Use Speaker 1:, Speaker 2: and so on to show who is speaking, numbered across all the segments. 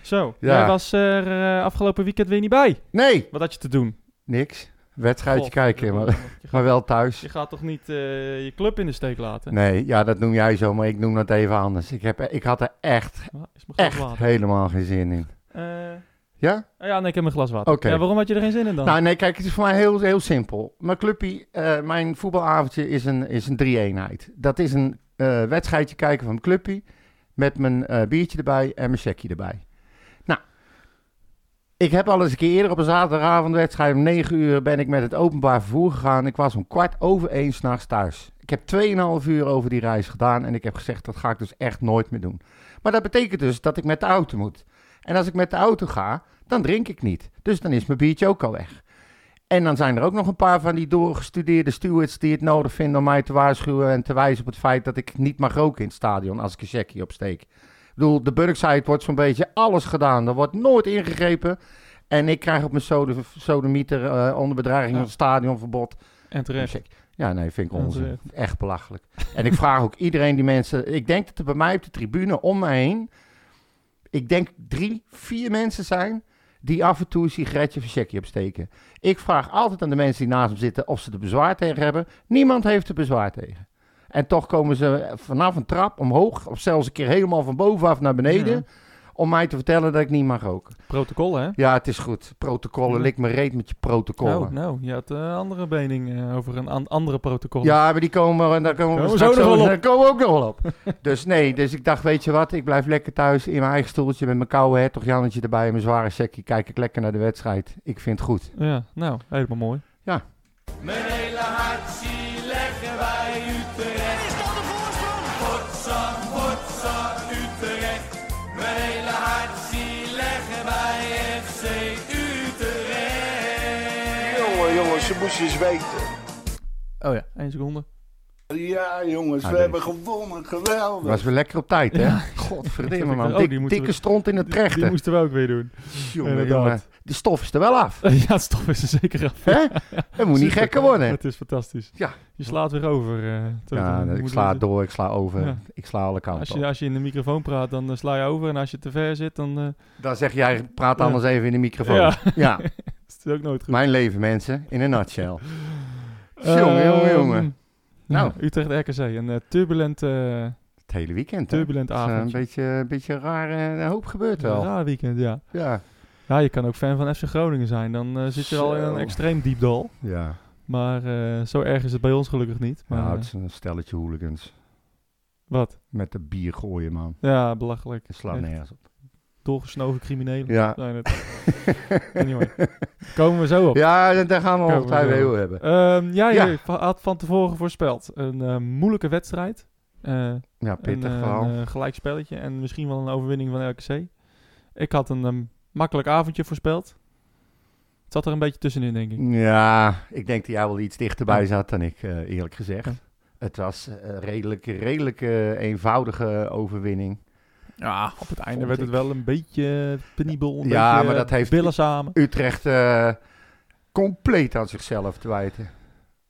Speaker 1: Zo,
Speaker 2: Ja.
Speaker 1: jij was er eh, afgelopen weekend weer niet bij.
Speaker 2: Nee,
Speaker 1: Wat had je te doen?
Speaker 2: niks. Wedstrijdje
Speaker 1: God,
Speaker 2: kijken, maar,
Speaker 1: Je gaat,
Speaker 2: maar wel thuis.
Speaker 1: je gaat toch niet eh, je club in de steek laten?
Speaker 2: Nee, ja, dat noem jij zo, maar ik noem dat even anders. Ik, heb, ik had er echt,
Speaker 1: Ah, Is mijn glas
Speaker 2: echt
Speaker 1: water.
Speaker 2: helemaal geen zin in.
Speaker 1: Eh,
Speaker 2: Ja?
Speaker 1: ah ja, nee, ik heb mijn glas water.
Speaker 2: Oké.
Speaker 1: Ja, waarom had je er geen zin in dan?
Speaker 2: Nou, nee, kijk, het is voor mij heel, heel simpel. Mijn clubpie, eh, mijn voetbalavondje is een, is een drie-eenheid. Dat is een eh, wedstrijdje kijken van mijn clubpie met mijn eh, biertje erbij en mijn checkje erbij. Nou, ik heb al eens een keer eerder op een zaterdagavondwedstrijd om 9 uur ben ik met het openbaar vervoer gegaan. Ik was om kwart over één s'nachts thuis. Ik heb 2,5 uur over die reis gedaan en ik heb gezegd dat ga ik dus echt nooit meer doen. Maar dat betekent dus dat ik met de auto moet. En als ik met de auto ga, dan drink ik niet. Dus dan is mijn biertje ook al weg. En dan zijn er ook nog een paar van die doorgestudeerde stewards die het nodig vinden om mij te waarschuwen en te wijzen op het feit dat ik niet mag roken in het stadion als ik een checkie opsteek. Ik bedoel, de Burkside wordt zo'n beetje alles gedaan. Er wordt nooit ingegrepen. En ik krijg op mijn sodem- sodemieter eh, onder bedreiging van
Speaker 1: Ja.
Speaker 2: het stadionverbod.
Speaker 1: en terecht.
Speaker 2: Check. Ja, nee, vind ik
Speaker 1: Ja,
Speaker 2: onzin.
Speaker 1: terecht.
Speaker 2: Echt belachelijk. En ik vraag ook iedereen die mensen... Ik denk dat er bij mij op de tribune om me heen... Ik denk drie, vier mensen zijn die af en toe een sigaretje of een checkie opsteken. Ik vraag altijd aan de mensen die naast hem zitten of ze er bezwaar tegen hebben. Niemand heeft er bezwaar tegen. En toch komen ze vanaf een trap omhoog, of zelfs een keer helemaal van bovenaf naar beneden, om mij te vertellen dat ik niet mag roken.
Speaker 1: Protocol, hè?
Speaker 2: Ja, het is goed. Protocollen,
Speaker 1: Ja.
Speaker 2: lik me reet met je protocollen.
Speaker 1: Nou, nou, je had eh, andere mening eh, over een an- andere protocol.
Speaker 2: Ja, maar die komen, en daar komen we
Speaker 1: Komen we
Speaker 2: straks
Speaker 1: zo nog
Speaker 2: ook-
Speaker 1: wel op.
Speaker 2: daar komen we ook nog wel op. dus nee, dus ik dacht, weet je wat, ik blijf lekker thuis in mijn eigen stoeltje met mijn koude hertog Jannetje erbij en mijn zware sekje. Kijk ik lekker naar de wedstrijd. Ik vind het goed.
Speaker 1: Ja, nou, helemaal mooi.
Speaker 3: Mijn hele hart zie leggen wij Utrecht. Is dat de voorsprong? Potsa, potsa, Utrecht. Mijn hele hart zie leggen wij FC Utrecht.
Speaker 4: Jongen, jongens, ze moesten eens weten.
Speaker 2: Oh ja.
Speaker 1: Eén seconde.
Speaker 4: Ja, jongens,
Speaker 2: Ah,
Speaker 4: we
Speaker 2: nee.
Speaker 4: hebben gewonnen. Geweldig.
Speaker 2: Was weer lekker op tijd, hè? Godverdimme,
Speaker 1: Ik
Speaker 2: man.
Speaker 1: dacht, oh,
Speaker 2: Dik-
Speaker 1: die moeten
Speaker 2: dikke
Speaker 1: we-
Speaker 2: stront in het
Speaker 1: Die, die
Speaker 2: trechter.
Speaker 1: moesten we ook weer doen.
Speaker 2: Jongen,
Speaker 1: inderdaad.
Speaker 2: jongen. Die stof is er wel af.
Speaker 1: ja, stof is er zeker af.
Speaker 2: Hè? Dat moet niet
Speaker 1: Super.
Speaker 2: gekker worden.
Speaker 1: Het is fantastisch.
Speaker 2: Ja.
Speaker 1: Je slaat weer over. eh, tot-
Speaker 2: Ja,
Speaker 1: hoe
Speaker 2: ik
Speaker 1: moet
Speaker 2: sla
Speaker 1: het-
Speaker 2: door, ik sla over,
Speaker 1: Ja.
Speaker 2: ik sla alle
Speaker 1: Als
Speaker 2: kanten
Speaker 1: je,
Speaker 2: op.
Speaker 1: als je in de microfoon praat, dan eh, sla je over. En als je te ver zit, dan eh,
Speaker 2: Dan zeg jij, praat
Speaker 1: Ja.
Speaker 2: anders even in de microfoon.
Speaker 1: Ja.
Speaker 2: ja,
Speaker 1: is het ook nooit goed.
Speaker 2: mijn leven, mensen, in een nutshell. jongen, jongen,
Speaker 1: Ehm,
Speaker 2: jongen. Nou.
Speaker 1: ja, Utrecht RKC. Een eh, turbulent, eh
Speaker 2: Het hele weekend, hè?
Speaker 1: turbulent
Speaker 2: Het is, eh, een
Speaker 1: avond.
Speaker 2: beetje, een beetje raar, eh, een hoop gebeurt
Speaker 1: Een
Speaker 2: wel.
Speaker 1: raar weekend, ja.
Speaker 2: Ja.
Speaker 1: Ja, je kan ook fan van FC Groningen zijn. Dan eh, zit je al in
Speaker 2: Zo.
Speaker 1: een extreem diep dal.
Speaker 2: Ja.
Speaker 1: Maar eh, zo erg is het bij ons gelukkig niet. Maar,
Speaker 2: Nou,
Speaker 1: eh,
Speaker 2: het is een stelletje hooligans.
Speaker 1: wat?
Speaker 2: Met de bier gooien, man.
Speaker 1: Ja, belachelijk.
Speaker 2: Dat slaat
Speaker 1: Echt
Speaker 2: nergens op.
Speaker 1: Doorgesnoven criminelen
Speaker 2: Ja.
Speaker 1: zijn het. anyway, komen we zo op.
Speaker 2: Ja, daar gaan we
Speaker 1: Komen
Speaker 2: altijd
Speaker 1: we zo.
Speaker 2: heel hebben.
Speaker 1: Ehm, jij
Speaker 2: Ja.
Speaker 1: eh, va- had van tevoren voorspeld een eh, moeilijke wedstrijd. Eh,
Speaker 2: Ja, pittig
Speaker 1: een, eh,
Speaker 2: verhaal.
Speaker 1: een eh, gelijkspelletje en misschien wel een overwinning van RKC. Ik had een ehm, makkelijk avondje voorspeld. Het zat er een beetje tussenin, denk ik.
Speaker 2: Ja, ik denk dat jij wel iets dichterbij
Speaker 1: Ja.
Speaker 2: zat dan ik, eh, eerlijk gezegd.
Speaker 1: Ja.
Speaker 2: Het was een redelijk, redelijk eh, eenvoudige overwinning.
Speaker 1: Ja, op het einde
Speaker 2: vond
Speaker 1: werd het
Speaker 2: ik.
Speaker 1: wel een beetje penibel. Een
Speaker 2: Ja,
Speaker 1: beetje eh,
Speaker 2: maar dat heeft-
Speaker 1: Billen samen.
Speaker 2: Utrecht eh, compleet aan zichzelf te wijten.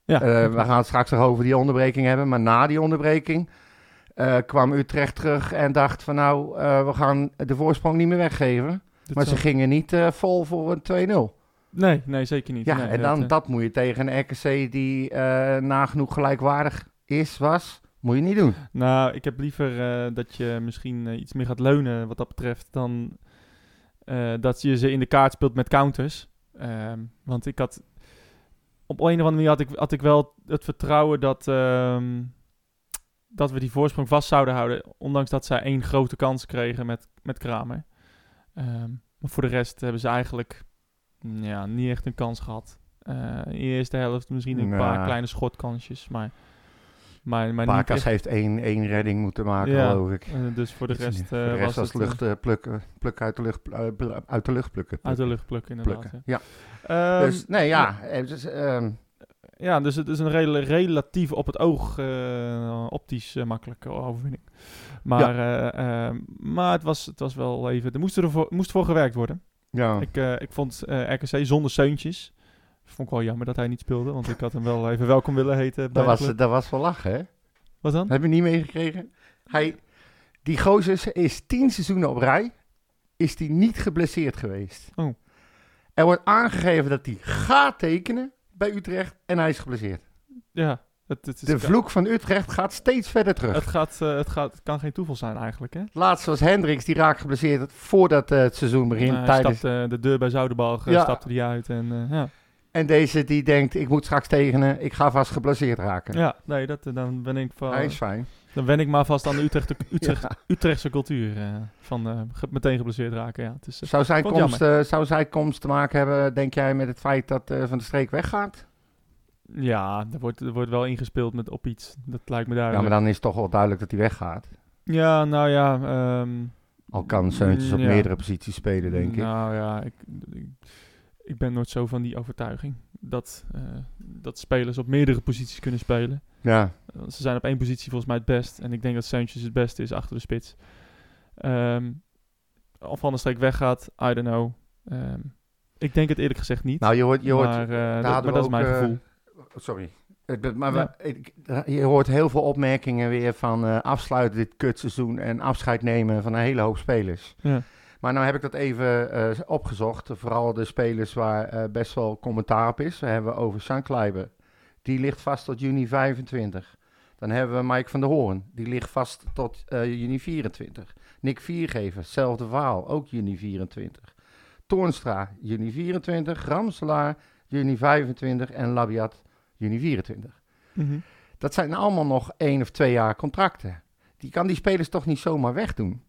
Speaker 1: Ja,
Speaker 2: Eh, we gaan het straks nog over die onderbreking hebben. Maar na die onderbreking eh, kwam Utrecht terug en dacht van nou, eh, we gaan de voorsprong niet meer weggeven.
Speaker 1: dit
Speaker 2: Maar
Speaker 1: zal-
Speaker 2: ze gingen niet eh, vol voor een 2-0.
Speaker 1: Nee, nee, zeker niet.
Speaker 2: Ja,
Speaker 1: Nee,
Speaker 2: en
Speaker 1: dat,
Speaker 2: dan
Speaker 1: eh,
Speaker 2: dat moet je tegen een RKC die eh, nagenoeg gelijkwaardig is, was, moet je niet doen.
Speaker 1: Nou, ik heb liever eh, dat je misschien eh, iets meer gaat leunen wat dat betreft dan eh, dat je ze in de kaart speelt met counters. Ehm, want ik had op een of andere manier had ik, had ik wel het vertrouwen dat, ehm, dat we die voorsprong vast zouden houden. Ondanks dat zij één grote kans kregen met, met Kramer. Ehm, maar voor de rest hebben ze eigenlijk mm, ja, niet echt een kans gehad. Eh, in de eerste helft misschien een paar
Speaker 2: Nou.
Speaker 1: kleine schotkansjes, maar, maar, maar niet
Speaker 2: Pakas
Speaker 1: echt-
Speaker 2: heeft één, één redding moeten maken,
Speaker 1: Ja.
Speaker 2: geloof ik.
Speaker 1: eh, dus voor de
Speaker 2: Iets in-
Speaker 1: rest,
Speaker 2: voor
Speaker 1: eh,
Speaker 2: de rest
Speaker 1: was
Speaker 2: was
Speaker 1: het eh,
Speaker 2: lucht, eh, plukken, pluk uit de lucht, pl- eh, pl- uit de lucht plukken.
Speaker 1: uit de lucht plukken, inderdaad.
Speaker 2: plukken.
Speaker 1: ja.
Speaker 2: Ja.
Speaker 1: Ehm,
Speaker 2: dus nee, ja. eh, Dus, ehm,
Speaker 1: ja, dus het is een rela- relatief op het oog eh, optisch eh, makkelijke overwinning. Maar, eh, ehm, maar het, was, het was wel even... Er moest, er voor, moest voor gewerkt worden.
Speaker 2: ja.
Speaker 1: Ik, eh, ik vond eh, RKC zonder Seuntjes. Vond ik wel jammer dat hij niet speelde, want ik had hem wel even welkom willen heten. Bij
Speaker 2: dat,
Speaker 1: de
Speaker 2: was,
Speaker 1: club.
Speaker 2: dat was wel lachen, hè?
Speaker 1: Wat dan?
Speaker 2: Heb je niet meegekregen? Hij, die gozer is tien seizoenen op rij. is hij niet geblesseerd geweest.
Speaker 1: Oh.
Speaker 2: Er wordt aangegeven dat hij gaat tekenen bij Utrecht en hij is geblesseerd.
Speaker 1: Ja, het, het is...
Speaker 2: De vloek van Utrecht gaat steeds verder terug.
Speaker 1: Dus Het, gaat, eh, het, gaat, het kan geen toeval zijn eigenlijk, hè?
Speaker 2: Laatst was Hendricks, die raakt geblesseerd voordat eh, het seizoen begint.
Speaker 1: Nou, hij
Speaker 2: tijdens...
Speaker 1: stapte eh, de deur bij Zoudenbalg, eh,
Speaker 2: Ja.
Speaker 1: stapte die uit en eh, ja.
Speaker 2: En deze die denkt, ik moet straks tekenen, ik ga vast geblesseerd raken.
Speaker 1: Ja, nee, dat, eh, dan, ben ik van,
Speaker 2: Hij is fijn.
Speaker 1: dan ben ik maar vast aan de Utrecht, Utrecht,
Speaker 2: Ja.
Speaker 1: Utrechtse cultuur. eh, van eh, ge- meteen geblesseerd raken, ja. Het is, eh,
Speaker 2: Dus Zou, zijn
Speaker 1: Vond het
Speaker 2: komst, eh, zou zijn komst te maken hebben, denk jij, met het feit dat eh, Van de Streek weggaat?
Speaker 1: ja, er wordt, er wordt wel ingespeeld met, op iets. Dat lijkt me
Speaker 2: Ja,
Speaker 1: duidelijk.
Speaker 2: maar dan is toch wel duidelijk dat hij weggaat.
Speaker 1: Ja, nou ja. ehm,
Speaker 2: Al kan Seuntjes op
Speaker 1: Ja.
Speaker 2: meerdere posities spelen, denk ik.
Speaker 1: Nou ja, ik, ik, ik ben nooit zo van die overtuiging. Dat, eh, dat spelers op meerdere posities kunnen spelen.
Speaker 2: Ja,
Speaker 1: Want Ze zijn op één positie volgens mij het best. En ik denk dat Seuntjes het beste is achter de spits. Ehm of Van der Streek weggaat, I don't know. Ehm, ik denk het eerlijk gezegd niet.
Speaker 2: nou je hoort, je hoort,
Speaker 1: maar eh, dat,
Speaker 2: hadden
Speaker 1: maar
Speaker 2: we
Speaker 1: dat is mijn
Speaker 2: ook, eh,
Speaker 1: gevoel.
Speaker 2: Sorry. Ik ben- Maar
Speaker 1: Ja.
Speaker 2: we- ik- je hoort heel veel opmerkingen weer van eh, afsluiten dit kutseizoen en afscheid nemen van een hele hoop spelers.
Speaker 1: Ja.
Speaker 2: Maar nou heb ik dat even eh, opgezocht. Vooral de spelers waar eh, best wel commentaar op is. We hebben over Sean Kleiber. Die ligt vast tot juni 25. Dan hebben we Mike van der Hoorn. Die ligt vast tot eh, juni 24. Nick Viergever, hetzelfde verhaal. Ook juni 24. Toornstra, juni 24. Ramselaar, juni 25. En Labiat, juni 24.
Speaker 1: Mhm.
Speaker 2: Dat zijn allemaal nog één of twee jaar contracten. Die kan die spelers toch niet zomaar wegdoen?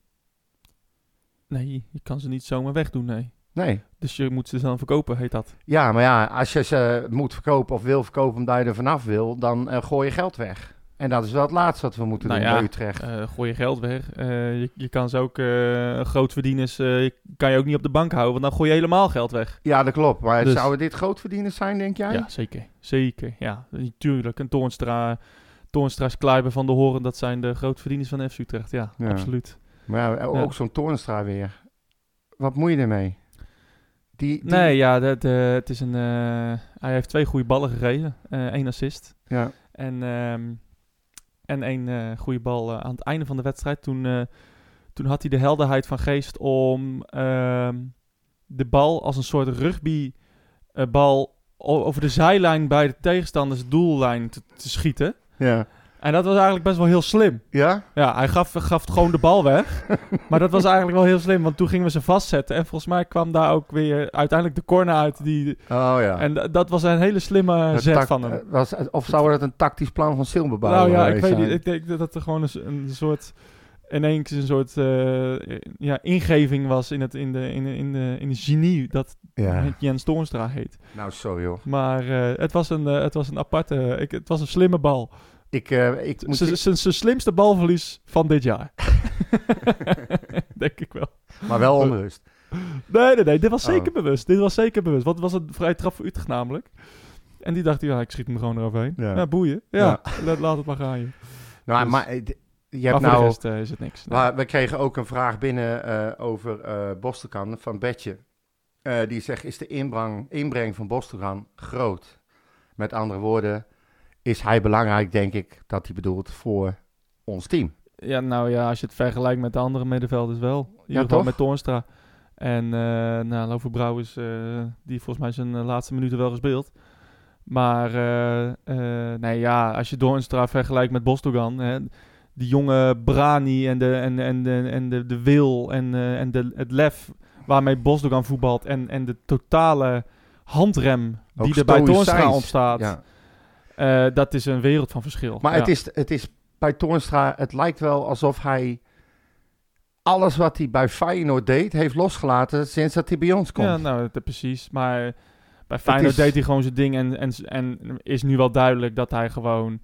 Speaker 1: Nee, je kan ze niet zomaar wegdoen, nee.
Speaker 2: Nee.
Speaker 1: Dus je moet ze dan verkopen, heet dat.
Speaker 2: Ja, maar ja, als je ze moet verkopen of wil verkopen omdat je er vanaf wil, dan eh, gooi je geld weg. En dat is wel het laatste wat we moeten
Speaker 1: Nou
Speaker 2: doen
Speaker 1: ja,
Speaker 2: bij Utrecht.
Speaker 1: Eh, gooi je geld weg. Eh, je, je kan ze ook, eh grootverdieners, eh, je- kan je ook niet op de bank houden, want dan gooi je helemaal geld weg.
Speaker 2: ja, dat klopt. Maar
Speaker 1: dus-
Speaker 2: zouden dit grootverdieners zijn, denk jij?
Speaker 1: Ja, zeker. Zeker, ja. Natuurlijk, een Toornstra, Toornstra's Kleiber van de Horen, dat zijn de grootverdieners van FC Utrecht. Ja,
Speaker 2: Ja.
Speaker 1: absoluut.
Speaker 2: Maar ja, ook
Speaker 1: Ja.
Speaker 2: zo'n Toornstra weer. Wat moet je ermee? Die, die-
Speaker 1: Nee, ja, dat, eh, het is een, eh, hij heeft twee goede ballen gegeven. eh één assist
Speaker 2: Ja,
Speaker 1: en, ehm, en één eh, goede bal eh, aan het einde van de wedstrijd. Toen, eh, toen had hij de helderheid van geest om ehm, de bal als een soort rugbybal bal o- over de zijlijn bij de tegenstanders doellijn te, te schieten.
Speaker 2: ja.
Speaker 1: En dat was eigenlijk best wel heel slim.
Speaker 2: Ja?
Speaker 1: Ja, hij gaf, gaf gewoon de bal weg. maar dat was eigenlijk wel heel slim, want toen gingen we ze vastzetten. En volgens mij kwam daar ook weer uiteindelijk de corner uit. Die,
Speaker 2: Oh ja.
Speaker 1: En da- dat was een hele slimme
Speaker 2: Dat
Speaker 1: zet
Speaker 2: tact-
Speaker 1: van hem.
Speaker 2: eh, was, of zou dat een tactisch plan van Silberbouw
Speaker 1: nou ja, ik
Speaker 2: geweest
Speaker 1: weet
Speaker 2: zijn?
Speaker 1: niet. Ik denk dat dat er gewoon een, s- een soort... Ineens een soort eh, ja, ingeving was in, het, in, de, in, de, in, de, in de genie dat
Speaker 2: Ja.
Speaker 1: Jens Toornstra heet.
Speaker 2: Nou, sorry hoor.
Speaker 1: Maar eh, het, was een, eh, het was een aparte... ik, het was een slimme bal.
Speaker 2: Ik, eh, ik moet
Speaker 1: Zijn zijn- zijn slimste balverlies van dit jaar. Denk ik wel.
Speaker 2: Maar wel onrust.
Speaker 1: Nee, nee, nee. Dit was
Speaker 2: Oh.
Speaker 1: zeker bewust. Dit was zeker bewust. Wat was een vrij trap voor Utrecht namelijk? En die dacht, ja, ik schiet hem gewoon eroverheen.
Speaker 2: Ja.
Speaker 1: Ja, boeien. Ja, la- laat het maar gaan. joh.
Speaker 2: Nou,
Speaker 1: Dus-
Speaker 2: maar eh, d- je
Speaker 1: Maar
Speaker 2: hebt
Speaker 1: voor de
Speaker 2: nou...
Speaker 1: rest eh, is het niks. Nee.
Speaker 2: Maar we kregen ook een vraag binnen eh, over eh Bostelkan van Betje. Eh, die zegt, is de inbreng, inbreng van Bostelkan groot? Met andere woorden, is hij belangrijk, denk ik, dat hij bedoelt voor ons team?
Speaker 1: Ja, nou ja, als je het vergelijkt met de andere middenvelders wel. In ieder geval
Speaker 2: toch?
Speaker 1: met Toornstra. En eh nou, Lover Brouwers, eh, die heeft volgens mij zijn eh, laatste minuten wel gespeeld. Maar eh, eh, nee, ja, als je Toornstra vergelijkt met Bostogan... Hè, die jonge Brani en de, en, en, en, en de, de wil en, eh, en de, het lef waarmee Bosdogan voetbalt... en, en de totale handrem die
Speaker 2: Ook
Speaker 1: er bij Toornstra
Speaker 2: stoïcijns.
Speaker 1: op staat...
Speaker 2: Ja.
Speaker 1: eh, dat is een wereld van verschil.
Speaker 2: Maar
Speaker 1: Ja.
Speaker 2: het, is, het is bij Toornstra, het lijkt wel alsof hij alles wat hij bij Feyenoord deed, heeft losgelaten sinds dat hij bij ons komt.
Speaker 1: Ja, nou, dat, precies. Maar bij Feyenoord
Speaker 2: is-
Speaker 1: deed hij gewoon zijn ding en, en, en is nu wel duidelijk dat hij gewoon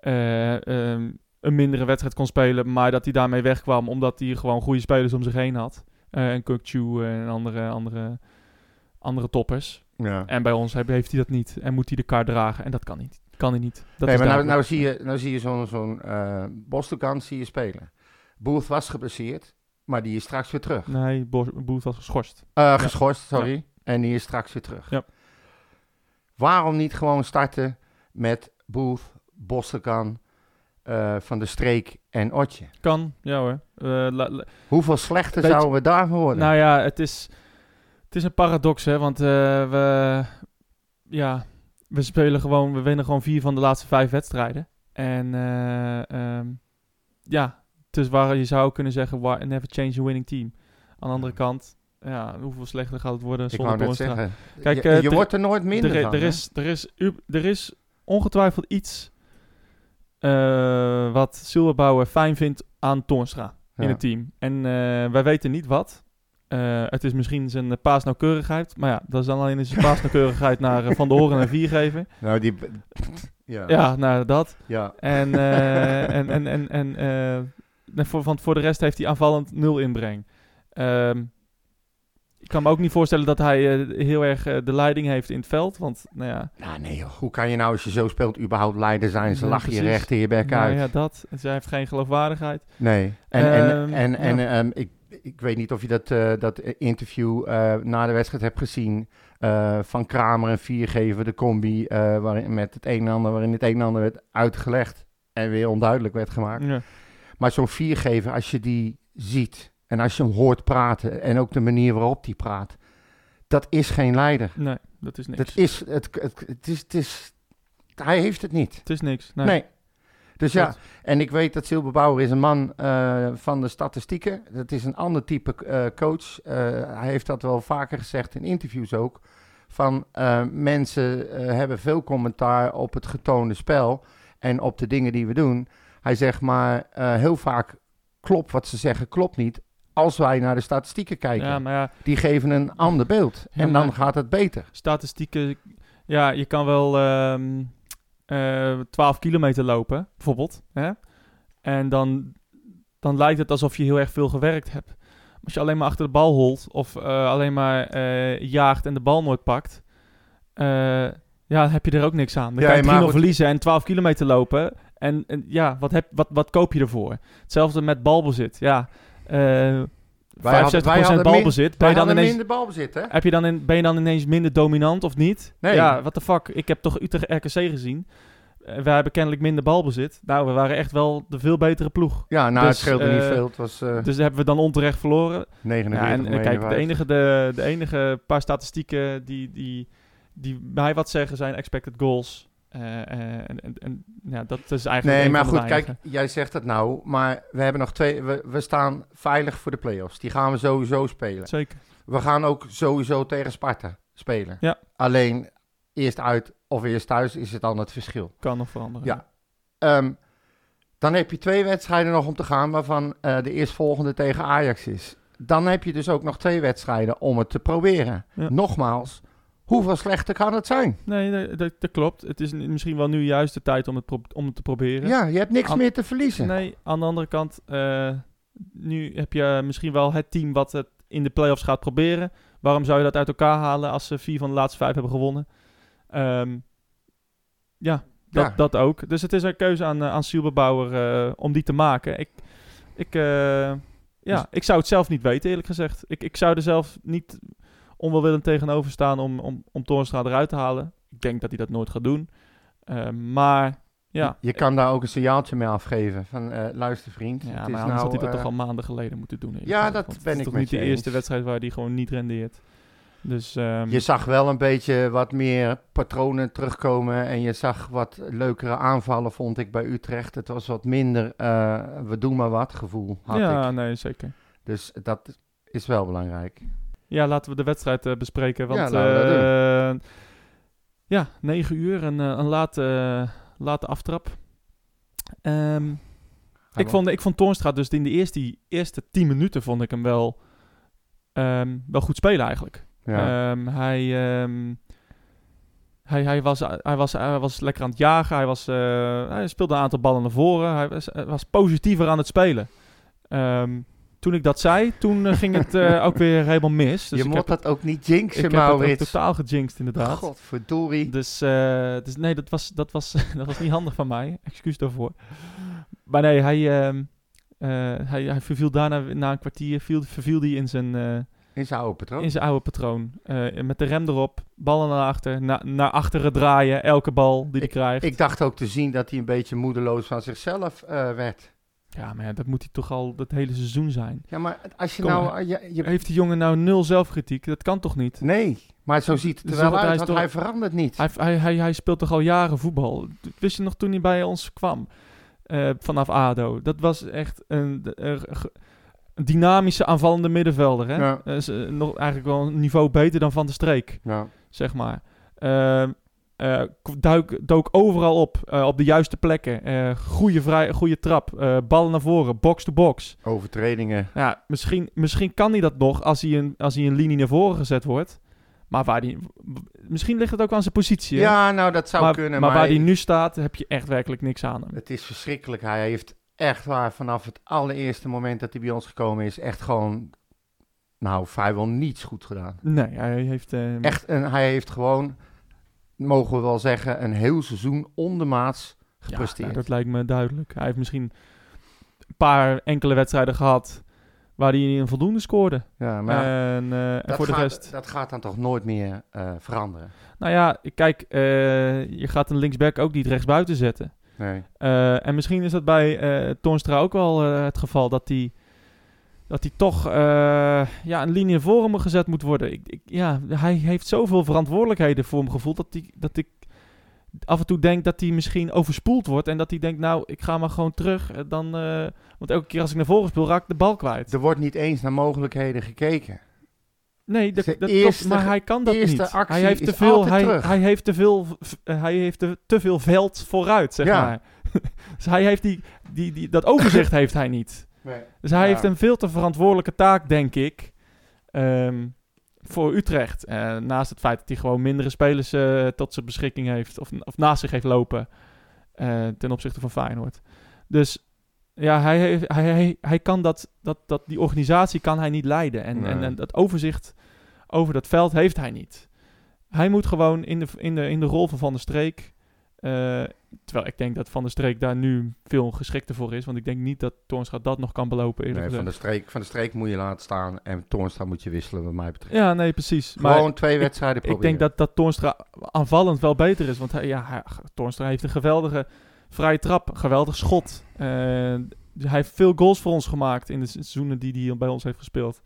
Speaker 1: eh, ehm, een mindere wedstrijd kon spelen, maar dat hij daarmee wegkwam omdat hij gewoon goede spelers om zich heen had. Eh, en Kukchu en andere, andere, andere toppers.
Speaker 2: Ja.
Speaker 1: En bij ons heb- heeft hij dat niet en moet hij de kaart dragen en dat kan niet. Kan hij niet. Dat
Speaker 2: nee,
Speaker 1: is
Speaker 2: maar nou, nou
Speaker 1: duidelijk.
Speaker 2: zie je, nou zie je zo'n zo'n eh, Bostokan zie je spelen. Booth was geblesseerd, maar die is straks weer terug.
Speaker 1: Nee, Bo- Boet was geschorst.
Speaker 2: Eh, Geschorst, sorry. En die is straks weer terug.
Speaker 1: Ja.
Speaker 2: Waarom niet gewoon starten met Booth, Bostokan, eh, van de streek en Otje.
Speaker 1: Kan, ja hoor. Eh, la- la-
Speaker 2: Hoeveel slechter
Speaker 1: Weet-
Speaker 2: zouden we daarvoor worden?
Speaker 1: nou ja, het is, het is een paradox, hè. Want eh, we, ja, we spelen gewoon... We winnen gewoon vier van de laatste vijf wedstrijden. En eh, ehm, ja, dus waar je zou kunnen zeggen... why- Never change a winning team. Aan de andere kant... Ja, hoeveel slechter gaat het worden
Speaker 2: ik
Speaker 1: zonder
Speaker 2: wou net
Speaker 1: Toornstra?
Speaker 2: zeggen.
Speaker 1: Kijk,
Speaker 2: je
Speaker 1: eh,
Speaker 2: je
Speaker 1: er-
Speaker 2: wordt er nooit minder
Speaker 1: er, i-
Speaker 2: van.
Speaker 1: er
Speaker 2: hè?
Speaker 1: is, er, is, u- er is ongetwijfeld iets eh, wat Silberbouwer fijn vindt aan Toornstra
Speaker 2: Ja.
Speaker 1: in het team. En eh, wij weten niet wat. Eh, het is misschien zijn eh, paasnauwkeurigheid. Maar ja, dat is dan alleen zijn paasnauwkeurigheid naar eh, Van de Horen en vier geven.
Speaker 2: Nou, die... Ja. ja.
Speaker 1: Ja, naar dat. En, eh, en, en, en, en eh, en voor, want voor de rest heeft hij aanvallend nul inbreng. Ehm, ik kan me ook niet voorstellen dat hij eh, heel erg eh, de leiding heeft in het veld. Want, nou ja,
Speaker 2: Nou nee, joh. hoe kan je nou als je zo speelt überhaupt leider zijn? Ze
Speaker 1: Ja,
Speaker 2: lachen je
Speaker 1: precies.
Speaker 2: recht in je bek
Speaker 1: Nou
Speaker 2: uit.
Speaker 1: ja, dat. En Zij heeft geen geloofwaardigheid.
Speaker 2: Nee. En,
Speaker 1: Ehm,
Speaker 2: en, en, en ehm, ik, ik weet niet of je dat, eh, dat interview eh, na de wedstrijd hebt gezien. eh, van Kramer en Viergever, de combi. eh, waarin, met het een en ander, waarin het een en ander werd uitgelegd. En weer onduidelijk werd gemaakt.
Speaker 1: Ja.
Speaker 2: Maar zo'n Viergever, als je die ziet. En als je hem hoort praten. En ook de manier waarop hij praat. Dat is geen leider.
Speaker 1: Nee, dat is niks.
Speaker 2: Dat is, het, het, het is, het is, hij heeft het niet.
Speaker 1: Het is niks. Nee.
Speaker 2: Nee. Dus ja,
Speaker 1: Dat-
Speaker 2: en ik weet dat Silberbouwer is een man eh, van de statistieken. Dat is een ander type eh, coach. Eh, hij heeft dat wel vaker gezegd in interviews ook. Van eh, mensen eh, hebben veel commentaar op het getoonde spel en op de dingen die we doen. Hij zegt maar eh, heel vaak klopt wat ze zeggen, klopt niet. Als wij naar de statistieken kijken,
Speaker 1: Ja, maar ja,
Speaker 2: die geven een ander beeld.
Speaker 1: Ja,
Speaker 2: en dan
Speaker 1: maar-
Speaker 2: gaat het beter.
Speaker 1: statistieken... Ja, je kan wel ehm eh 12 kilometer lopen, bijvoorbeeld. Hè? En dan, dan lijkt het alsof je heel erg veel gewerkt hebt. Maar Als je alleen maar achter de bal holt of eh, alleen maar eh, jaagt en de bal nooit pakt... eh, ja, dan heb je er ook niks aan. Dan
Speaker 2: Ja,
Speaker 1: kan je
Speaker 2: maar
Speaker 1: prima
Speaker 2: goed.
Speaker 1: verliezen en 12 kilometer lopen. En, en ja, wat, heb, wat, wat koop je ervoor? Hetzelfde met balbezit. Ja, eh 65%
Speaker 2: wij hadden min-
Speaker 1: balbezit. Ben
Speaker 2: Wij
Speaker 1: je, dan
Speaker 2: hadden
Speaker 1: ineens,
Speaker 2: minder balbezit, hè?
Speaker 1: heb je dan in, ben je dan ineens minder dominant of niet?
Speaker 2: Nee.
Speaker 1: Ja, what the fuck. Ik heb toch Utrecht RKC gezien. Eh, wij hebben kennelijk minder balbezit. Nou, we waren echt wel de veel betere ploeg.
Speaker 2: Ja, nou, het
Speaker 1: Dus,
Speaker 2: scheelde niet
Speaker 1: eh,
Speaker 2: veel. Het was eh
Speaker 1: Dus hebben we dan onterecht verloren.
Speaker 2: 49
Speaker 1: Ja, en eh, kijk, de
Speaker 2: 51.
Speaker 1: enige, de, de enige paar statistieken die, die, die mij wat zeggen zijn expected goals. Eh, eh, en en, en ja, dat is eigenlijk.
Speaker 2: Nee,
Speaker 1: een
Speaker 2: maar
Speaker 1: van de
Speaker 2: goed, kijk,
Speaker 1: weinigen.
Speaker 2: jij zegt dat nou, maar we hebben nog twee. We, we staan veilig voor de play-offs. Die gaan we sowieso spelen.
Speaker 1: Zeker.
Speaker 2: We gaan ook sowieso tegen Sparta spelen.
Speaker 1: Ja.
Speaker 2: Alleen eerst uit of eerst thuis is het dan het verschil.
Speaker 1: Kan nog veranderen.
Speaker 2: Ja. Ehm, dan heb je twee wedstrijden nog om te gaan, waarvan eh, de eerstvolgende tegen Ajax is. Dan heb je dus ook nog twee wedstrijden om het te proberen.
Speaker 1: Ja.
Speaker 2: Nogmaals, hoeveel slechter kan het zijn?
Speaker 1: Nee, dat, dat- dat klopt. Het is n- misschien wel nu juist de tijd om het, pro- om het te proberen.
Speaker 2: Ja, je hebt niks
Speaker 1: An-
Speaker 2: meer te verliezen.
Speaker 1: Nee, aan de andere kant, eh, nu heb je misschien wel het team wat het in de playoffs gaat proberen. Waarom zou je dat uit elkaar halen als ze vier van de laatste vijf hebben gewonnen? Ehm, ja, dat,
Speaker 2: Ja.
Speaker 1: dat ook. Dus het is een keuze aan, eh, aan Silberbouwer eh, om die te maken. Ik, ik, eh, ja,
Speaker 2: Dus-
Speaker 1: ik zou het zelf niet weten, eerlijk gezegd. Ik, ik zou er zelf niet onwelwillend tegenover staan om, om, om Toornstra eruit te halen. Ik denk dat hij dat nooit gaat doen. Eh, maar ja,
Speaker 2: Je kan daar ook een signaaltje mee afgeven. Van eh, luister vriend.
Speaker 1: Ja,
Speaker 2: het
Speaker 1: maar
Speaker 2: is
Speaker 1: anders
Speaker 2: nou,
Speaker 1: had hij dat
Speaker 2: eh,
Speaker 1: toch al maanden geleden moeten doen. eerlijk
Speaker 2: ja,
Speaker 1: gezegd,
Speaker 2: dat
Speaker 1: want
Speaker 2: ben
Speaker 1: Het
Speaker 2: ik
Speaker 1: is toch
Speaker 2: met
Speaker 1: niet
Speaker 2: je
Speaker 1: de eerste
Speaker 2: eens.
Speaker 1: wedstrijd waar hij gewoon niet rendeert. Dus ehm,
Speaker 2: Je zag wel een beetje wat meer patronen terugkomen. En je zag wat leukere aanvallen, vond ik, bij Utrecht. Het was wat minder eh, we doen maar wat gevoel, had
Speaker 1: ja,
Speaker 2: ik.
Speaker 1: nee, zeker.
Speaker 2: Dus dat is wel belangrijk.
Speaker 1: Ja, laten we de wedstrijd eh, bespreken. Want
Speaker 2: laten we dat
Speaker 1: eh, ja, 9 uur, een, eh, een late, late aftrap. Ehm, ik, vond, ik vond Toornstra dus in de eerste, die eerste 10 minuten vond ik hem wel, ehm, wel goed spelen eigenlijk.
Speaker 2: Ja,
Speaker 1: Ehm, hij, ehm, hij, hij, was, hij, was, hij was lekker aan het jagen. Hij, was, eh, hij speelde een aantal ballen naar voren. Hij was, hij was positiever aan het spelen. Ehm, toen ik dat zei, toen eh, ging het eh, ook weer helemaal mis. Dus
Speaker 2: je
Speaker 1: ik
Speaker 2: moet
Speaker 1: heb
Speaker 2: dat ook niet
Speaker 1: het, ik
Speaker 2: jinxen,
Speaker 1: heb het ook
Speaker 2: Maurits.
Speaker 1: totaal gejinxed inderdaad.
Speaker 2: Godverdorie.
Speaker 1: Dus, eh, dus nee, dat was, dat, was, dat was niet handig van mij. Excuus daarvoor. Maar nee, hij, ehm, eh, hij, hij verviel daarna na een kwartier, viel, verviel hij in zijn, eh,
Speaker 2: In zijn oude patroon.
Speaker 1: in zijn oude patroon. Eh, met de rem erop, ballen naar achter, na, naar achteren draaien, elke bal die hij krijgt.
Speaker 2: Ik dacht ook te zien dat hij een beetje moedeloos van zichzelf eh, werd.
Speaker 1: Ja, maar ja, dat moet hij toch al dat hele seizoen zijn.
Speaker 2: Ja, maar als je
Speaker 1: Kom
Speaker 2: nou... je- je-
Speaker 1: Heeft die jongen nou nul zelfkritiek? Dat kan toch niet?
Speaker 2: Nee, maar zo ziet het er
Speaker 1: Dus
Speaker 2: wel
Speaker 1: dat hij
Speaker 2: uit,
Speaker 1: is
Speaker 2: want
Speaker 1: toch-
Speaker 2: hij verandert niet.
Speaker 1: Hij, hij, hij, hij speelt toch al jaren voetbal? Dat Wist je nog toen hij bij ons kwam? eh, vanaf ADO. Dat was echt een, een ge- een dynamische aanvallende middenvelder. Hè?
Speaker 2: Ja.
Speaker 1: Eh, ze- nog eigenlijk wel een niveau beter dan Van de Streek,
Speaker 2: Ja.
Speaker 1: zeg maar. Ehm, eh, k- duik, dook overal op, eh, op de juiste plekken. Eh goede, vrij, goede trap, eh, ballen naar voren, box-to-box.
Speaker 2: Overtredingen.
Speaker 1: Ja, misschien, misschien kan hij dat nog als hij, een, als hij een linie naar voren gezet wordt. Maar waar die, misschien ligt het ook aan zijn positie. hè?
Speaker 2: Ja, nou dat zou
Speaker 1: maar,
Speaker 2: kunnen.
Speaker 1: maar
Speaker 2: Maar,
Speaker 1: waar hij nu staat, heb je echt werkelijk niks aan hem.
Speaker 2: het is verschrikkelijk. Hij heeft echt waar vanaf het allereerste moment dat hij bij ons gekomen is, echt gewoon, nou vrijwel niets goed gedaan.
Speaker 1: Nee, hij heeft... eh,
Speaker 2: Echt, en hij heeft gewoon, mogen we wel zeggen, een heel seizoen ondermaats
Speaker 1: ja,
Speaker 2: gepresteerd.
Speaker 1: nou, dat lijkt me duidelijk. Hij heeft misschien een paar enkele wedstrijden gehad waar hij een voldoende scoorde.
Speaker 2: Ja, maar ja,
Speaker 1: en eh, en
Speaker 2: dat,
Speaker 1: voor de
Speaker 2: gaat,
Speaker 1: rest...
Speaker 2: dat gaat dan toch nooit meer eh, veranderen.
Speaker 1: Nou ja, kijk, eh, je gaat een linksback ook niet rechtsbuiten zetten.
Speaker 2: Nee.
Speaker 1: Eh, en misschien is dat bij eh Toornstra ook wel eh, het geval dat hij dat hij toch eh, ja, een linie voor hem gezet moet worden. Ik, ik, ja, hij heeft zoveel verantwoordelijkheden voor mijn gevoel dat, die, dat ik af en toe denk dat hij misschien overspoeld wordt en dat hij denkt, nou, ik ga maar gewoon terug. eh, Dan, eh, want elke keer als ik naar voren speel, raak ik de bal kwijt.
Speaker 2: Er wordt niet eens naar mogelijkheden gekeken.
Speaker 1: Nee, dat,
Speaker 2: Zijn
Speaker 1: dat klopt,
Speaker 2: eerste-
Speaker 1: maar hij kan dat
Speaker 2: eerste
Speaker 1: niet.
Speaker 2: actie
Speaker 1: hij heeft
Speaker 2: is
Speaker 1: te veel,
Speaker 2: altijd
Speaker 1: hij,
Speaker 2: terug.
Speaker 1: hij heeft te veel, v- eh, hij heeft te, te veel veld vooruit, zeg
Speaker 2: Ja.
Speaker 1: maar. dus hij heeft die, die, die, dat overzicht heeft hij niet. Dus hij
Speaker 2: Ja.
Speaker 1: heeft een veel te verantwoordelijke taak, denk ik, ehm, voor Utrecht. Eh, naast het feit dat hij gewoon mindere spelers eh, tot zijn beschikking heeft, of, of naast zich heeft lopen, eh, ten opzichte van Feyenoord. Dus ja, hij, heeft- hij, hij, hij kan dat, dat, dat, die organisatie kan hij niet leiden. En, en,
Speaker 2: Nee.
Speaker 1: en dat overzicht over dat veld heeft hij niet. Hij moet gewoon in de, in de, in de rol van Van der Streek... eh, Terwijl ik denk dat Van der Streek daar nu veel geschikter voor is. Want ik denk niet dat Toornstra dat nog kan belopen. eerlijk
Speaker 2: Nee, van,
Speaker 1: gezegd.
Speaker 2: de streek, van de streek moet je laten staan en Toornstra moet je wisselen wat mij betreft.
Speaker 1: Ja, nee, precies. Maar
Speaker 2: Gewoon twee wedstrijden
Speaker 1: ik
Speaker 2: proberen.
Speaker 1: denk dat, dat Toornstra aanvallend wel beter is. Want hij, ja, hij- Toornstra heeft een geweldige vrije trap. een geweldig schot. Eh, hij heeft veel goals voor ons gemaakt in de se- seizoenen die hij bij ons heeft gespeeld.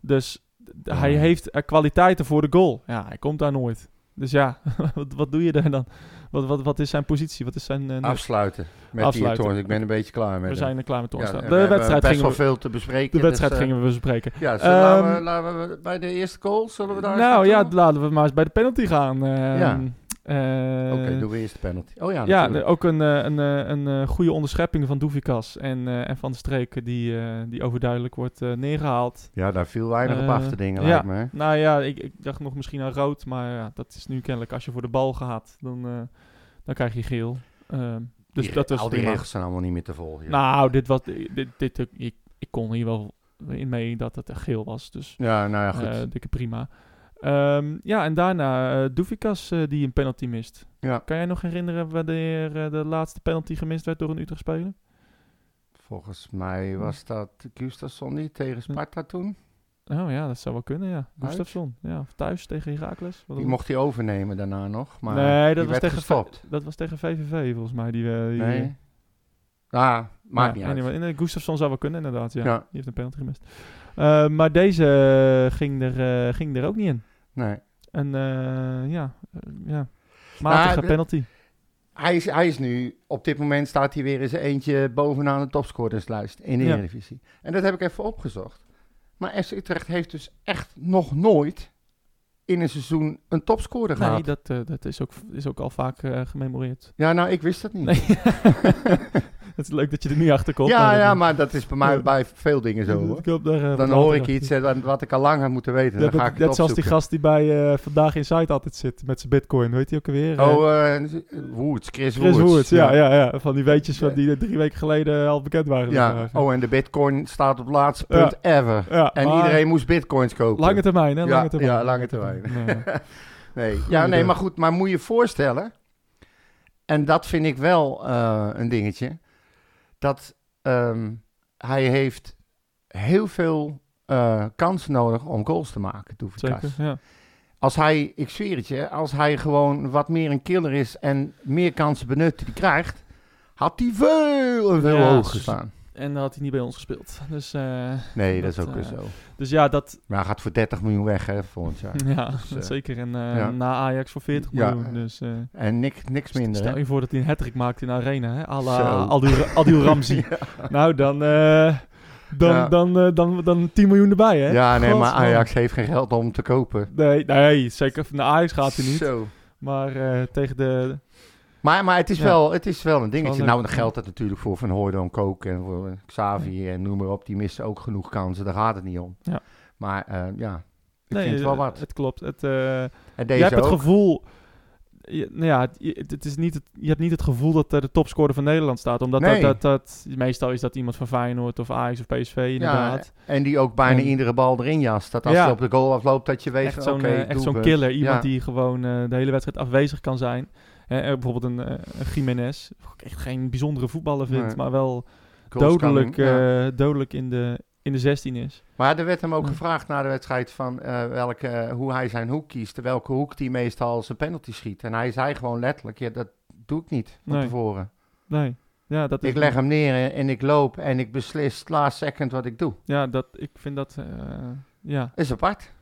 Speaker 1: Dus d-
Speaker 2: Ja.
Speaker 1: hij heeft eh, kwaliteiten voor de goal. Ja, hij komt daar nooit. Dus ja, wat, wat doe je daar dan? Wat, wat, wat is zijn positie? Wat is zijn... eh, nut?
Speaker 2: Afsluiten met
Speaker 1: Afsluiten.
Speaker 2: die Toornstra. Ik ben een beetje klaar met
Speaker 1: we
Speaker 2: hem.
Speaker 1: zijn er klaar met Toornstra.
Speaker 2: en we
Speaker 1: de
Speaker 2: hebben
Speaker 1: wedstrijd
Speaker 2: best
Speaker 1: gingen
Speaker 2: wel
Speaker 1: we,
Speaker 2: veel te bespreken.
Speaker 1: de wedstrijd
Speaker 2: dus, eh,
Speaker 1: gingen we bespreken.
Speaker 2: Ja, zullen we- laten, we,
Speaker 1: Ehm,
Speaker 2: laten we bij de eerste goal, zullen we daar eens
Speaker 1: Nou
Speaker 2: naartoe?
Speaker 1: ja, laten we maar eens bij de penalty gaan. Ehm,
Speaker 2: Ja.
Speaker 1: eh,
Speaker 2: Oké, doen we eerst de penalty. Oh ja,
Speaker 1: ja,
Speaker 2: natuurlijk.
Speaker 1: de- ook een, eh, een, eh, een eh, goede onderschepping van Doevikas en, eh, en Van de Streek die, eh, die overduidelijk wordt eh, neergehaald.
Speaker 2: ja, daar viel weinig op
Speaker 1: Eh,
Speaker 2: af te dingen,
Speaker 1: ja.
Speaker 2: lijkt me. hè.
Speaker 1: Nou ja, ik, ik dacht nog misschien aan rood, maar ja, dat is nu kennelijk als je voor de bal gaat, dan, eh, dan krijg je geel. Ehm, dus
Speaker 2: Die-
Speaker 1: dat was
Speaker 2: Al die
Speaker 1: prima.
Speaker 2: regels zijn allemaal niet meer te volgen. joh.
Speaker 1: Nou, dit was, dit, dit, ik, ik kon hier wel in mee dat het echt geel was, dus
Speaker 2: ja, nou ja, goed.
Speaker 1: eh, dikke prima. Ehm, ja, en daarna eh Doevikas eh, die een penalty mist.
Speaker 2: ja,
Speaker 1: Kan jij nog herinneren wanneer eh, de laatste penalty gemist werd door een Utrecht speler?
Speaker 2: volgens mij was dat Gustafsson niet tegen Sparta toen.
Speaker 1: Oh ja, dat zou wel kunnen, ja. Gustafsson. Ja, of thuis tegen Herakles.
Speaker 2: Die mocht hij overnemen daarna nog, maar
Speaker 1: Hm. nee,
Speaker 2: die
Speaker 1: dat was,
Speaker 2: werd
Speaker 1: tegen
Speaker 2: gestopt.
Speaker 1: V- dat was tegen VVV volgens mij. Die, eh, die,
Speaker 2: Nee? Ah, maakt
Speaker 1: Ja,
Speaker 2: niet uit.
Speaker 1: anyway, nee, Gustafsson zou wel kunnen inderdaad, ja.
Speaker 2: Ja.
Speaker 1: Die heeft een penalty gemist. Eh, maar deze eh, ging er, eh, ging er ook niet in.
Speaker 2: Nee.
Speaker 1: En eh, ja, eh, ja, matige
Speaker 2: Nou, de-
Speaker 1: penalty.
Speaker 2: Hij is, hij is nu, op dit moment staat hij weer eens eentje bovenaan de topscorerslijst in de
Speaker 1: Ja.
Speaker 2: Eredivisie. En dat heb ik even opgezocht. Maar FC Utrecht heeft dus echt nog nooit in een seizoen een topscorer
Speaker 1: Nee,
Speaker 2: gehad.
Speaker 1: dat, eh, dat is, ook, is ook al vaak eh, gememoreerd.
Speaker 2: Ja, nou, ik wist dat niet.
Speaker 1: Nee. Het is leuk dat je er nu achter komt.
Speaker 2: ja,
Speaker 1: dat-
Speaker 2: ja, maar dat is bij mij
Speaker 1: Ja.
Speaker 2: bij veel dingen zo. Hoor.
Speaker 1: Ik hoop daar, eh, wat
Speaker 2: Dan
Speaker 1: later
Speaker 2: hoor ik
Speaker 1: achter.
Speaker 2: iets eh, dan- wat ik al lang had moeten weten.
Speaker 1: Dat,
Speaker 2: Dan ga
Speaker 1: dat,
Speaker 2: ik
Speaker 1: net
Speaker 2: het
Speaker 1: zoals die
Speaker 2: opzoeken.
Speaker 1: gast die bij eh Vandaag Inside altijd zit met zijn bitcoin. Weet hij ook alweer? Eh,
Speaker 2: Oh, eh Woods, Chris,
Speaker 1: Chris
Speaker 2: Woods.
Speaker 1: Woerts. Ja, ja, ja. Van die weetjes van
Speaker 2: Ja.
Speaker 1: die eh, drie weken geleden al bekend waren.
Speaker 2: Ja.
Speaker 1: zeg maar.
Speaker 2: Oh, en de bitcoin staat op het laatste punt ever.
Speaker 1: ja,
Speaker 2: En
Speaker 1: maar
Speaker 2: iedereen moest bitcoins kopen.
Speaker 1: Lange termijn, hè?
Speaker 2: Ja,
Speaker 1: Lange termijn.
Speaker 2: ja, lange termijn.
Speaker 1: Nee.
Speaker 2: Nee, ja,
Speaker 1: Goeiedag.
Speaker 2: nee, maar goed, maar moet je je voorstellen, en dat vind ik wel eh, een dingetje, dat ehm, hij heeft heel veel eh, eh, kansen nodig om goals te maken,
Speaker 1: Zeker,
Speaker 2: Doefikas.
Speaker 1: ja.
Speaker 2: Als hij, ik zweer het je, als hij gewoon wat meer een killer is en meer kansen benut die hij krijgt, had hij veel en veel
Speaker 1: Ja,
Speaker 2: hoger
Speaker 1: dus-
Speaker 2: gestaan.
Speaker 1: En dan had hij niet bij ons gespeeld. Dus, eh,
Speaker 2: Nee, dat,
Speaker 1: dat,
Speaker 2: is ook weer
Speaker 1: eh,
Speaker 2: zo.
Speaker 1: dus ja, dat,
Speaker 2: Maar hij gaat voor 30 miljoen weg hè, volgend jaar.
Speaker 1: ja,
Speaker 2: Dus, eh,
Speaker 1: zeker. En eh,
Speaker 2: ja.
Speaker 1: na Ajax voor 40
Speaker 2: Ja.
Speaker 1: miljoen. Dus, eh,
Speaker 2: En niks, niks minder.
Speaker 1: Stel
Speaker 2: Hè?
Speaker 1: je voor dat hij een hat maakt in de arena, hè? à la
Speaker 2: Zo.
Speaker 1: Adil, Adil Ramzi. Nou, dan, eh, dan,
Speaker 2: Ja.
Speaker 1: dan, eh, dan, dan 10 miljoen erbij, hè?
Speaker 2: Ja, nee, maar
Speaker 1: Godsman.
Speaker 2: Ajax heeft geen geld om te kopen.
Speaker 1: Nee, nee, zeker. Naar Ajax gaat hij niet.
Speaker 2: Zo.
Speaker 1: Maar eh, tegen de...
Speaker 2: Maar, maar het, is
Speaker 1: Ja.
Speaker 2: wel, het is wel een dingetje.
Speaker 1: Wel
Speaker 2: Nou,
Speaker 1: leuk.
Speaker 2: dan geldt dat natuurlijk voor Van Hooydonk ook en voor Xavi en noem maar op. Die missen ook genoeg kansen, daar gaat het niet om.
Speaker 1: Ja.
Speaker 2: Maar eh, ja, ik
Speaker 1: Nee,
Speaker 2: vind het wel wat.
Speaker 1: Het klopt. Het, eh,
Speaker 2: En
Speaker 1: je
Speaker 2: deze
Speaker 1: hebt het
Speaker 2: ook.
Speaker 1: gevoel... Je, nou ja, het, je- het is niet het, je hebt niet het gevoel dat er de topscorer van Nederland staat. Omdat
Speaker 2: Nee.
Speaker 1: dat, dat, dat... Meestal is dat iemand van Feyenoord of Ajax of PSV inderdaad.
Speaker 2: en die ook bijna
Speaker 1: En-
Speaker 2: iedere bal erin jast. Dat als
Speaker 1: Ja.
Speaker 2: je op de goal afloopt, dat je weet
Speaker 1: echt
Speaker 2: van,
Speaker 1: zo'n
Speaker 2: oké,
Speaker 1: eh, echt zo'n
Speaker 2: doelpunt.
Speaker 1: killer. Iemand
Speaker 2: Ja.
Speaker 1: die gewoon eh, de hele wedstrijd afwezig kan zijn. Hè, eh, bijvoorbeeld een, eh, een Jiménez. Wat ik echt geen bijzondere voetballer vind,
Speaker 2: Nee.
Speaker 1: maar wel
Speaker 2: Goals kan-
Speaker 1: dodelijk,
Speaker 2: ja.
Speaker 1: eh, dodelijk in, de, in de 16 is.
Speaker 2: Maar er werd hem ook
Speaker 1: Ja.
Speaker 2: gevraagd na de wedstrijd van eh, welke, eh, hoe hij zijn hoek kiest. Welke hoek die meestal zijn penalty schiet. En hij zei gewoon letterlijk, ja, dat doe ik niet van
Speaker 1: Nee.
Speaker 2: tevoren.
Speaker 1: Nee. Ja, dat is
Speaker 2: Ik leg hem neer en ik loop en ik beslis last second wat ik doe.
Speaker 1: Ja, dat, ik vind dat... eh, ja.
Speaker 2: Is apart.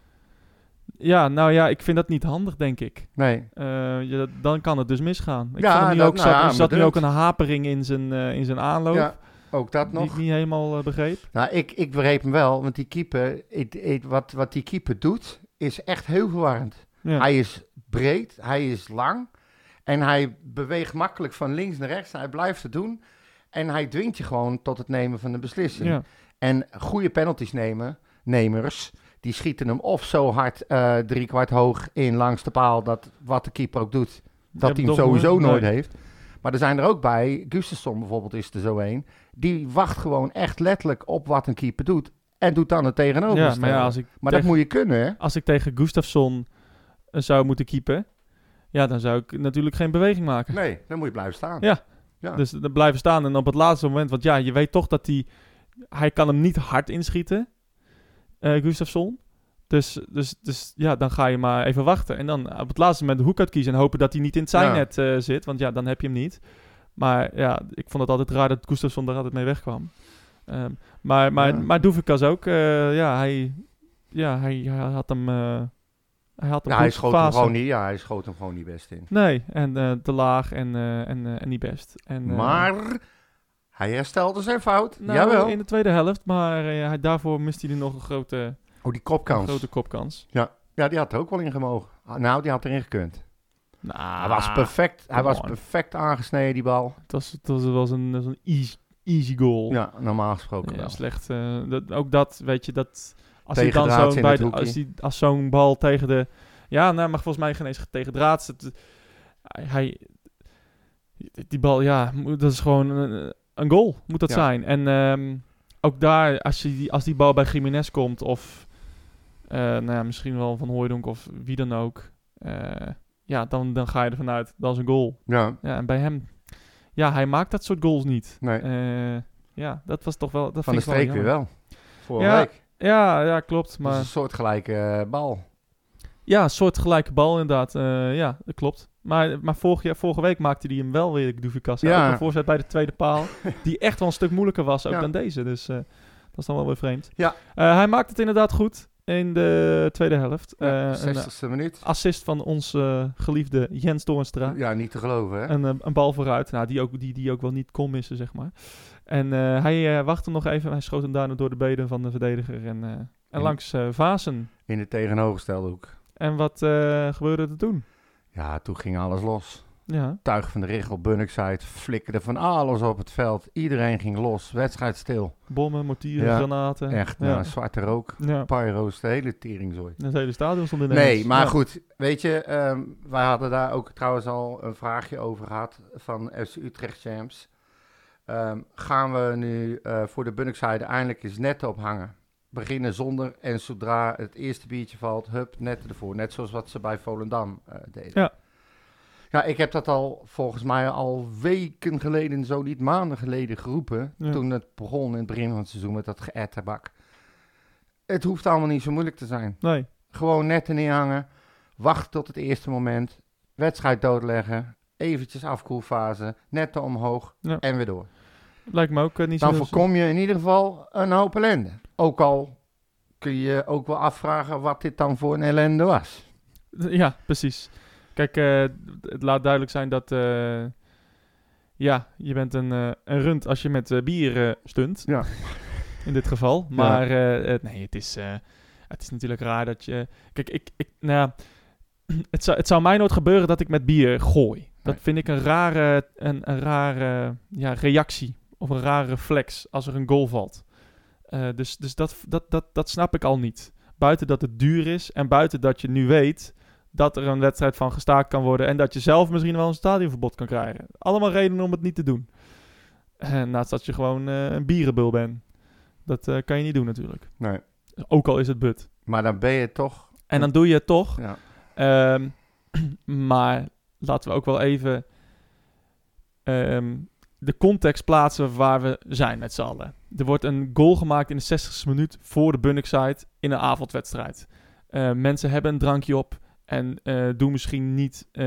Speaker 1: ja, nou ja, ik vind dat niet handig, denk ik.
Speaker 2: Nee.
Speaker 1: Eh, ja, dat- dan kan het dus misgaan. Ik
Speaker 2: Ja,
Speaker 1: vond hem nu
Speaker 2: dat-
Speaker 1: ook,
Speaker 2: nou
Speaker 1: zat,
Speaker 2: ja,
Speaker 1: er zat nu
Speaker 2: bedoeld.
Speaker 1: ook een hapering in zijn, eh, in zijn aanloop.
Speaker 2: Ja, ook dat
Speaker 1: die ik
Speaker 2: nog.
Speaker 1: niet helemaal eh, begreep.
Speaker 2: Nou, ik, ik begreep hem wel, want die keeper, ik- ik- wat, wat die keeper doet, is echt heel verwarrend.
Speaker 1: Ja.
Speaker 2: Hij is breed, hij is lang en hij beweegt makkelijk van links naar rechts. Hij blijft het doen en hij dwingt je gewoon tot het nemen van een beslissing.
Speaker 1: ja.
Speaker 2: En goede penalties nemen, nemers, die schieten hem of zo hard eh drie kwart hoog in langs de paal, dat wat de keeper ook doet, dat
Speaker 1: Ja,
Speaker 2: hij hem
Speaker 1: toch,
Speaker 2: sowieso
Speaker 1: hoor.
Speaker 2: nooit
Speaker 1: Nee.
Speaker 2: heeft. Maar er zijn er ook bij, Gustafsson bijvoorbeeld is er zo een, die wacht gewoon echt letterlijk op wat een keeper doet en doet dan het tegenover.
Speaker 1: Ja, maar ja, als ik
Speaker 2: dat
Speaker 1: tegen-
Speaker 2: moet je kunnen, hè?
Speaker 1: als ik tegen Gustafsson eh, zou moeten keepen, ja, dan zou ik natuurlijk geen beweging maken.
Speaker 2: Nee, dan moet je blijven staan.
Speaker 1: Ja.
Speaker 2: Ja.
Speaker 1: Dus dan blijven staan en op het laatste moment, want ja, je weet toch dat hij, hij kan hem niet hard inschieten, eh Gustafsson. Dus, dus, dus ja, dan ga je maar even wachten. En dan op het laatste moment de hoek uitkiezen en hopen dat hij niet in het zijnet eh, zit, want ja, dan heb je hem niet. Maar ja, ik vond het altijd raar dat Gustafsson daar altijd mee wegkwam. Ehm, maar maar,
Speaker 2: Ja.
Speaker 1: maar Doevikas ook, eh, ja, hij, ja, hij, hij had hem... eh, hij had hem
Speaker 2: Ja, hij
Speaker 1: goed
Speaker 2: schoot hem
Speaker 1: gefaseld.
Speaker 2: gewoon niet, ja, hij schoot hem gewoon niet best in.
Speaker 1: Nee, en eh, te laag en, eh, en, eh, en niet best. En, eh,
Speaker 2: Maar hij herstelde zijn fout.
Speaker 1: nou,
Speaker 2: Jawel.
Speaker 1: in de tweede helft, maar eh, hij, daarvoor mist hij er nog een grote,
Speaker 2: Oh, die
Speaker 1: een
Speaker 2: kopkans.
Speaker 1: grote kopkans.
Speaker 2: Ja, die had er ook wel in gemogen. Ah, Nou, die had erin gekund.
Speaker 1: Nou,
Speaker 2: Hij was perfect, hij
Speaker 1: come
Speaker 2: was
Speaker 1: on.
Speaker 2: perfect aangesneden, die bal.
Speaker 1: Het was, het was, het was een, het was een easy, easy goal.
Speaker 2: Ja, normaal gesproken
Speaker 1: Oh. Ja,
Speaker 2: wel.
Speaker 1: slecht. eh, dat, ook dat, weet je, dat... Als hij dan
Speaker 2: Tegendraads
Speaker 1: zo'n
Speaker 2: in
Speaker 1: bij
Speaker 2: het
Speaker 1: de-
Speaker 2: hoekje.
Speaker 1: als, die- als zo'n bal tegen de... Ja, nou, maar volgens mij geen eens tegen draad. hij, die bal, ja, moet- dat is gewoon een, een goal, moet dat
Speaker 2: Ja.
Speaker 1: zijn. En ehm, ook daar, als, je, die- als die bal bij Jiménez komt of eh, nou ja, misschien wel van Hooijdonk of wie dan ook... eh, ja, dan, dan ga je ervan uit, dat is een goal.
Speaker 2: Ja,
Speaker 1: Ja, en bij hem... Ja, hij maakt dat soort goals niet.
Speaker 2: nee.
Speaker 1: Eh, ja, dat was toch wel. Dat
Speaker 2: van de
Speaker 1: vind ik wel
Speaker 2: streek weer Dus
Speaker 1: jammer.
Speaker 2: wel. Vorige
Speaker 1: Ja,
Speaker 2: week.
Speaker 1: Ja, ja, klopt.
Speaker 2: Maar...
Speaker 1: Maar
Speaker 2: een soortgelijke eh, bal.
Speaker 1: ja, een soort gelijke bal inderdaad. Eh, ja, dat klopt. Maar, maar vorig jaar, vorige week maakte hij hem wel weer, Doevikas.
Speaker 2: Ja.
Speaker 1: Ja. Een voorzet bij de tweede paal. die echt wel een stuk moeilijker was ook
Speaker 2: Ja.
Speaker 1: dan deze. Dus eh, dat is dan wel weer vreemd.
Speaker 2: Ja.
Speaker 1: Eh, hij maakt het inderdaad goed in de tweede helft.
Speaker 2: Ja,
Speaker 1: Eh, een
Speaker 2: 60ste minuut.
Speaker 1: assist van onze eh, geliefde Jens Toornstra.
Speaker 2: Ja, niet te geloven, hè?
Speaker 1: Een, eh, een bal vooruit. Nou, die ook, die, die ook wel niet kon missen, zeg maar. En eh, hij eh, wachtte nog even. Hij schoot hem daarna door de benen van de verdediger. En, eh, en
Speaker 2: En-
Speaker 1: langs eh Vazen.
Speaker 2: In de tegenovergestelde hoek.
Speaker 1: En wat eh, gebeurde er toen?
Speaker 2: Ja, toen ging alles los.
Speaker 1: Ja,
Speaker 2: Tuig van de Richel, Bunnickside, flikkerde van alles op het veld. Iedereen ging los, wedstrijd stil.
Speaker 1: bommen, mortieren,
Speaker 2: Ja,
Speaker 1: granaten.
Speaker 2: Echt,
Speaker 1: ja.
Speaker 2: nou, zwarte rook,
Speaker 1: Ja,
Speaker 2: pyro's, de hele teringzooi.
Speaker 1: en het hele stadion stond in de
Speaker 2: Nee,
Speaker 1: hens.
Speaker 2: maar
Speaker 1: Ja.
Speaker 2: goed, weet je, ehm, wij hadden daar ook trouwens al een vraagje over gehad van FC Utrecht Champs. Ehm, gaan we nu eh, voor de Bunningside eindelijk eens netten ophangen? Beginnen zonder en zodra het eerste biertje valt, hup, netten ervoor. Net zoals wat ze bij Volendam eh, deden.
Speaker 1: Ja.
Speaker 2: Ja, ik heb dat al volgens mij al weken geleden, zo niet maanden geleden geroepen.
Speaker 1: Ja.
Speaker 2: Toen het begon in het begin van het seizoen met dat geërtebak. het hoeft allemaal niet zo moeilijk te zijn.
Speaker 1: Nee.
Speaker 2: Gewoon netten neerhangen. Wachten tot het eerste moment. Wedstrijd doodleggen. Eventjes afkoelfase. Netten omhoog.
Speaker 1: Ja.
Speaker 2: En weer door.
Speaker 1: Lijkt me ook eh, niet
Speaker 2: Dan
Speaker 1: zo...
Speaker 2: voorkom je in ieder geval een hoop ellende. Ook al kun je je ook wel afvragen wat dit dan voor een ellende was.
Speaker 1: Ja, precies. Kijk, eh, het laat duidelijk zijn dat... eh, ja, je bent een, eh een rund als je met eh, bier eh, stunt.
Speaker 2: Ja.
Speaker 1: In dit geval. Maar eh, eh, nee, het is, eh, het is natuurlijk raar dat je... Kijk, ik... ik nou, ja, het, zou, het zou mij nooit gebeuren dat ik met bier gooi. Dat
Speaker 2: Nee.
Speaker 1: vind ik een rare, een, een rare ja, reactie. Of een rare reflex als er een goal valt. Eh, dus dus dat, dat, dat, dat snap ik al niet. Buiten dat het duur is en buiten dat je nu weet dat er een wedstrijd van gestaakt kan worden. En dat je zelf misschien wel een stadionverbod kan krijgen. Allemaal redenen om het niet te doen. Eh, naast dat je gewoon eh, een bierenbul bent. Dat eh, kan je niet doen natuurlijk.
Speaker 2: Nee.
Speaker 1: Ook al is het but.
Speaker 2: Maar dan ben je toch.
Speaker 1: En dan doe je het toch.
Speaker 2: Ja.
Speaker 1: Ehm, maar laten we ook wel even ehm, de context plaatsen waar we zijn met z'n allen. Er wordt een goal gemaakt in de 60ste minuut voor de Bunnickside in een avondwedstrijd. Eh, mensen hebben een drankje op en eh, doen misschien niet eh,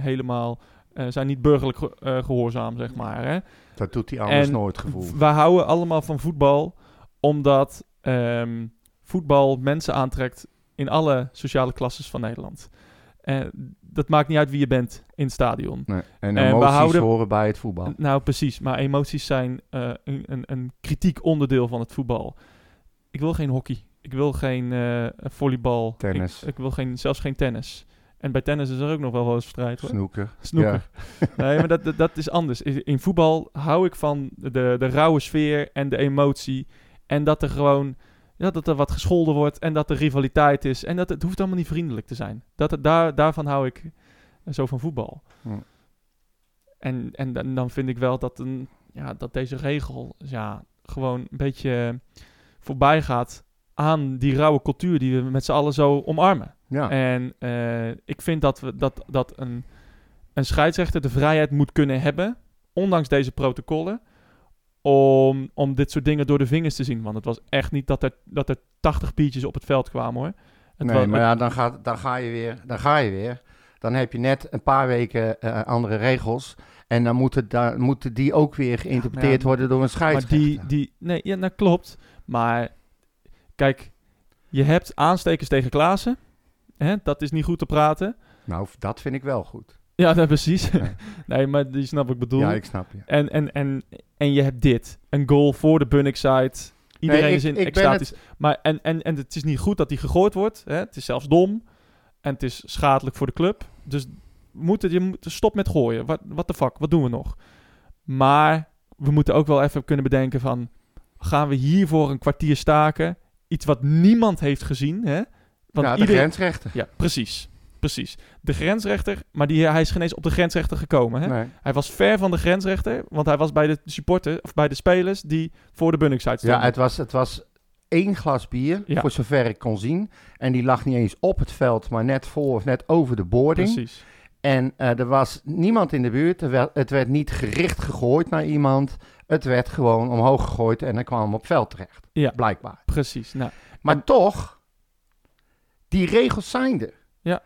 Speaker 1: helemaal, eh, zijn niet burgerlijk ge- eh, gehoorzaam, zeg maar. Hè?
Speaker 2: Dat doet hij anders
Speaker 1: En-
Speaker 2: nooit gevoel.
Speaker 1: We houden allemaal van voetbal, omdat ehm, voetbal mensen aantrekt in alle sociale klasses van Nederland. Eh, dat maakt niet uit wie je bent in het stadion.
Speaker 2: Nee. En
Speaker 1: we
Speaker 2: emoties
Speaker 1: houden-
Speaker 2: horen bij het voetbal.
Speaker 1: Nou, precies. Maar emoties zijn eh, een, een, een kritiek onderdeel van het voetbal. Ik wil geen hockey. Ik wil geen eh, volleybal.
Speaker 2: Tennis.
Speaker 1: Ik, ik wil geen, zelfs geen tennis. En bij tennis is er ook nog wel wel eens strijd hoor.
Speaker 2: Snoeker.
Speaker 1: Snoeker. nee, maar dat, dat, dat is anders. In in voetbal hou ik van de, de rauwe sfeer en de emotie. En dat er gewoon ja, dat er wat gescholden wordt en dat er rivaliteit is. En dat het hoeft allemaal niet vriendelijk te zijn. Dat het, daar, daarvan hou ik eh, zo van voetbal.
Speaker 2: Ja.
Speaker 1: En, en dan- dan vind ik wel dat, een, ja, dat deze regel ja, gewoon een beetje voorbij gaat aan die rauwe cultuur die we met z'n allen zo omarmen.
Speaker 2: Ja.
Speaker 1: En eh, ik vind dat, we, dat, dat een, een scheidsrechter de vrijheid moet kunnen hebben, ondanks deze protocollen, om, om dit soort dingen door de vingers te zien. Want het was echt niet dat er, dat er 80 biertjes op het veld kwamen hoor. Het
Speaker 2: nee,
Speaker 1: was-
Speaker 2: maar ja, dan, gaat, dan ga je weer. Dan ga je weer. Dan heb je net een paar weken eh, andere regels. En dan moeten, da moeten die ook weer geïnterpreteerd
Speaker 1: maar ja,
Speaker 2: worden door een
Speaker 1: maar
Speaker 2: scheidsrechter.
Speaker 1: die, die, nee, ja, dat klopt. Maar kijk, je hebt aanstekers tegen Klaassen. Hè? Dat is niet goed te praten.
Speaker 2: Nou, dat vind ik wel goed.
Speaker 1: Ja, dat precies.
Speaker 2: Ja.
Speaker 1: nee, maar die snap ik bedoel.
Speaker 2: Ja, ik snap je.
Speaker 1: En, en, en, en je hebt dit. Een goal voor de Bunnickside. Iedereen
Speaker 2: Nee, ik-
Speaker 1: is in
Speaker 2: ik ben
Speaker 1: extatisch. Maar en, en, en het is niet goed dat die gegooid wordt. Hè? Het is zelfs dom. En het is schadelijk voor de club. Dus moet het, je moet, stop met gooien. Wat what the fuck? Wat doen we nog? Maar we moeten ook wel even kunnen bedenken van... Gaan we hiervoor een kwartier staken? Iets wat niemand heeft gezien. Hè? Want
Speaker 2: ja, de
Speaker 1: iedereen-
Speaker 2: grensrechter.
Speaker 1: Ja, precies. Precies. De grensrechter, maar die, hij is geen eens op de grensrechter gekomen. Hè?
Speaker 2: Nee.
Speaker 1: Hij was ver van de grensrechter, want hij was bij de supporters, of bij de spelers die voor de Bunningside stonden.
Speaker 2: Ja, het was, het was één glas bier,
Speaker 1: Ja.
Speaker 2: voor zover ik kon zien. En die lag niet eens op het veld, maar net voor of net over de boarding.
Speaker 1: Precies.
Speaker 2: En eh, er was niemand in de buurt. Er wel- het werd niet gericht gegooid naar iemand. Het werd gewoon omhoog gegooid en dan kwam hem op het veld terecht.
Speaker 1: Ja.
Speaker 2: Blijkbaar.
Speaker 1: Precies. Nou,
Speaker 2: Maar toch, die regels zijn er.
Speaker 1: Ja.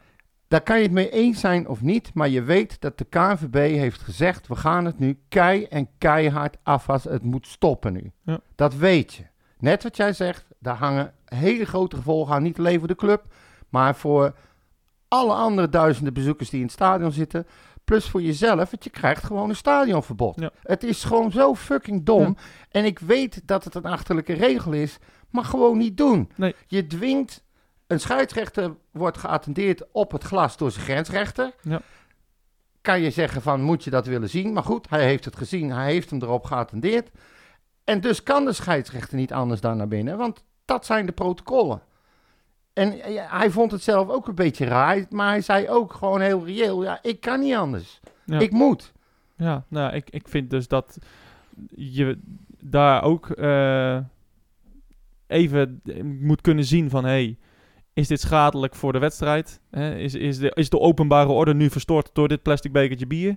Speaker 2: Daar kan je het mee eens zijn of niet, maar je weet dat de KNVB heeft gezegd... we gaan het nu kei en keihard afwassen, het moet stoppen nu.
Speaker 1: Ja.
Speaker 2: Dat weet je. Net wat jij zegt, daar hangen hele grote gevolgen aan. Niet alleen voor de club, maar voor alle andere duizenden bezoekers die in het stadion zitten... plus voor jezelf, want je krijgt gewoon een stadionverbod.
Speaker 1: Ja.
Speaker 2: Het is gewoon zo fucking dom. En ik weet dat het een achterlijke regel is, maar gewoon niet doen.
Speaker 1: Nee.
Speaker 2: Je dwingt, een scheidsrechter wordt geattendeerd op het glas door zijn grensrechter.
Speaker 1: Ja.
Speaker 2: Kan je zeggen van, moet je dat willen zien? Maar goed, hij heeft het gezien, hij heeft hem erop geattendeerd. En dus kan de scheidsrechter niet anders dan naar binnen, want dat zijn de protocollen. En eh, ja, hij vond het zelf ook een beetje raar, maar hij zei ook gewoon heel reëel, ja, ik kan niet anders.
Speaker 1: Ja.
Speaker 2: Ik moet.
Speaker 1: ja, nou ik, ik vind dus dat je daar ook eh, even moet kunnen zien van... Hey, is dit schadelijk voor de wedstrijd? Hè, is, is, de, is de openbare orde nu verstoord door dit plastic bekertje bier?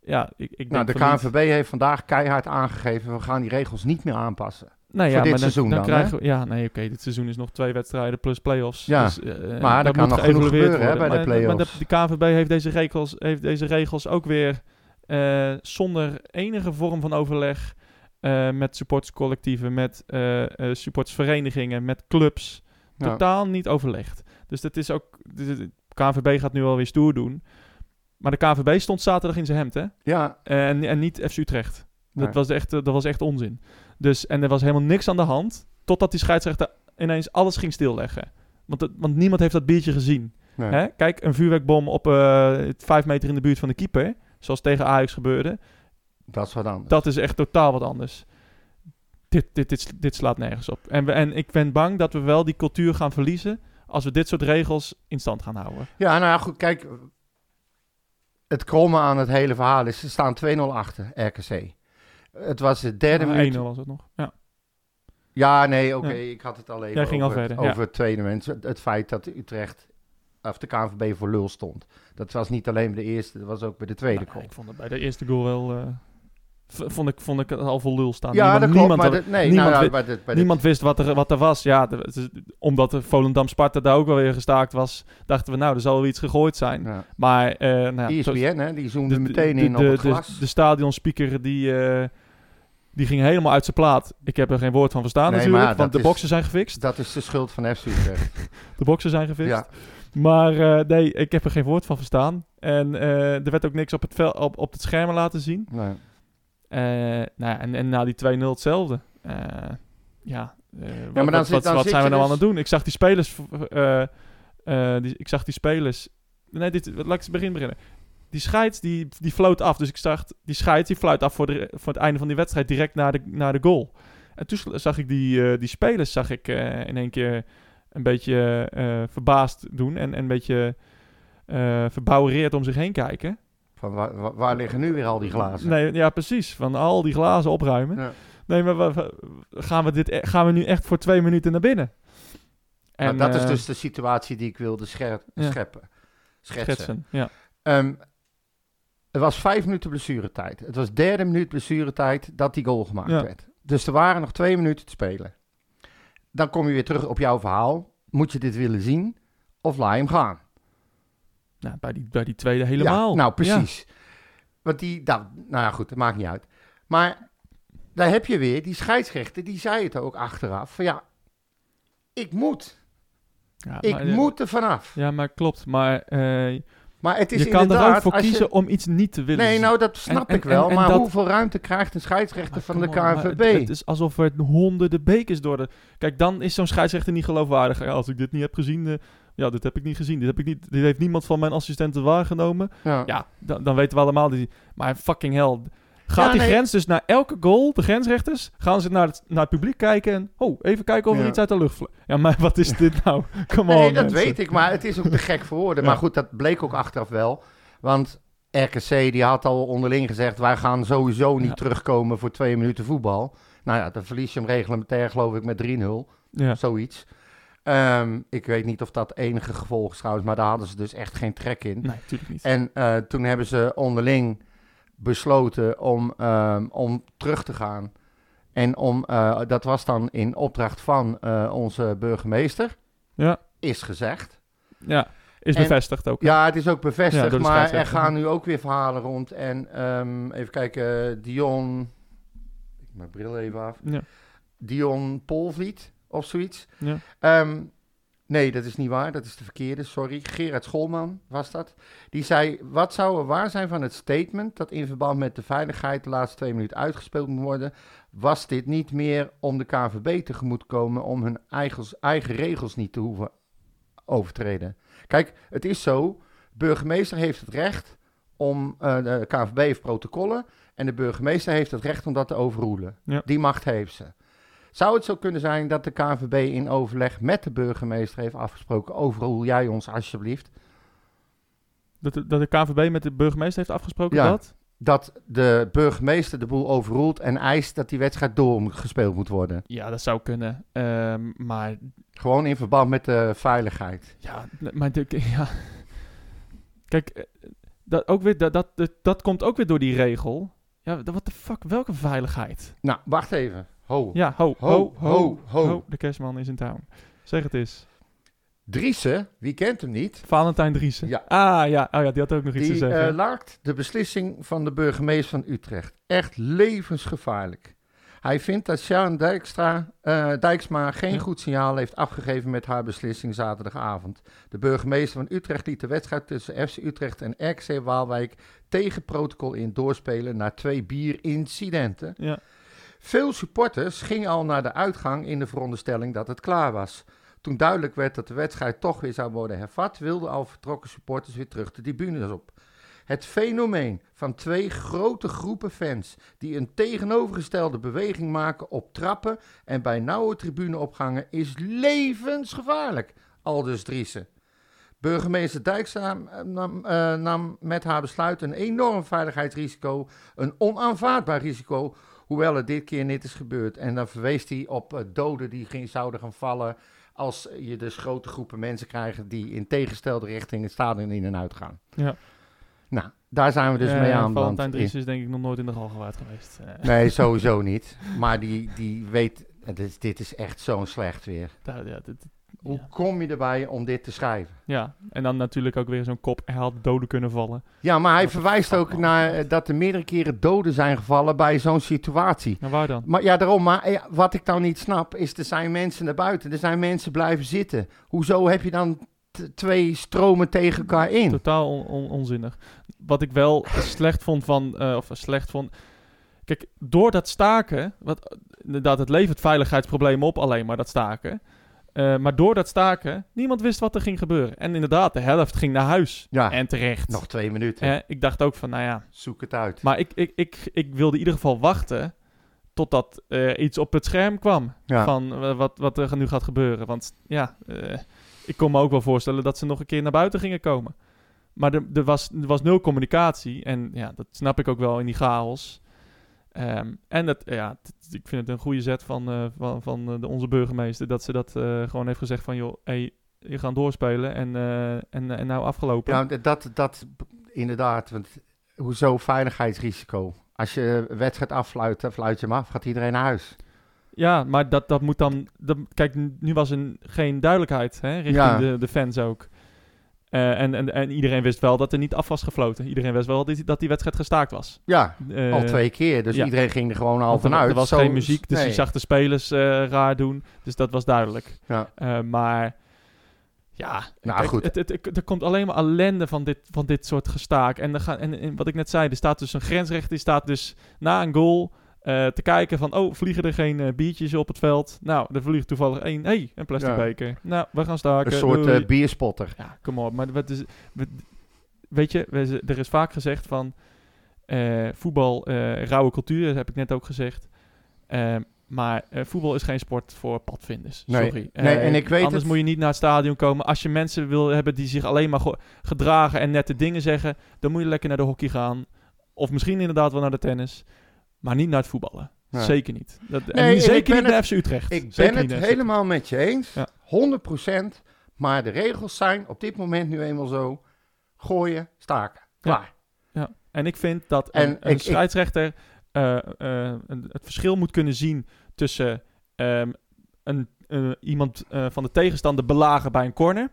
Speaker 1: Ja, ik, ik denk
Speaker 2: Nou, de
Speaker 1: van niet.
Speaker 2: KNVB heeft vandaag keihard aangegeven, we gaan die regels niet meer aanpassen.
Speaker 1: Nou ja,
Speaker 2: dit
Speaker 1: maar dan,
Speaker 2: seizoen
Speaker 1: dan
Speaker 2: dan,
Speaker 1: krijgen we... Ja, nee, oké. dit seizoen is nog twee wedstrijden plus play-offs.
Speaker 2: Ja,
Speaker 1: dus, eh,
Speaker 2: maar
Speaker 1: dat
Speaker 2: er kan
Speaker 1: moet
Speaker 2: nog genoeg
Speaker 1: geëvalueerd
Speaker 2: gebeuren, hè,
Speaker 1: worden.
Speaker 2: bij
Speaker 1: Maar-
Speaker 2: de
Speaker 1: Maar
Speaker 2: play-offs.
Speaker 1: de, de KVB heeft deze regels, heeft deze regels ook weer eh, zonder enige vorm van overleg eh, met supporterscollectieven, met eh eh, supportersverenigingen, met clubs
Speaker 2: Ja.
Speaker 1: totaal niet overlegd. Dus dat is ook. De, KVB gaat nu alweer stoer doen. Maar de KVB stond zaterdag in zijn hemd, hè? Eh,
Speaker 2: Ja,
Speaker 1: En, en niet FC Utrecht. Dat,
Speaker 2: Nee.
Speaker 1: was echt, eh, dat was echt onzin. Dus, en er was helemaal niks aan de hand. Totdat die scheidsrechter ineens alles ging stilleggen. Want, dat- want niemand heeft dat biertje gezien.
Speaker 2: nee.
Speaker 1: Hè? Kijk, een vuurwerkbom op eh, vijf meter in de buurt van de keeper. Zoals tegen Ajax gebeurde.
Speaker 2: dat is wat anders.
Speaker 1: Dat is echt totaal wat anders. Dit, dit, dit, sl- dit slaat nergens op. En, we, en ik ben bang dat we wel die cultuur gaan verliezen als we dit soort regels in stand gaan houden.
Speaker 2: Ja, nou ja, goed, kijk. Het kromme aan het hele verhaal is, ze staan 2-0 achter RKC. Het was de derde
Speaker 1: Maar
Speaker 2: minuut.
Speaker 1: 1-0 Ah, was het nog. Ja.
Speaker 2: Ja, nee, oké,
Speaker 1: Ja.
Speaker 2: ik had het al even
Speaker 1: Jij ging al
Speaker 2: over, het-
Speaker 1: verder, ja.
Speaker 2: over het tweede mensen. Het, het feit dat Utrecht, of de KNVB voor lul stond. Dat was niet alleen bij de eerste, dat was ook bij de tweede
Speaker 1: Nou,
Speaker 2: goal.
Speaker 1: ik vond het bij de eerste goal wel... eh, v- vond, ik, vond ik het al voor lul staan.
Speaker 2: Ja,
Speaker 1: niemand,
Speaker 2: dat klopt,
Speaker 1: niemand,
Speaker 2: maar
Speaker 1: had-
Speaker 2: dat- nee,
Speaker 1: niemand
Speaker 2: nou,
Speaker 1: weet-
Speaker 2: ja, bij de, bij de-
Speaker 1: niemand wist wat er, wat er was. Ja, de- het is- omdat de Volendam-Sparta daar ook alweer gestaakt was... dachten we, nou, er zal wel iets gegooid zijn.
Speaker 2: Ja. E
Speaker 1: Maar... eh nou, ja, zo-
Speaker 2: ESPN, hè, die zoomde
Speaker 1: de- de-
Speaker 2: meteen
Speaker 1: de-
Speaker 2: in op
Speaker 1: de-
Speaker 2: het
Speaker 1: de-
Speaker 2: glas.
Speaker 1: De stadionspeaker die, eh, die ging helemaal uit zijn plaat. Ik heb er geen woord van verstaan
Speaker 2: Nee,
Speaker 1: natuurlijk,
Speaker 2: maar
Speaker 1: want de
Speaker 2: dat
Speaker 1: boxen zijn gefixt.
Speaker 2: dat is de schuld van FC Utrecht.
Speaker 1: De boxen zijn gefixt.
Speaker 2: ja,
Speaker 1: Maar eh, nee, ik heb er geen woord van verstaan. En eh, er werd ook niks op het, vel, op, op het scherm laten zien.
Speaker 2: nee.
Speaker 1: Eh, nou, ja, en, en na die 2-0 hetzelfde. Eh, ja, eh, wat,
Speaker 2: dan
Speaker 1: wat,
Speaker 2: zit-
Speaker 1: wat-
Speaker 2: dan
Speaker 1: wat
Speaker 2: zit
Speaker 1: zijn we
Speaker 2: je
Speaker 1: nou aan
Speaker 2: dus-
Speaker 1: het doen? Ik zag die spelers... eh, eh, die, ik zag die spelers... Nee, dit, laat ik eens begin beginnen. Die scheids, die, die floot af. Dus ik zag, die scheids, die fluit af voor, de, voor het einde van die wedstrijd. Direct naar de, naar de goal. En toen sl- zag ik die, eh, die spelers zag ik, eh, in één keer een beetje eh, verbaasd doen. En, en een beetje eh verbouwereerd om zich heen kijken.
Speaker 2: Van waar, waar- waar liggen nu weer al die glazen?
Speaker 1: Nee, ja, precies. Van al die glazen opruimen.
Speaker 2: Ja.
Speaker 1: Nee, maar wa- wa- gaan, we dit, e- gaan we nu echt voor twee minuten naar binnen?
Speaker 2: Nou, dat is
Speaker 1: eh,
Speaker 2: dus de situatie die ik wilde scher-
Speaker 1: ja.
Speaker 2: scheppen. Schetsen.
Speaker 1: schetsen. Ja.
Speaker 2: Ehm, er was vijf minuten blessuretijd. Het was derde minuut blessuretijd dat die goal gemaakt
Speaker 1: Ja.
Speaker 2: werd. Dus er waren nog twee minuten te spelen. Dan kom je weer terug op jouw verhaal. Moet je dit willen zien of laat je hem gaan?
Speaker 1: Nou, bij, die, bij die tweede helemaal.
Speaker 2: Ja, nou,
Speaker 1: Ja.
Speaker 2: precies. Want die, nou, nou ja, goed, dat maakt niet uit. Maar daar heb je weer, die scheidsrechter, die zei het ook achteraf. Van ja, ik moet.
Speaker 1: Ja,
Speaker 2: Ik
Speaker 1: maar, eh,
Speaker 2: moet er vanaf.
Speaker 1: Ja, maar klopt. Maar eh,
Speaker 2: Maar het is
Speaker 1: je kan er
Speaker 2: inderdaad,
Speaker 1: ook voor
Speaker 2: als je-
Speaker 1: kiezen om iets niet te willen
Speaker 2: Nee,
Speaker 1: zien.
Speaker 2: nou dat snap
Speaker 1: en-
Speaker 2: ik wel.
Speaker 1: en- en
Speaker 2: maar
Speaker 1: dat-
Speaker 2: hoeveel ruimte krijgt een scheidsrechter
Speaker 1: Maar
Speaker 2: van de
Speaker 1: come on, maar
Speaker 2: KNVB?
Speaker 1: Het, het is alsof er honderden bekers door de... Kijk, dan is zo'n scheidsrechter niet geloofwaardig. Ja, Als ik dit niet heb gezien... eh, ja, dit heb ik niet gezien. Dit, heb ik niet, dit heeft niemand van mijn assistenten waargenomen.
Speaker 2: Ja.
Speaker 1: Ja, dan, dan weten we allemaal. Die, maar fucking hell. Gaat
Speaker 2: Ja,
Speaker 1: die
Speaker 2: nee.
Speaker 1: grens dus naar elke goal, de grensrechters, gaan ze naar het, naar het publiek kijken en... Oh, even kijken of er
Speaker 2: Ja.
Speaker 1: iets uit de lucht vliegt. Ja, maar wat is dit nou? Come
Speaker 2: nee,
Speaker 1: on,
Speaker 2: dat
Speaker 1: mensen.
Speaker 2: weet ik, maar het is ook te gek voor woorden.
Speaker 1: Ja.
Speaker 2: Maar goed, dat bleek ook achteraf wel. Want RKC die had al onderling gezegd: wij gaan sowieso niet
Speaker 1: Ja.
Speaker 2: terugkomen voor twee minuten voetbal. Nou ja, dan verlies je hem reglementair, geloof ik, met 3-0.
Speaker 1: Ja.
Speaker 2: Zoiets. Ehm, ik weet niet of dat enige gevolg is trouwens, maar daar hadden ze dus echt geen trek in.
Speaker 1: Nee, natuurlijk niet.
Speaker 2: En eh, toen hebben ze onderling besloten om, ehm, om terug te gaan. En om, eh, dat was dan in opdracht van eh, onze burgemeester.
Speaker 1: Ja.
Speaker 2: Is gezegd.
Speaker 1: Ja, is
Speaker 2: En-
Speaker 1: bevestigd ook.
Speaker 2: Ja, het is ook
Speaker 1: Ja,
Speaker 2: bevestigd,
Speaker 1: door de
Speaker 2: maar er
Speaker 1: scheidsrechter.
Speaker 2: gaan nu ook weer verhalen rond. En ehm, even kijken, Dion... Ik maak mijn bril even af.
Speaker 1: Ja.
Speaker 2: Dion Polvliet of zoiets.
Speaker 1: Ja.
Speaker 2: Ehm, nee, dat is niet waar. Dat is de verkeerde, sorry. Gerard Scholman was dat. Die zei, wat zou er waar zijn van het statement... dat in verband met de veiligheid de laatste twee minuten uitgespeeld moet worden... was dit niet meer om de KNVB tegemoet te komen... om hun eigen, eigen regels niet te hoeven overtreden. Kijk, het is zo. burgemeester heeft het recht om... eh, de KNVB heeft protocollen... en de burgemeester heeft het recht om dat te overroelen.
Speaker 1: Ja.
Speaker 2: Die macht heeft ze. Zou het zo kunnen zijn dat de KNVB in overleg met de burgemeester heeft afgesproken... overroel jij ons alsjeblieft...
Speaker 1: Dat, de- dat de KVB met de burgemeester heeft afgesproken
Speaker 2: Ja.
Speaker 1: dat?
Speaker 2: dat de burgemeester de boel overroelt en eist dat die wedstrijd door moet- gespeeld moet worden?
Speaker 1: Ja, dat zou kunnen. Ehm, maar
Speaker 2: Gewoon in verband met de veiligheid.
Speaker 1: ja, n- maar de, ja. Kijk, eh, dat, ook weer, dat, dat, dat, dat komt ook weer door die regel. Ja, wat de fuck, welke veiligheid?
Speaker 2: Nou, wacht even. Ho.
Speaker 1: Ja, ho,
Speaker 2: Ho,
Speaker 1: ho, ho, ho,
Speaker 2: ho, ho.
Speaker 1: De kerstman is in town. Zeg het eens.
Speaker 2: Driessen, wie kent hem niet,
Speaker 1: Valentijn Driessen.
Speaker 2: Ja.
Speaker 1: Ah ja, oh ja, die had ook nog iets te
Speaker 2: die
Speaker 1: zeggen.
Speaker 2: eh, laakt de beslissing van de burgemeester van Utrecht. Echt levensgevaarlijk. Hij vindt dat Sharon Dijkstra, eh, Dijksma geen
Speaker 1: Ja.
Speaker 2: goed signaal heeft afgegeven met haar beslissing zaterdagavond. De burgemeester van Utrecht liet de wedstrijd tussen FC Utrecht en RKC Waalwijk tegen protocol in doorspelen na twee bierincidenten.
Speaker 1: ja.
Speaker 2: Veel supporters gingen al naar de uitgang in de veronderstelling dat het klaar was. Toen duidelijk werd dat de wedstrijd toch weer zou worden hervat, wilden al vertrokken supporters weer terug de tribunes op. Het fenomeen van twee grote groepen fans die een tegenovergestelde beweging maken op trappen en bij nauwe tribuneopgangen is levensgevaarlijk, aldus Driessen. Burgemeester Dijkstra eh, nam, eh, nam met haar besluit een enorm veiligheidsrisico, een onaanvaardbaar risico, hoewel het dit keer niet is gebeurd. En dan verwees hij op eh, doden die ging, zouden gaan vallen als je dus grote groepen mensen krijgt die in tegenstelde richting het stadion in en uit gaan.
Speaker 1: Ja.
Speaker 2: Nou, daar zijn we dus
Speaker 1: Eh,
Speaker 2: mee aan. want
Speaker 1: Valentijn
Speaker 2: in-
Speaker 1: Driessen is denk ik nog nooit in de gal gewaard geweest. Eh,
Speaker 2: Nee, sowieso niet. Maar die, die weet, eh, dit, dit is echt zo'n slecht weer.
Speaker 1: daar- ja, dit-
Speaker 2: Hoe
Speaker 1: Ja.
Speaker 2: kom je erbij om dit te schrijven?
Speaker 1: ja, en dan natuurlijk ook weer zo'n kop. Hij had doden kunnen vallen.
Speaker 2: Ja, maar hij
Speaker 1: Wat de
Speaker 2: verwijst
Speaker 1: fuck,
Speaker 2: ook
Speaker 1: man.
Speaker 2: naar eh, dat er meerdere keren doden zijn gevallen bij zo'n situatie.
Speaker 1: Nou, waar dan?
Speaker 2: Maar ja, daarom, maar eh, wat ik dan niet snap, is er zijn mensen naar buiten. Er zijn mensen blijven zitten. Hoezo heb je dan t- twee stromen tegen elkaar in?
Speaker 1: Totaal on- on- onzinnig. Wat ik wel slecht vond van... eh, of slecht vond... Kijk, door dat staken... Wat, eh, inderdaad, het levert veiligheidsproblemen op alleen maar, dat staken. Eh, maar door dat staken, niemand wist wat er ging gebeuren. En inderdaad, de helft ging naar huis.
Speaker 2: Ja.
Speaker 1: En terecht.
Speaker 2: Nog twee minuten.
Speaker 1: Eh, ik dacht ook van, nou ja...
Speaker 2: Zoek het uit.
Speaker 1: Maar ik, ik, ik, ik wilde in ieder geval wachten totdat eh, iets op het scherm kwam.
Speaker 2: Ja.
Speaker 1: Van eh, wat, wat er nu gaat gebeuren. Want ja, eh, ik kon me ook wel voorstellen dat ze nog een keer naar buiten gingen komen. Maar er, er, was, er was nul communicatie. En ja, dat snap ik ook wel in die chaos. Ehm, en dat, ja, t- ik vind het een goede zet van, eh, van, van eh, de, onze burgemeester. Dat ze dat eh, gewoon heeft gezegd van joh, hey, je gaat doorspelen en, eh, en, en nou afgelopen.
Speaker 2: Ja, d- dat, dat b- inderdaad. Want hoezo veiligheidsrisico? Als je een wedstrijd affluit, dan fluit je hem af, gaat iedereen naar huis.
Speaker 1: Ja, maar dat, dat moet dan... Dat, kijk, n- nu was er geen duidelijkheid hè, richting
Speaker 2: Ja.
Speaker 1: de, de fans ook. Eh, en, en, en iedereen wist wel dat er niet af was gefloten. Iedereen wist wel dat die, dat die wedstrijd gestaakt was.
Speaker 2: Ja,
Speaker 1: Eh,
Speaker 2: al twee keer. Dus
Speaker 1: ja.
Speaker 2: iedereen ging er gewoon al
Speaker 1: want er-
Speaker 2: vanuit.
Speaker 1: Er was
Speaker 2: Zo-
Speaker 1: geen muziek, dus
Speaker 2: nee.
Speaker 1: je zag de spelers eh, raar doen. Dus dat was duidelijk.
Speaker 2: Ja.
Speaker 1: Eh, maar ja,
Speaker 2: Nou, goed.
Speaker 1: Het, het, het- er komt alleen maar ellende van dit, van dit soort gestaak. En, er gaan, en, en wat ik net zei, er staat dus een grensrechter, die staat dus na een goal eh, te kijken van, oh, vliegen er geen eh, biertjes op het veld? Nou, er vliegt toevallig één. hey, een plastic
Speaker 2: Ja.
Speaker 1: beker. Nou, we gaan staken.
Speaker 2: Een soort
Speaker 1: Doei.
Speaker 2: eh, bierspotter.
Speaker 1: Ja, kom op. Maar wat is, wat- weet je, we- er is vaak gezegd van eh, voetbal, eh, rauwe cultuur, dat heb ik net ook gezegd. Eh, maar eh, voetbal is geen sport voor padvinders.
Speaker 2: Nee.
Speaker 1: Sorry. Eh,
Speaker 2: Nee, en ik weet
Speaker 1: anders
Speaker 2: het.
Speaker 1: moet je niet naar het stadion komen. Als je mensen wil hebben die zich alleen maar go- gedragen en nette dingen zeggen, dan moet je lekker naar de hockey gaan. Of misschien inderdaad wel naar de tennis. Maar niet naar het voetballen.
Speaker 2: Nee.
Speaker 1: Zeker niet. Dat, en
Speaker 2: Nee,
Speaker 1: niet-
Speaker 2: ik
Speaker 1: zeker
Speaker 2: ben
Speaker 1: niet naar
Speaker 2: het-
Speaker 1: FC Utrecht.
Speaker 2: Ik
Speaker 1: Zeker
Speaker 2: ben
Speaker 1: niet
Speaker 2: het
Speaker 1: naar FC
Speaker 2: helemaal met je eens.
Speaker 1: Ja.
Speaker 2: 100%. Maar de regels zijn op dit moment nu eenmaal zo. Gooien, staken.
Speaker 1: Ja.
Speaker 2: Klaar.
Speaker 1: En ik vind dat
Speaker 2: En
Speaker 1: een,
Speaker 2: ik-
Speaker 1: een
Speaker 2: ik-
Speaker 1: scheidsrechter eh, eh, een- het verschil moet kunnen zien tussen ehm, een, eh, iemand eh, van de tegenstander belagen bij een corner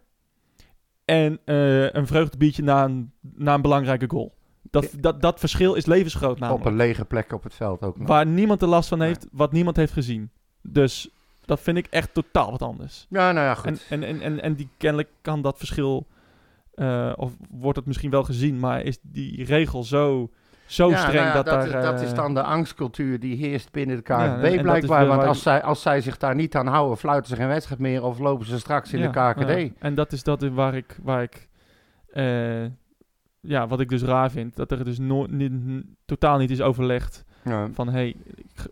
Speaker 1: en eh, een vreugdebiertje na een, na een belangrijke goal. Dat, dat, dat verschil is levensgroot
Speaker 2: Op een
Speaker 1: namelijk.
Speaker 2: lege plek op het veld ook nog.
Speaker 1: Waar niemand er last van heeft, wat niemand heeft gezien. Dus dat vind ik echt totaal wat anders.
Speaker 2: Ja, nou ja, goed.
Speaker 1: En, en, en, en, en die kennelijk kan dat verschil, eh, of wordt het misschien wel gezien, maar is die regel zo, zo
Speaker 2: Ja, nou
Speaker 1: streng
Speaker 2: ja,
Speaker 1: dat,
Speaker 2: dat,
Speaker 1: daar...
Speaker 2: dat
Speaker 1: eh,
Speaker 2: is dan de angstcultuur die heerst binnen de KNVB
Speaker 1: Ja, en- en dat is
Speaker 2: blijkbaar.
Speaker 1: weer
Speaker 2: Want
Speaker 1: waar-
Speaker 2: als zij, als zij zich daar niet aan houden, fluiten ze geen wedstrijd meer of lopen ze straks in
Speaker 1: ja,
Speaker 2: de KKD.
Speaker 1: ja. en dat is dat waar ik, waar ik eh, ja, wat ik dus raar vind, dat er dus nooit, niet, n- totaal niet is overlegd
Speaker 2: Ja.
Speaker 1: van, hey, g-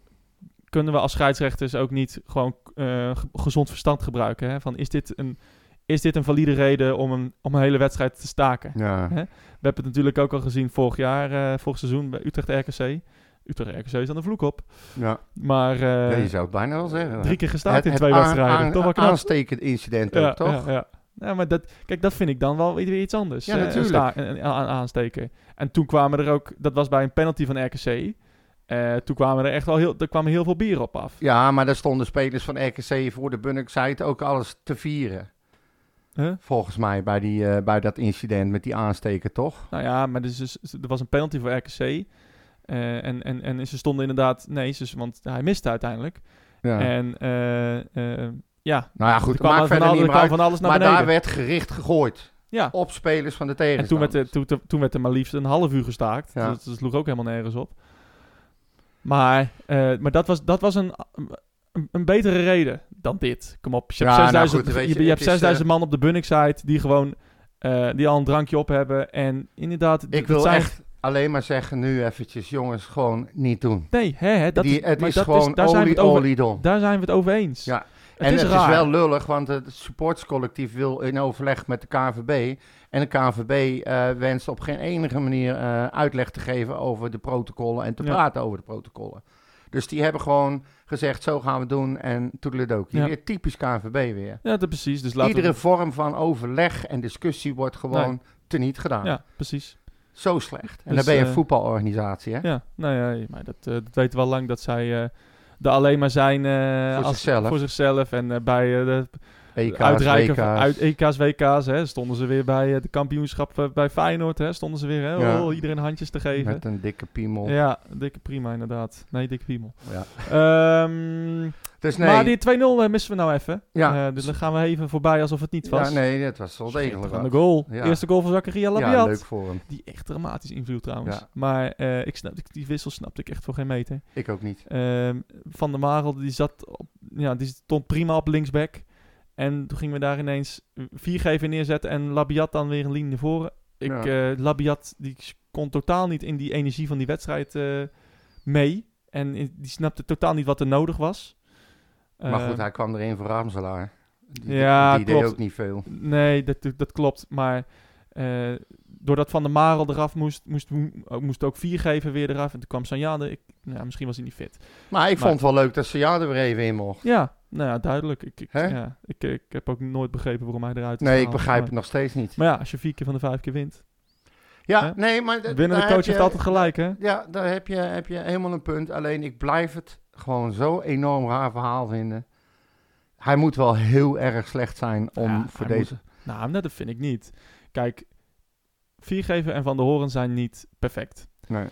Speaker 1: kunnen we als scheidsrechters ook niet gewoon eh, ge- gezond verstand gebruiken? Hè? Van, is dit een... Is dit een valide reden om een, om een hele wedstrijd te staken?
Speaker 2: Ja.
Speaker 1: We hebben het natuurlijk ook al gezien vorig jaar, eh, vorig seizoen bij Utrecht RKC. Utrecht RKC is aan de vloek op.
Speaker 2: Ja.
Speaker 1: Maar eh,
Speaker 2: Ja, je zou het bijna wel zeggen.
Speaker 1: drie keer gestaakt
Speaker 2: Het-
Speaker 1: in
Speaker 2: het
Speaker 1: twee
Speaker 2: aan-
Speaker 1: wedstrijden.
Speaker 2: aan-
Speaker 1: toch wel knap.
Speaker 2: aanstekend incident
Speaker 1: Ja,
Speaker 2: ook, toch?
Speaker 1: Ja, ja. Ja, maar dat, kijk, dat vind ik dan wel weer iets anders. Eh,
Speaker 2: Ja,
Speaker 1: hè,
Speaker 2: natuurlijk.
Speaker 1: sta- en- en- aan- aansteken. En toen kwamen er ook, dat was bij een penalty van RKC. Eh, toen kwamen er echt wel heel, er kwamen heel veel bier op af.
Speaker 2: Ja, maar daar stonden spelers van RKC voor de Bunnik zei het ook alles te vieren.
Speaker 1: Huh?
Speaker 2: Volgens mij bij, die, eh, bij dat incident met die aansteker, toch?
Speaker 1: Nou ja, maar dus, dus- er was een penalty voor RKC. Eh, en, en, en ze stonden inderdaad... Nee, ze, want hij miste uiteindelijk.
Speaker 2: Ja.
Speaker 1: En eh, eh, ja,
Speaker 2: nou ja,
Speaker 1: er
Speaker 2: goed,
Speaker 1: kwam,
Speaker 2: maakt
Speaker 1: van,
Speaker 2: verder
Speaker 1: al-
Speaker 2: niet
Speaker 1: er
Speaker 2: meer
Speaker 1: kwam
Speaker 2: uit.
Speaker 1: van alles naar
Speaker 2: Maar
Speaker 1: beneden.
Speaker 2: daar werd gericht gegooid
Speaker 1: ja.
Speaker 2: op spelers van de
Speaker 1: En toen
Speaker 2: tegenstander.
Speaker 1: werd, er, toen, toen werd er maar liefst een half uur gestaakt.
Speaker 2: Ja.
Speaker 1: Dus dat sloeg ook helemaal nergens op. Maar, eh, maar dat was, dat was een, een, een betere reden dan dit. Kom op, je hebt
Speaker 2: Ja, nou
Speaker 1: 6000,
Speaker 2: goed, weet
Speaker 1: je,
Speaker 2: je,
Speaker 1: je hebt
Speaker 2: het is,
Speaker 1: 6000 man op de Bunnik-site die gewoon eh, die al een drankje op hebben. En inderdaad, d-
Speaker 2: Ik
Speaker 1: dat
Speaker 2: wil
Speaker 1: zijn-
Speaker 2: echt alleen maar zeggen, nu eventjes, jongens, gewoon niet doen.
Speaker 1: Nee, hè, hè, dat
Speaker 2: die,
Speaker 1: is,
Speaker 2: het
Speaker 1: maar
Speaker 2: is
Speaker 1: dat
Speaker 2: gewoon
Speaker 1: daar zijn we
Speaker 2: olie,
Speaker 1: het over,
Speaker 2: oliedom.
Speaker 1: Daar zijn we het over eens.
Speaker 2: Ja.
Speaker 1: Het
Speaker 2: en
Speaker 1: is
Speaker 2: het
Speaker 1: raar.
Speaker 2: is wel lullig, want het supportscollectief wil in overleg met de KNVB. En de KNVB eh, wenst op geen enige manier eh, uitleg te geven over de protocollen en te
Speaker 1: Ja.
Speaker 2: praten over de protocollen. Dus die hebben gewoon gezegd, zo gaan we het doen en toedeledokie.
Speaker 1: Ja.
Speaker 2: Weer typisch KNVB weer.
Speaker 1: Ja, dat precies. Dus laten we-
Speaker 2: Iedere vorm van overleg en discussie wordt gewoon teniet gedaan.
Speaker 1: Ja, precies.
Speaker 2: Zo slecht.
Speaker 1: Dus,
Speaker 2: En dan ben je
Speaker 1: eh,
Speaker 2: een voetbalorganisatie, hè?
Speaker 1: Ja, nou ja, maar dat, eh dat weten we al lang dat zij eh er alleen maar zijn eh,
Speaker 2: Voor
Speaker 1: als,
Speaker 2: zichzelf. E
Speaker 1: voor zichzelf. En eh, bij eh, de
Speaker 2: EK's,
Speaker 1: uitreiken van
Speaker 2: WK's.
Speaker 1: uit E EK's, WK's hè, stonden ze weer bij het de kampioenschap eh, bij Feyenoord. Hè, stonden ze weer hè,
Speaker 2: Ja.
Speaker 1: oh, iedereen handjes te geven.
Speaker 2: Met een dikke piemel. Ja.
Speaker 1: Ja, dikke prima inderdaad. Nee, dikke piemel. Ehm,
Speaker 2: Dus nee,
Speaker 1: Maar die 2-0 eh, missen we nou even.
Speaker 2: Ja.
Speaker 1: Eh, dus dan gaan we even voorbij alsof het niet was.
Speaker 2: ja, nee, dat was wel
Speaker 1: Schitterende
Speaker 2: degelijk. wat.
Speaker 1: goal.
Speaker 2: Ja.
Speaker 1: Eerste goal van Zakaria Labiat.
Speaker 2: Ja, leuk voor hem.
Speaker 1: Die echt dramatisch inviel trouwens.
Speaker 2: Ja.
Speaker 1: Maar eh, ik snap, die wissel snapte ik echt voor geen meter.
Speaker 2: Ik ook niet.
Speaker 1: Ehm, van der Marel, die zat op, ja, die stond prima op linksback. En toen gingen we daar ineens viergever neerzetten en Labiat dan weer een linie naar voren. Ik,
Speaker 2: Ja.
Speaker 1: eh, Labiat die kon totaal niet in die energie van die wedstrijd eh, mee. En i- die snapte totaal niet wat er nodig was.
Speaker 2: Maar
Speaker 1: Ehm,
Speaker 2: goed, hij kwam erin voor Ramselaar. Die,
Speaker 1: Ja,
Speaker 2: die
Speaker 1: klopt.
Speaker 2: deed ook niet veel.
Speaker 1: Nee, dat, dat klopt. Maar eh, doordat Van der Marel eraf moest, moest, eh, moest ook viergever weer eraf. En toen kwam Sanjade. Ik, nou, ja, misschien was hij niet fit.
Speaker 2: Maar ik
Speaker 1: Maar-
Speaker 2: vond het wel leuk dat Sajade er weer even in mocht.
Speaker 1: Ja, nou ja, duidelijk. Ik, ik,
Speaker 2: Hè?
Speaker 1: ja, ik, eh, ik heb ook nooit begrepen waarom hij eruit is
Speaker 2: Nee, ik
Speaker 1: gehaald.
Speaker 2: begrijp het
Speaker 1: maar,
Speaker 2: nog steeds niet.
Speaker 1: Maar Oh, ja, als je vier keer van de vijf keer wint.
Speaker 2: Ja,
Speaker 1: Hè?
Speaker 2: nee, maar... d- daar
Speaker 1: Winnende
Speaker 2: heb
Speaker 1: coach
Speaker 2: je-
Speaker 1: heeft altijd gelijk, hè?
Speaker 2: Ja, daar heb je, heb je helemaal een punt. Alleen ik blijf het gewoon zo enorm raar verhaal vinden. Hij moet wel heel erg slecht zijn om
Speaker 1: Ja,
Speaker 2: voor
Speaker 1: hij
Speaker 2: deze...
Speaker 1: Nou, nee, dat vind ik niet. Kijk, Viergever en Van der Horen zijn niet perfect.
Speaker 2: Nee.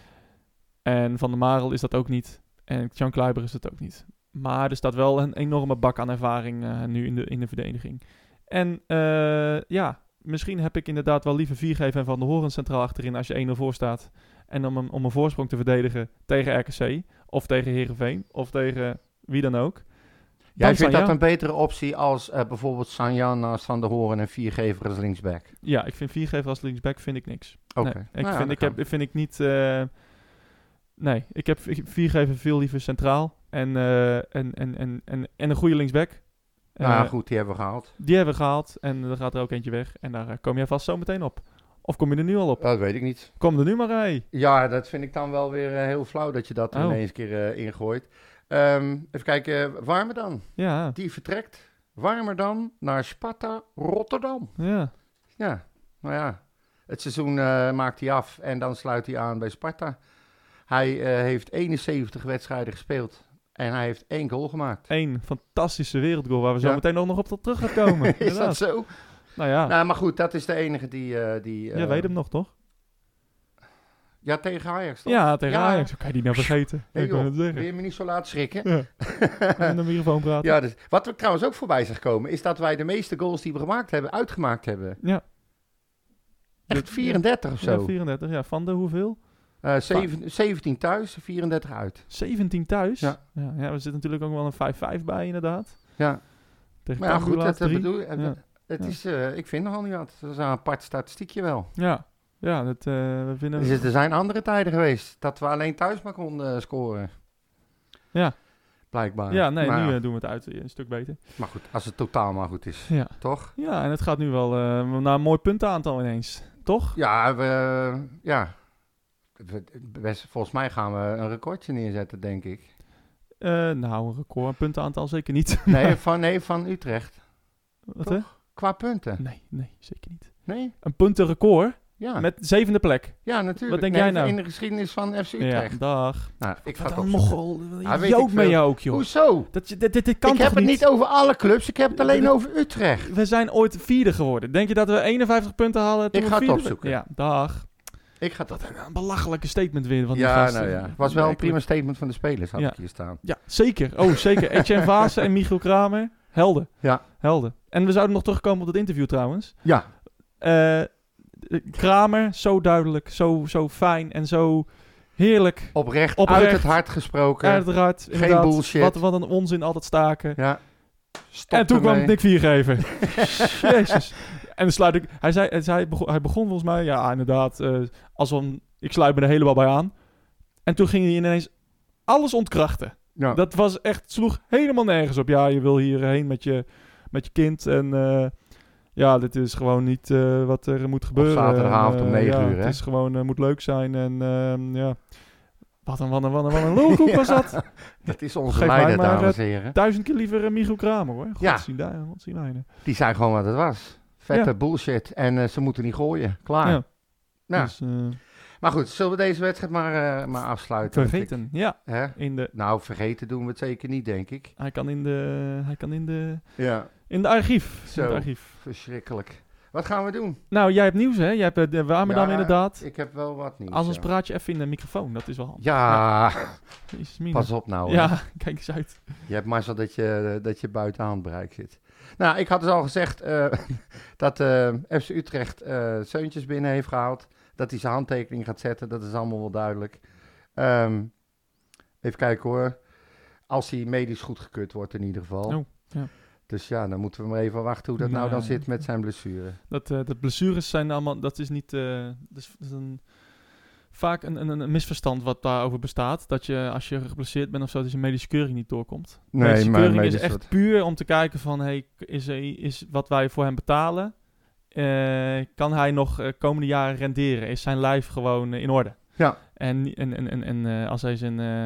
Speaker 1: En Van der Marel is dat ook niet. En Jan Kluiber is dat ook niet. Maar er staat wel een enorme bak aan ervaring eh, nu in de, in de verdediging. En eh, ja, misschien heb ik inderdaad wel liever Viergever en Van der Horen centraal achterin als je 1-0 voor staat. En om een, om een voorsprong te verdedigen tegen RKC of tegen Herenveen of tegen wie dan ook.
Speaker 2: Jij vindt dat
Speaker 1: Sanjan.
Speaker 2: een betere optie als eh, bijvoorbeeld Sanjan naast Van der Horen en Viergever als linksback?
Speaker 1: Ja, ik vind Viergever als linksback vind ik niks.
Speaker 2: Oké.
Speaker 1: Nee, ik,
Speaker 2: Nou ja,
Speaker 1: vind,
Speaker 2: dat
Speaker 1: ik,
Speaker 2: kan.
Speaker 1: heb, vind ik niet. eh, nee, ik heb ik heb viergever veel liever centraal. En, eh, en, en, en, en, en een goede linksback.
Speaker 2: Nou ja,
Speaker 1: Eh,
Speaker 2: goed, die hebben we gehaald.
Speaker 1: Die hebben we gehaald. En er gaat er ook eentje weg. En daar eh, kom jij vast zo meteen op. Of kom je er nu al op?
Speaker 2: Dat weet ik niet.
Speaker 1: Kom er nu maar bij.
Speaker 2: Ja, dat vind ik dan wel weer eh, heel flauw dat je dat
Speaker 1: Oh.
Speaker 2: ineens een keer eh, ingooit. Ehm, even kijken, Warmer dan.
Speaker 1: Ja,
Speaker 2: Die vertrekt. Warmer dan naar Sparta Rotterdam.
Speaker 1: ja.
Speaker 2: Ja, nou ja. Het seizoen eh, maakt hij af en dan sluit hij aan bij Sparta. Hij eh, heeft 71 wedstrijden gespeeld en hij heeft één goal gemaakt.
Speaker 1: Eén fantastische wereldgoal waar we zo
Speaker 2: Ja.
Speaker 1: meteen ook nog op tot terug gaan komen.
Speaker 2: Is dat
Speaker 1: Inderdaad.
Speaker 2: zo?
Speaker 1: Nou ja,
Speaker 2: Nou, maar goed, dat is de enige die... eh, die eh,
Speaker 1: jij weet hem nog toch?
Speaker 2: Ja, tegen Ajax toch?
Speaker 1: Ja, tegen
Speaker 2: Ja.
Speaker 1: Ajax. Hoe kan je die nou vergeten?
Speaker 2: Hey,
Speaker 1: ik wil
Speaker 2: joh,
Speaker 1: het
Speaker 2: Wil
Speaker 1: zeggen.
Speaker 2: je me niet zo laat schrikken?
Speaker 1: Ja. En de microfoon praten.
Speaker 2: Ja, dus, wat er trouwens ook voorbij is gekomen, is dat wij de meeste goals die we gemaakt hebben, uitgemaakt hebben.
Speaker 1: Ja.
Speaker 2: Echt 34 of
Speaker 1: Ja,
Speaker 2: zo.
Speaker 1: 34. Ja, van de hoeveel?
Speaker 2: Eh, zeven- 17 thuis, 34 uit.
Speaker 1: 17 thuis.
Speaker 2: Ja.
Speaker 1: Ja, ja, er zit natuurlijk ook wel een 5-5 bij, inderdaad.
Speaker 2: Ja,
Speaker 1: Tegen
Speaker 2: maar ja, goed,
Speaker 1: Cambuur
Speaker 2: dat
Speaker 1: laatst
Speaker 2: eh,
Speaker 1: drie.
Speaker 2: bedoel eh,
Speaker 1: Ja.
Speaker 2: Het
Speaker 1: Ja.
Speaker 2: is, eh, ik vind nogal niet wat. Dat is een apart statistiekje wel.
Speaker 1: Ja, ja dat, eh, we vinden...
Speaker 2: Dus er zijn andere tijden geweest dat we alleen thuis maar konden eh, scoren.
Speaker 1: Ja.
Speaker 2: Blijkbaar.
Speaker 1: ja, nee,
Speaker 2: maar,
Speaker 1: nu
Speaker 2: ja,
Speaker 1: eh, doen we het uit eh, een stuk beter.
Speaker 2: maar goed, als het totaal maar goed is,
Speaker 1: Ja,
Speaker 2: toch?
Speaker 1: ja en het gaat nu wel eh, naar een mooi puntenaantal ineens, toch?
Speaker 2: Ja, we, ja. We- Best, volgens mij gaan we een recordje neerzetten, denk ik.
Speaker 1: Eh, nou, een record een puntenaantal zeker niet.
Speaker 2: Nee, van, nee, van Utrecht.
Speaker 1: Wat, hè?
Speaker 2: Qua punten.
Speaker 1: Nee, nee, zeker niet.
Speaker 2: Nee?
Speaker 1: Een puntenrecord?
Speaker 2: Ja,
Speaker 1: Met zevende plek.
Speaker 2: ja natuurlijk.
Speaker 1: wat denk
Speaker 2: Nee,
Speaker 1: jij nou?
Speaker 2: In de geschiedenis van FC
Speaker 1: Ja,
Speaker 2: Utrecht.
Speaker 1: dag.
Speaker 2: Nou, ik ga
Speaker 1: Wat
Speaker 2: het
Speaker 1: een
Speaker 2: opzoeken.
Speaker 1: mogel.
Speaker 2: Ja, weet
Speaker 1: Jood
Speaker 2: ik
Speaker 1: ben
Speaker 2: veel.
Speaker 1: je ook, joh.
Speaker 2: Hoezo?
Speaker 1: Dat, je- dit, dit, dit kan
Speaker 2: ik
Speaker 1: toch
Speaker 2: heb het niet over alle clubs, ik heb het alleen
Speaker 1: Dit-
Speaker 2: over Utrecht.
Speaker 1: We zijn ooit vierde geworden. Denk je dat we 51 punten halen? toen
Speaker 2: Ik
Speaker 1: we
Speaker 2: ga het
Speaker 1: vierde
Speaker 2: opzoeken.
Speaker 1: werden? Ja, dag.
Speaker 2: Ik ga dat
Speaker 1: Een belachelijke statement weer van die
Speaker 2: Ja,
Speaker 1: gasten.
Speaker 2: nou ja. Het was wel een
Speaker 1: Werkelijk.
Speaker 2: prima statement van de spelers, had
Speaker 1: Ja.
Speaker 2: ik hier staan.
Speaker 1: Ja, zeker. Oh, zeker. Etienne Vaassen en Michiel Kramer. Helden.
Speaker 2: Ja.
Speaker 1: Helden. En we zouden nog terugkomen op dat interview trouwens.
Speaker 2: Ja,
Speaker 1: Eh, Kramer, zo duidelijk, zo, zo fijn en zo heerlijk.
Speaker 2: oprecht,
Speaker 1: Oprecht.
Speaker 2: uit het hart gesproken.
Speaker 1: Uiteraard.
Speaker 2: Geen
Speaker 1: inderdaad.
Speaker 2: bullshit.
Speaker 1: Wat, wat een onzin altijd staken.
Speaker 2: Ja. Stop
Speaker 1: en toen kwam
Speaker 2: ermee.
Speaker 1: Nick Viergever. Jezus. En dan sluit ik... Hij, zei, hij, zei- hij begon, hij begon volgens mij... Ja, inderdaad. eh, als een, ik sluit me er helemaal bij aan. En toen ging hij ineens alles ontkrachten.
Speaker 2: Ja.
Speaker 1: Dat was echt, sloeg helemaal nergens op. Ja, je wil hierheen met je, met je kind. En eh, ja, dit is gewoon niet eh, wat er moet gebeuren.
Speaker 2: zaterdagavond om
Speaker 1: En, eh,
Speaker 2: negen
Speaker 1: ja,
Speaker 2: uur, hè?
Speaker 1: Het is gewoon, eh, moet leuk zijn. En ehm, ja, wat een, wat een, wat een, wat een lulkoek was dat.
Speaker 2: Dat is onze
Speaker 1: Geef mij
Speaker 2: leider,
Speaker 1: maar
Speaker 2: dames en heren.
Speaker 1: Duizend keer liever eh, Michiel Kramer, hoor.
Speaker 2: Ja.
Speaker 1: Godzien daar, godzien mijne.
Speaker 2: Die zei gewoon wat het was. Vette
Speaker 1: Ja.
Speaker 2: bullshit. En eh, ze moeten niet gooien. Klaar.
Speaker 1: Ja.
Speaker 2: Nou,
Speaker 1: Dus, eh,
Speaker 2: Maar goed, zullen we deze wedstrijd maar, eh, maar afsluiten?
Speaker 1: vergeten. Ja,
Speaker 2: Ik- hè?
Speaker 1: in de,
Speaker 2: Nou, vergeten doen we het zeker niet, denk ik.
Speaker 1: hij kan in de, hij kan in de,
Speaker 2: Ja.
Speaker 1: in de archief.
Speaker 2: Zo.
Speaker 1: In het archief.
Speaker 2: Verschrikkelijk. Wat gaan we doen?
Speaker 1: Nou, jij hebt nieuws, hè? Jij hebt eh, de Warmerdam
Speaker 2: Ja,
Speaker 1: inderdaad.
Speaker 2: Ik heb wel wat nieuws.
Speaker 1: Anders
Speaker 2: ja.
Speaker 1: praat je even in de microfoon, dat is wel handig.
Speaker 2: Ja,
Speaker 1: Jezus, mina.
Speaker 2: pas op nou. hè.
Speaker 1: Ja, kijk eens uit.
Speaker 2: Je hebt maar zo dat je, dat je buiten handbereik zit. Nou, ik had dus al gezegd eh, dat eh, FC Utrecht eh Seuntjes binnen heeft gehaald. Dat hij zijn handtekening gaat zetten, dat is allemaal wel duidelijk. Ehm, even kijken hoor. Als hij medisch goedgekeurd wordt in ieder geval.
Speaker 1: Oh, ja.
Speaker 2: Dus ja, dan moeten we maar even wachten hoe dat nou dan
Speaker 1: Nee.
Speaker 2: zit met zijn blessure.
Speaker 1: Dat, eh dat blessures zijn allemaal, dat is niet, eh, dat is, dat is een, vaak een, een, een misverstand wat daarover bestaat. Dat je als je geblesseerd bent of zo, dat je medische keuring niet doorkomt. medische keuring is echt puur om te kijken van, hey, is, er- is wat wij voor hem betalen, eh, kan hij nog eh, komende jaren renderen? Is zijn lijf gewoon eh, in orde?
Speaker 2: Ja.
Speaker 1: En, en, en, en, en eh, als hij zijn, eh,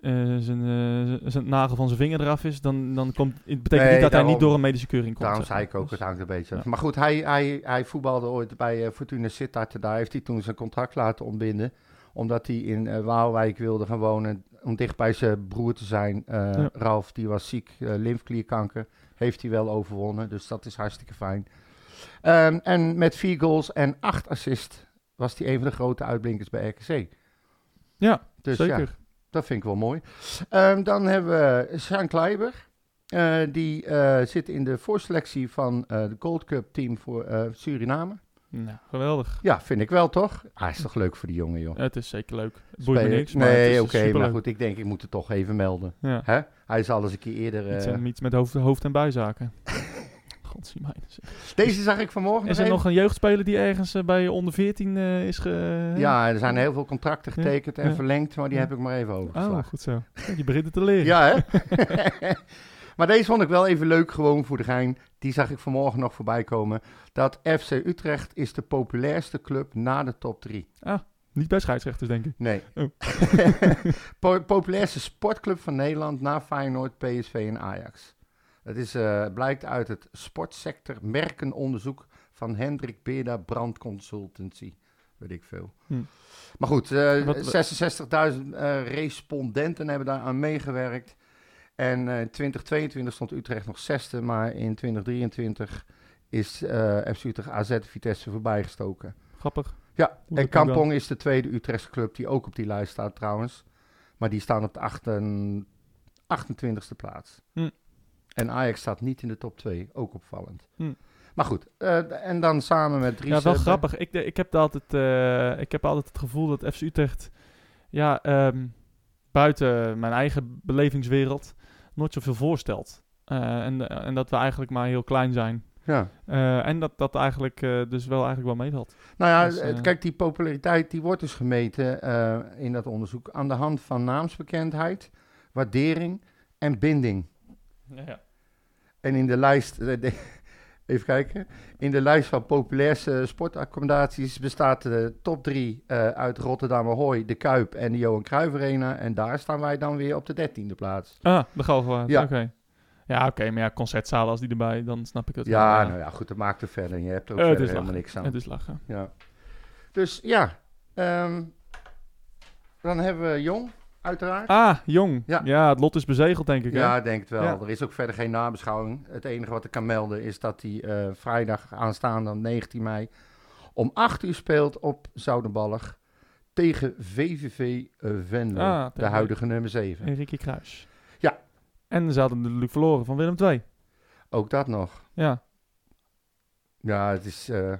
Speaker 1: eh, zijn, eh, zijn nagel van zijn vinger eraf is, dan, dan komt, het betekent
Speaker 2: Nee,
Speaker 1: niet dat hij
Speaker 2: daarom.
Speaker 1: niet door een medische keuring komt.
Speaker 2: Daarom
Speaker 1: zeg
Speaker 2: zei
Speaker 1: maar.
Speaker 2: ik ook,
Speaker 1: Dus-
Speaker 2: het hangt een beetje af.
Speaker 1: ja.
Speaker 2: Maar goed, hij, hij, hij voetbalde ooit bij eh, Fortuna Sittard. Daar heeft hij toen zijn contract laten ontbinden. Omdat hij in eh, Waalwijk wilde gaan wonen. Om dicht bij zijn broer te zijn. Eh,
Speaker 1: Ja.
Speaker 2: Ralf, die was ziek. eh, lymfklierkanker. Heeft hij wel overwonnen. Dus dat is hartstikke fijn. Ehm, en met vier goals en acht assists was hij een van de grote uitblinkers bij RKC.
Speaker 1: Ja,
Speaker 2: dus ja,
Speaker 1: Zeker.
Speaker 2: dat vind ik wel mooi. Ehm, dan hebben we Sean Kleiber. Eh, die eh, zit in de voorselectie van eh, de Gold Cup team voor eh, Suriname.
Speaker 1: Nou, geweldig.
Speaker 2: Ja, vind ik wel toch? Hij is toch leuk voor die jongen, joh.
Speaker 1: Het is zeker leuk. Het boeit me
Speaker 2: Spelen-
Speaker 1: niks, maar het is
Speaker 2: nee, oké,
Speaker 1: superleuk.
Speaker 2: maar goed, ik denk ik moet het toch even melden.
Speaker 1: Ja.
Speaker 2: Hè? Hij is al eens een keer eerder...
Speaker 1: Iets,
Speaker 2: eh,
Speaker 1: en- iets met hoofd, hoofd- en buizaken. Godzie mijn.
Speaker 2: Deze zag ik vanmorgen
Speaker 1: Is
Speaker 2: nog
Speaker 1: er
Speaker 2: even.
Speaker 1: nog een jeugdspeler die ergens eh, bij onder 14 eh, is ge...
Speaker 2: Ja, er zijn heel veel contracten
Speaker 1: Ja,
Speaker 2: getekend en
Speaker 1: ja.
Speaker 2: verlengd, maar die
Speaker 1: Ja.
Speaker 2: heb ik maar even overgeslagen.
Speaker 1: Oh, goed zo. Kijk, Je begint het te leren.
Speaker 2: Ja, hè? maar deze vond ik wel even leuk, gewoon voor de gein. Die zag ik vanmorgen nog voorbij komen. Dat FC Utrecht is de populairste club na de top 3.
Speaker 1: Niet bij scheidsrechters, denk ik.
Speaker 2: Nee.
Speaker 1: Oh.
Speaker 2: Po- populairste sportclub van Nederland na Feyenoord, PSV en Ajax. Dat is, eh, blijkt uit het sportsector merkenonderzoek van Hendrik Beerda Brand Consultancy. Weet ik veel.
Speaker 1: Hm.
Speaker 2: Maar goed, eh,
Speaker 1: Wat-
Speaker 2: 66.000 eh, respondenten hebben daar aan meegewerkt. En eh, in 2022 stond Utrecht nog zesde, maar in 2023 is eh, FC Utrecht AZ Vitesse voorbijgestoken.
Speaker 1: Grappig.
Speaker 2: Ja,
Speaker 1: Hoe
Speaker 2: en
Speaker 1: dat kan
Speaker 2: Kampong is de tweede Utrechtse club die ook op die lijst staat trouwens. Maar die staan op de 28 28e plaats.
Speaker 1: Hm.
Speaker 2: En Ajax staat niet in de top 2, ook opvallend.
Speaker 1: Hm.
Speaker 2: Maar goed, eh, en dan samen met drie.
Speaker 1: Ja, wel grappig. Ik, de- ik, heb daar altijd, eh, ik heb altijd het gevoel dat FC Utrecht... Ja, ehm, buiten mijn eigen belevingswereld... nooit zoveel voorstelt. Eh, en, en dat we eigenlijk maar heel klein zijn.
Speaker 2: Ja.
Speaker 1: Eh, en dat dat eigenlijk eh, dus wel eigenlijk wel meevalt.
Speaker 2: Nou ja,
Speaker 1: Dus, eh,
Speaker 2: eh, kijk, die populariteit die wordt dus gemeten eh, in dat onderzoek aan de hand van naamsbekendheid, waardering en binding.
Speaker 1: Ja.
Speaker 2: En in de lijst, eh, de- even kijken, in de lijst van populairste sportaccommodaties bestaat de top drie eh, uit Rotterdam Ahoy, de Kuip en de Johan Cruijff Arena. En daar staan wij dan weer op de dertiende plaats.
Speaker 1: Ah, de Galgenwaard.
Speaker 2: Ja.
Speaker 1: Oké. Ja, oké, maar ja, concertzalen als die erbij, dan snap ik het.
Speaker 2: ja,
Speaker 1: wel,
Speaker 2: nou ja, goed, dat maakt er verder. Je hebt er ook
Speaker 1: Eh, het
Speaker 2: verder
Speaker 1: is
Speaker 2: helemaal
Speaker 1: lachen.
Speaker 2: niks aan.
Speaker 1: Het is lachen.
Speaker 2: Ja. Dus ja, ehm, dan hebben we Jong, uiteraard.
Speaker 1: Ah, jong.
Speaker 2: Ja.
Speaker 1: Ja. het lot is bezegeld, denk ik. hè?
Speaker 2: Ja, ik denk het wel.
Speaker 1: Ja.
Speaker 2: Er is ook verder geen nabeschouwing. Het enige wat ik kan melden is dat hij eh, vrijdag aanstaande 19 mei om 8 uur speelt op Zoudenballig tegen VVV eh, Venlo,
Speaker 1: Ah,
Speaker 2: de
Speaker 1: tegen-
Speaker 2: huidige nummer 7.
Speaker 1: Enrique Kruis.
Speaker 2: Ja.
Speaker 1: En ze hadden natuurlijk verloren van Willem II.
Speaker 2: Ook dat nog.
Speaker 1: Ja.
Speaker 2: Ja, het is eh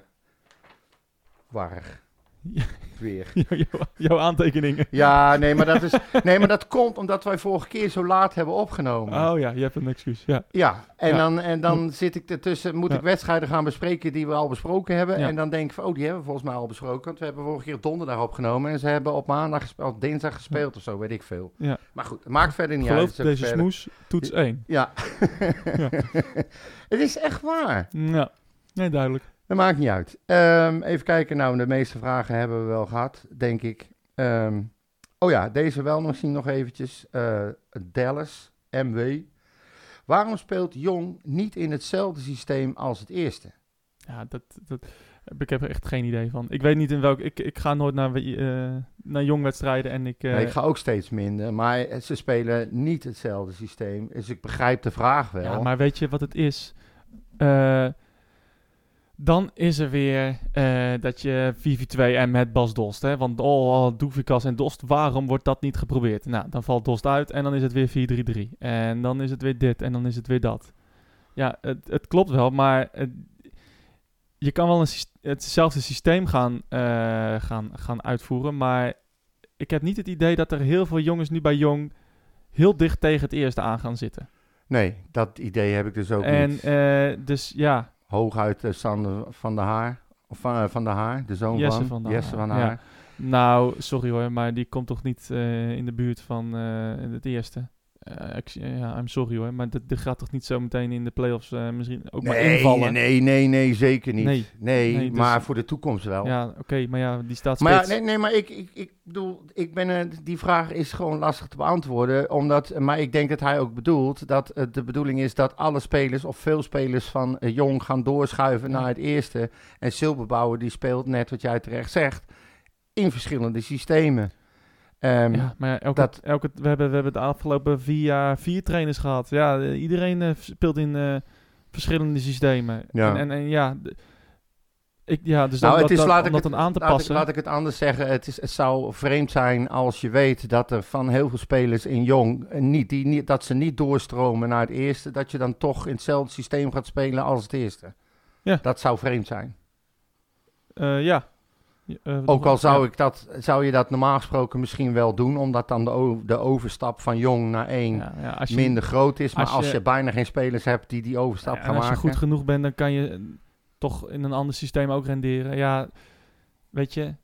Speaker 2: warrig.
Speaker 1: Ja.
Speaker 2: Weer.
Speaker 1: Jouw- Jouw aantekeningen.
Speaker 2: Ja, nee maar, dat is, nee, maar dat komt omdat wij vorige keer zo laat hebben opgenomen.
Speaker 1: Oh ja, je hebt een excuus. Ja.
Speaker 2: Ja, en,
Speaker 1: Ja.
Speaker 2: Dan, en dan zit ik ertussen, moet
Speaker 1: Ja.
Speaker 2: ik wedstrijden gaan bespreken die we al besproken hebben.
Speaker 1: Ja.
Speaker 2: En dan denk ik van, oh, die hebben we volgens mij al besproken. Want we hebben vorige keer op donderdag opgenomen. En ze hebben op maandag gespeeld, op dinsdag gespeeld of zo, weet ik veel.
Speaker 1: Ja.
Speaker 2: Maar goed, het maakt verder niet
Speaker 1: Geloof
Speaker 2: uit. Het is
Speaker 1: deze
Speaker 2: ook verder-
Speaker 1: smoes, toets 1.
Speaker 2: Ja.
Speaker 1: Ja.
Speaker 2: het is echt waar.
Speaker 1: Ja. Nee, duidelijk.
Speaker 2: Dat maakt niet uit. Ehm, even kijken, nou, de meeste vragen hebben we wel gehad, denk ik. Ehm, oh ja, deze wel nog zien nog eventjes. Eh, Dallas, MW. Waarom speelt Jong niet in hetzelfde systeem als het eerste?
Speaker 1: Ja, dat, dat, ik heb er echt geen idee van. Ik weet niet in welk... Ik, ik ga nooit naar, we- eh naar jongwedstrijden en ik... eh,
Speaker 2: Nee, ik ga ook steeds minder, maar ze spelen niet hetzelfde systeem. Dus ik begrijp de vraag wel.
Speaker 1: Ja, maar weet je wat het is? Eh, dan is er weer eh, dat je 4-4-2 en met Bas Dost. Hè? Want oh, oh Doefikas en Dost, waarom wordt dat niet geprobeerd? Nou, dan valt Dost uit en dan is het weer 4-3-3. En dan is het weer dit en dan is het weer dat. Ja, het, het klopt wel, maar het- je kan wel een sys- hetzelfde systeem gaan, eh, gaan, gaan uitvoeren. Maar ik heb niet het idee dat er heel veel jongens nu bij Jong heel dicht tegen het eerste aan gaan zitten.
Speaker 2: Nee, dat idee heb ik dus ook
Speaker 1: En
Speaker 2: niet.
Speaker 1: eh, dus ja,
Speaker 2: Hooguit eh, Sander van der Haar, of van, eh, van der Haar, de zoon
Speaker 1: Jesse
Speaker 2: van,
Speaker 1: van der
Speaker 2: Jesse
Speaker 1: Haar,
Speaker 2: van Haar.
Speaker 1: nou, sorry hoor, maar die komt toch niet eh, in de buurt van eh, het eerste. Eh, ik- ja, I'm sorry hoor, maar dat, dat gaat toch niet zo meteen in de playoffs eh, misschien ook maar
Speaker 2: Nee,
Speaker 1: invallen?
Speaker 2: nee, nee, nee, nee, zeker niet. Nee,
Speaker 1: Nee. Nee, dus-
Speaker 2: maar voor de toekomst wel.
Speaker 1: Ja, oké, maar ja, die staat
Speaker 2: Maar ja,
Speaker 1: spits.
Speaker 2: nee, nee, maar ik, ik, ik bedoel, ik ben, eh, die vraag is gewoon lastig te beantwoorden. Omdat, eh, maar ik denk dat hij ook bedoelt dat het de bedoeling is dat alle spelers of veel spelers van eh, Jong gaan doorschuiven
Speaker 1: Ja.
Speaker 2: naar het eerste. En Silberbouwer die speelt net wat jij terecht zegt, in verschillende systemen. Ehm,
Speaker 1: Ja, maar ja, elke,
Speaker 2: Dat-
Speaker 1: elke, we, hebben, we hebben de afgelopen vier jaar vier trainers gehad. Ja, eh, iedereen eh, speelt in eh, verschillende systemen.
Speaker 2: Ja.
Speaker 1: En, en, en ja, d- ik, ja, dus
Speaker 2: Nou,
Speaker 1: om
Speaker 2: het
Speaker 1: dat,
Speaker 2: is,
Speaker 1: dan,
Speaker 2: laat
Speaker 1: om
Speaker 2: ik
Speaker 1: dat
Speaker 2: het-
Speaker 1: dan aan te
Speaker 2: laat ik-
Speaker 1: passen.
Speaker 2: laat ik het anders zeggen. Het, is, het zou vreemd zijn als je weet dat er van heel veel spelers in jong eh, niet, die, niet, dat ze niet doorstromen naar het eerste, dat je dan toch in hetzelfde systeem gaat spelen als het eerste.
Speaker 1: Ja.
Speaker 2: Dat zou vreemd zijn.
Speaker 1: Eh, ja. Ja, eh,
Speaker 2: Ook al
Speaker 1: ja.
Speaker 2: zou, ik dat, zou je dat normaal gesproken misschien wel doen, omdat dan de, o- de overstap van jong naar één
Speaker 1: Ja, ja, als je-
Speaker 2: minder groot is. Maar als
Speaker 1: als
Speaker 2: je,
Speaker 1: je-
Speaker 2: bijna geen spelers hebt die die overstap
Speaker 1: Ja, en
Speaker 2: gaan
Speaker 1: als je
Speaker 2: maken.
Speaker 1: goed genoeg bent, dan kan je eh, toch in een ander systeem ook renderen. Ja, weet je.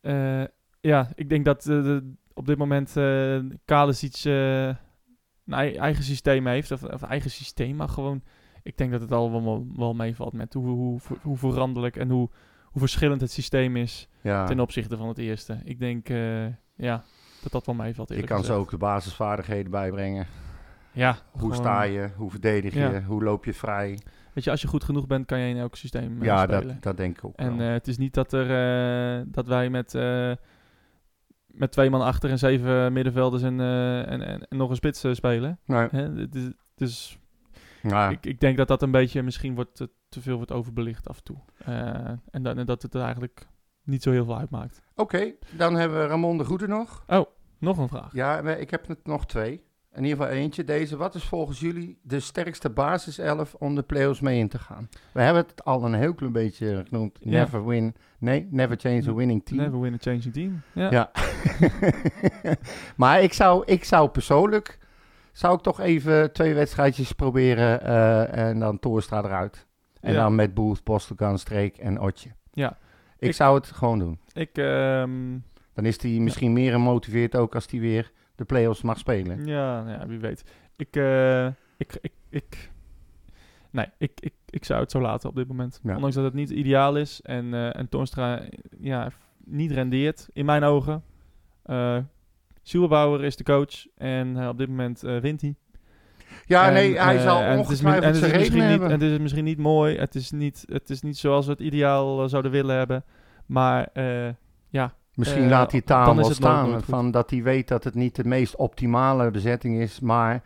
Speaker 1: eh, ja, ik denk dat eh, de- op dit moment eh Kalesic eh, een ei- eigen systeem heeft. Of, of eigen systeem, maar gewoon... Ik denk dat het allemaal wel, wel meevalt met hoe, hoe, hoe, hoe veranderlijk en hoe, hoe verschillend het systeem is
Speaker 2: ja.
Speaker 1: ten opzichte van het eerste. Ik denk, eh, ja, dat dat wel meevalt.
Speaker 2: Je
Speaker 1: eerlijk
Speaker 2: kan ze
Speaker 1: gezegd.
Speaker 2: ook de basisvaardigheden bijbrengen.
Speaker 1: Ja,
Speaker 2: Hoe
Speaker 1: gewoon-
Speaker 2: sta je? Hoe verdedig je?
Speaker 1: Ja.
Speaker 2: Hoe loop je vrij?
Speaker 1: Weet je, als je goed genoeg bent, kan je in elk systeem eh,
Speaker 2: Ja,
Speaker 1: spelen.
Speaker 2: dat, dat denk ik ook
Speaker 1: En
Speaker 2: wel.
Speaker 1: eh, het is niet dat, er, eh, dat wij met, eh, met twee man achter en zeven middenvelders en, eh, en, en, en nog een spits eh, spelen.
Speaker 2: Nee,
Speaker 1: Hè? Het is, het is-
Speaker 2: nou,
Speaker 1: ik, ik denk dat dat een beetje misschien wordt, te, te veel wordt overbelicht af en toe. Eh, en, dat, en dat het er eigenlijk niet zo heel veel uitmaakt. Oh,
Speaker 2: Oké, dan hebben we Ramon de Goede nog.
Speaker 1: Nog een vraag.
Speaker 2: Ja, we- ik heb er nog twee. In ieder geval eentje. Deze, wat is volgens jullie de sterkste basiself om de play-offs mee in te gaan? We hebben het al een heel klein beetje genoemd.
Speaker 1: Ja.
Speaker 2: Never win. Nee, never change a winning team.
Speaker 1: Never win a changing team. Ja.
Speaker 2: Ja. maar ik zou, ik zou persoonlijk, zou ik toch even twee wedstrijdjes proberen eh, en dan Toornstra eruit. En
Speaker 1: Ja.
Speaker 2: dan met Boert, Postelkan, Streek en Otje.
Speaker 1: Ja.
Speaker 2: Ik,
Speaker 1: Ik-
Speaker 2: zou het gewoon doen.
Speaker 1: Ik, ehm,
Speaker 2: Dan is hij misschien meer gemotiveerd ook als hij weer de play-offs mag spelen.
Speaker 1: Ja, nou ja, wie weet. Ik, eh, ik, ik, ik, nee, ik, ik, ik zou het zo laten op dit moment.
Speaker 2: Ja.
Speaker 1: Ondanks dat het niet ideaal is en, eh, en Torstra ja, niet rendeert, in mijn ogen. Eh Sielbauer is de coach en eh, op dit moment eh, wint hij.
Speaker 2: Ja,
Speaker 1: En,
Speaker 2: nee, hij
Speaker 1: eh,
Speaker 2: zal
Speaker 1: en het is mi- en
Speaker 2: ongetwijfeld
Speaker 1: het is
Speaker 2: zijn
Speaker 1: misschien
Speaker 2: redenen
Speaker 1: niet-
Speaker 2: hebben.
Speaker 1: en Het is misschien niet mooi. Het is niet, het is niet zoals we het ideaal eh, zouden willen hebben. Maar eh,
Speaker 2: Misschien
Speaker 1: eh,
Speaker 2: laat hij het daar
Speaker 1: dan
Speaker 2: wel
Speaker 1: is het nooit-
Speaker 2: staan.
Speaker 1: nooit goed.
Speaker 2: Van dat hij weet dat het niet de meest optimale bezetting is. Maar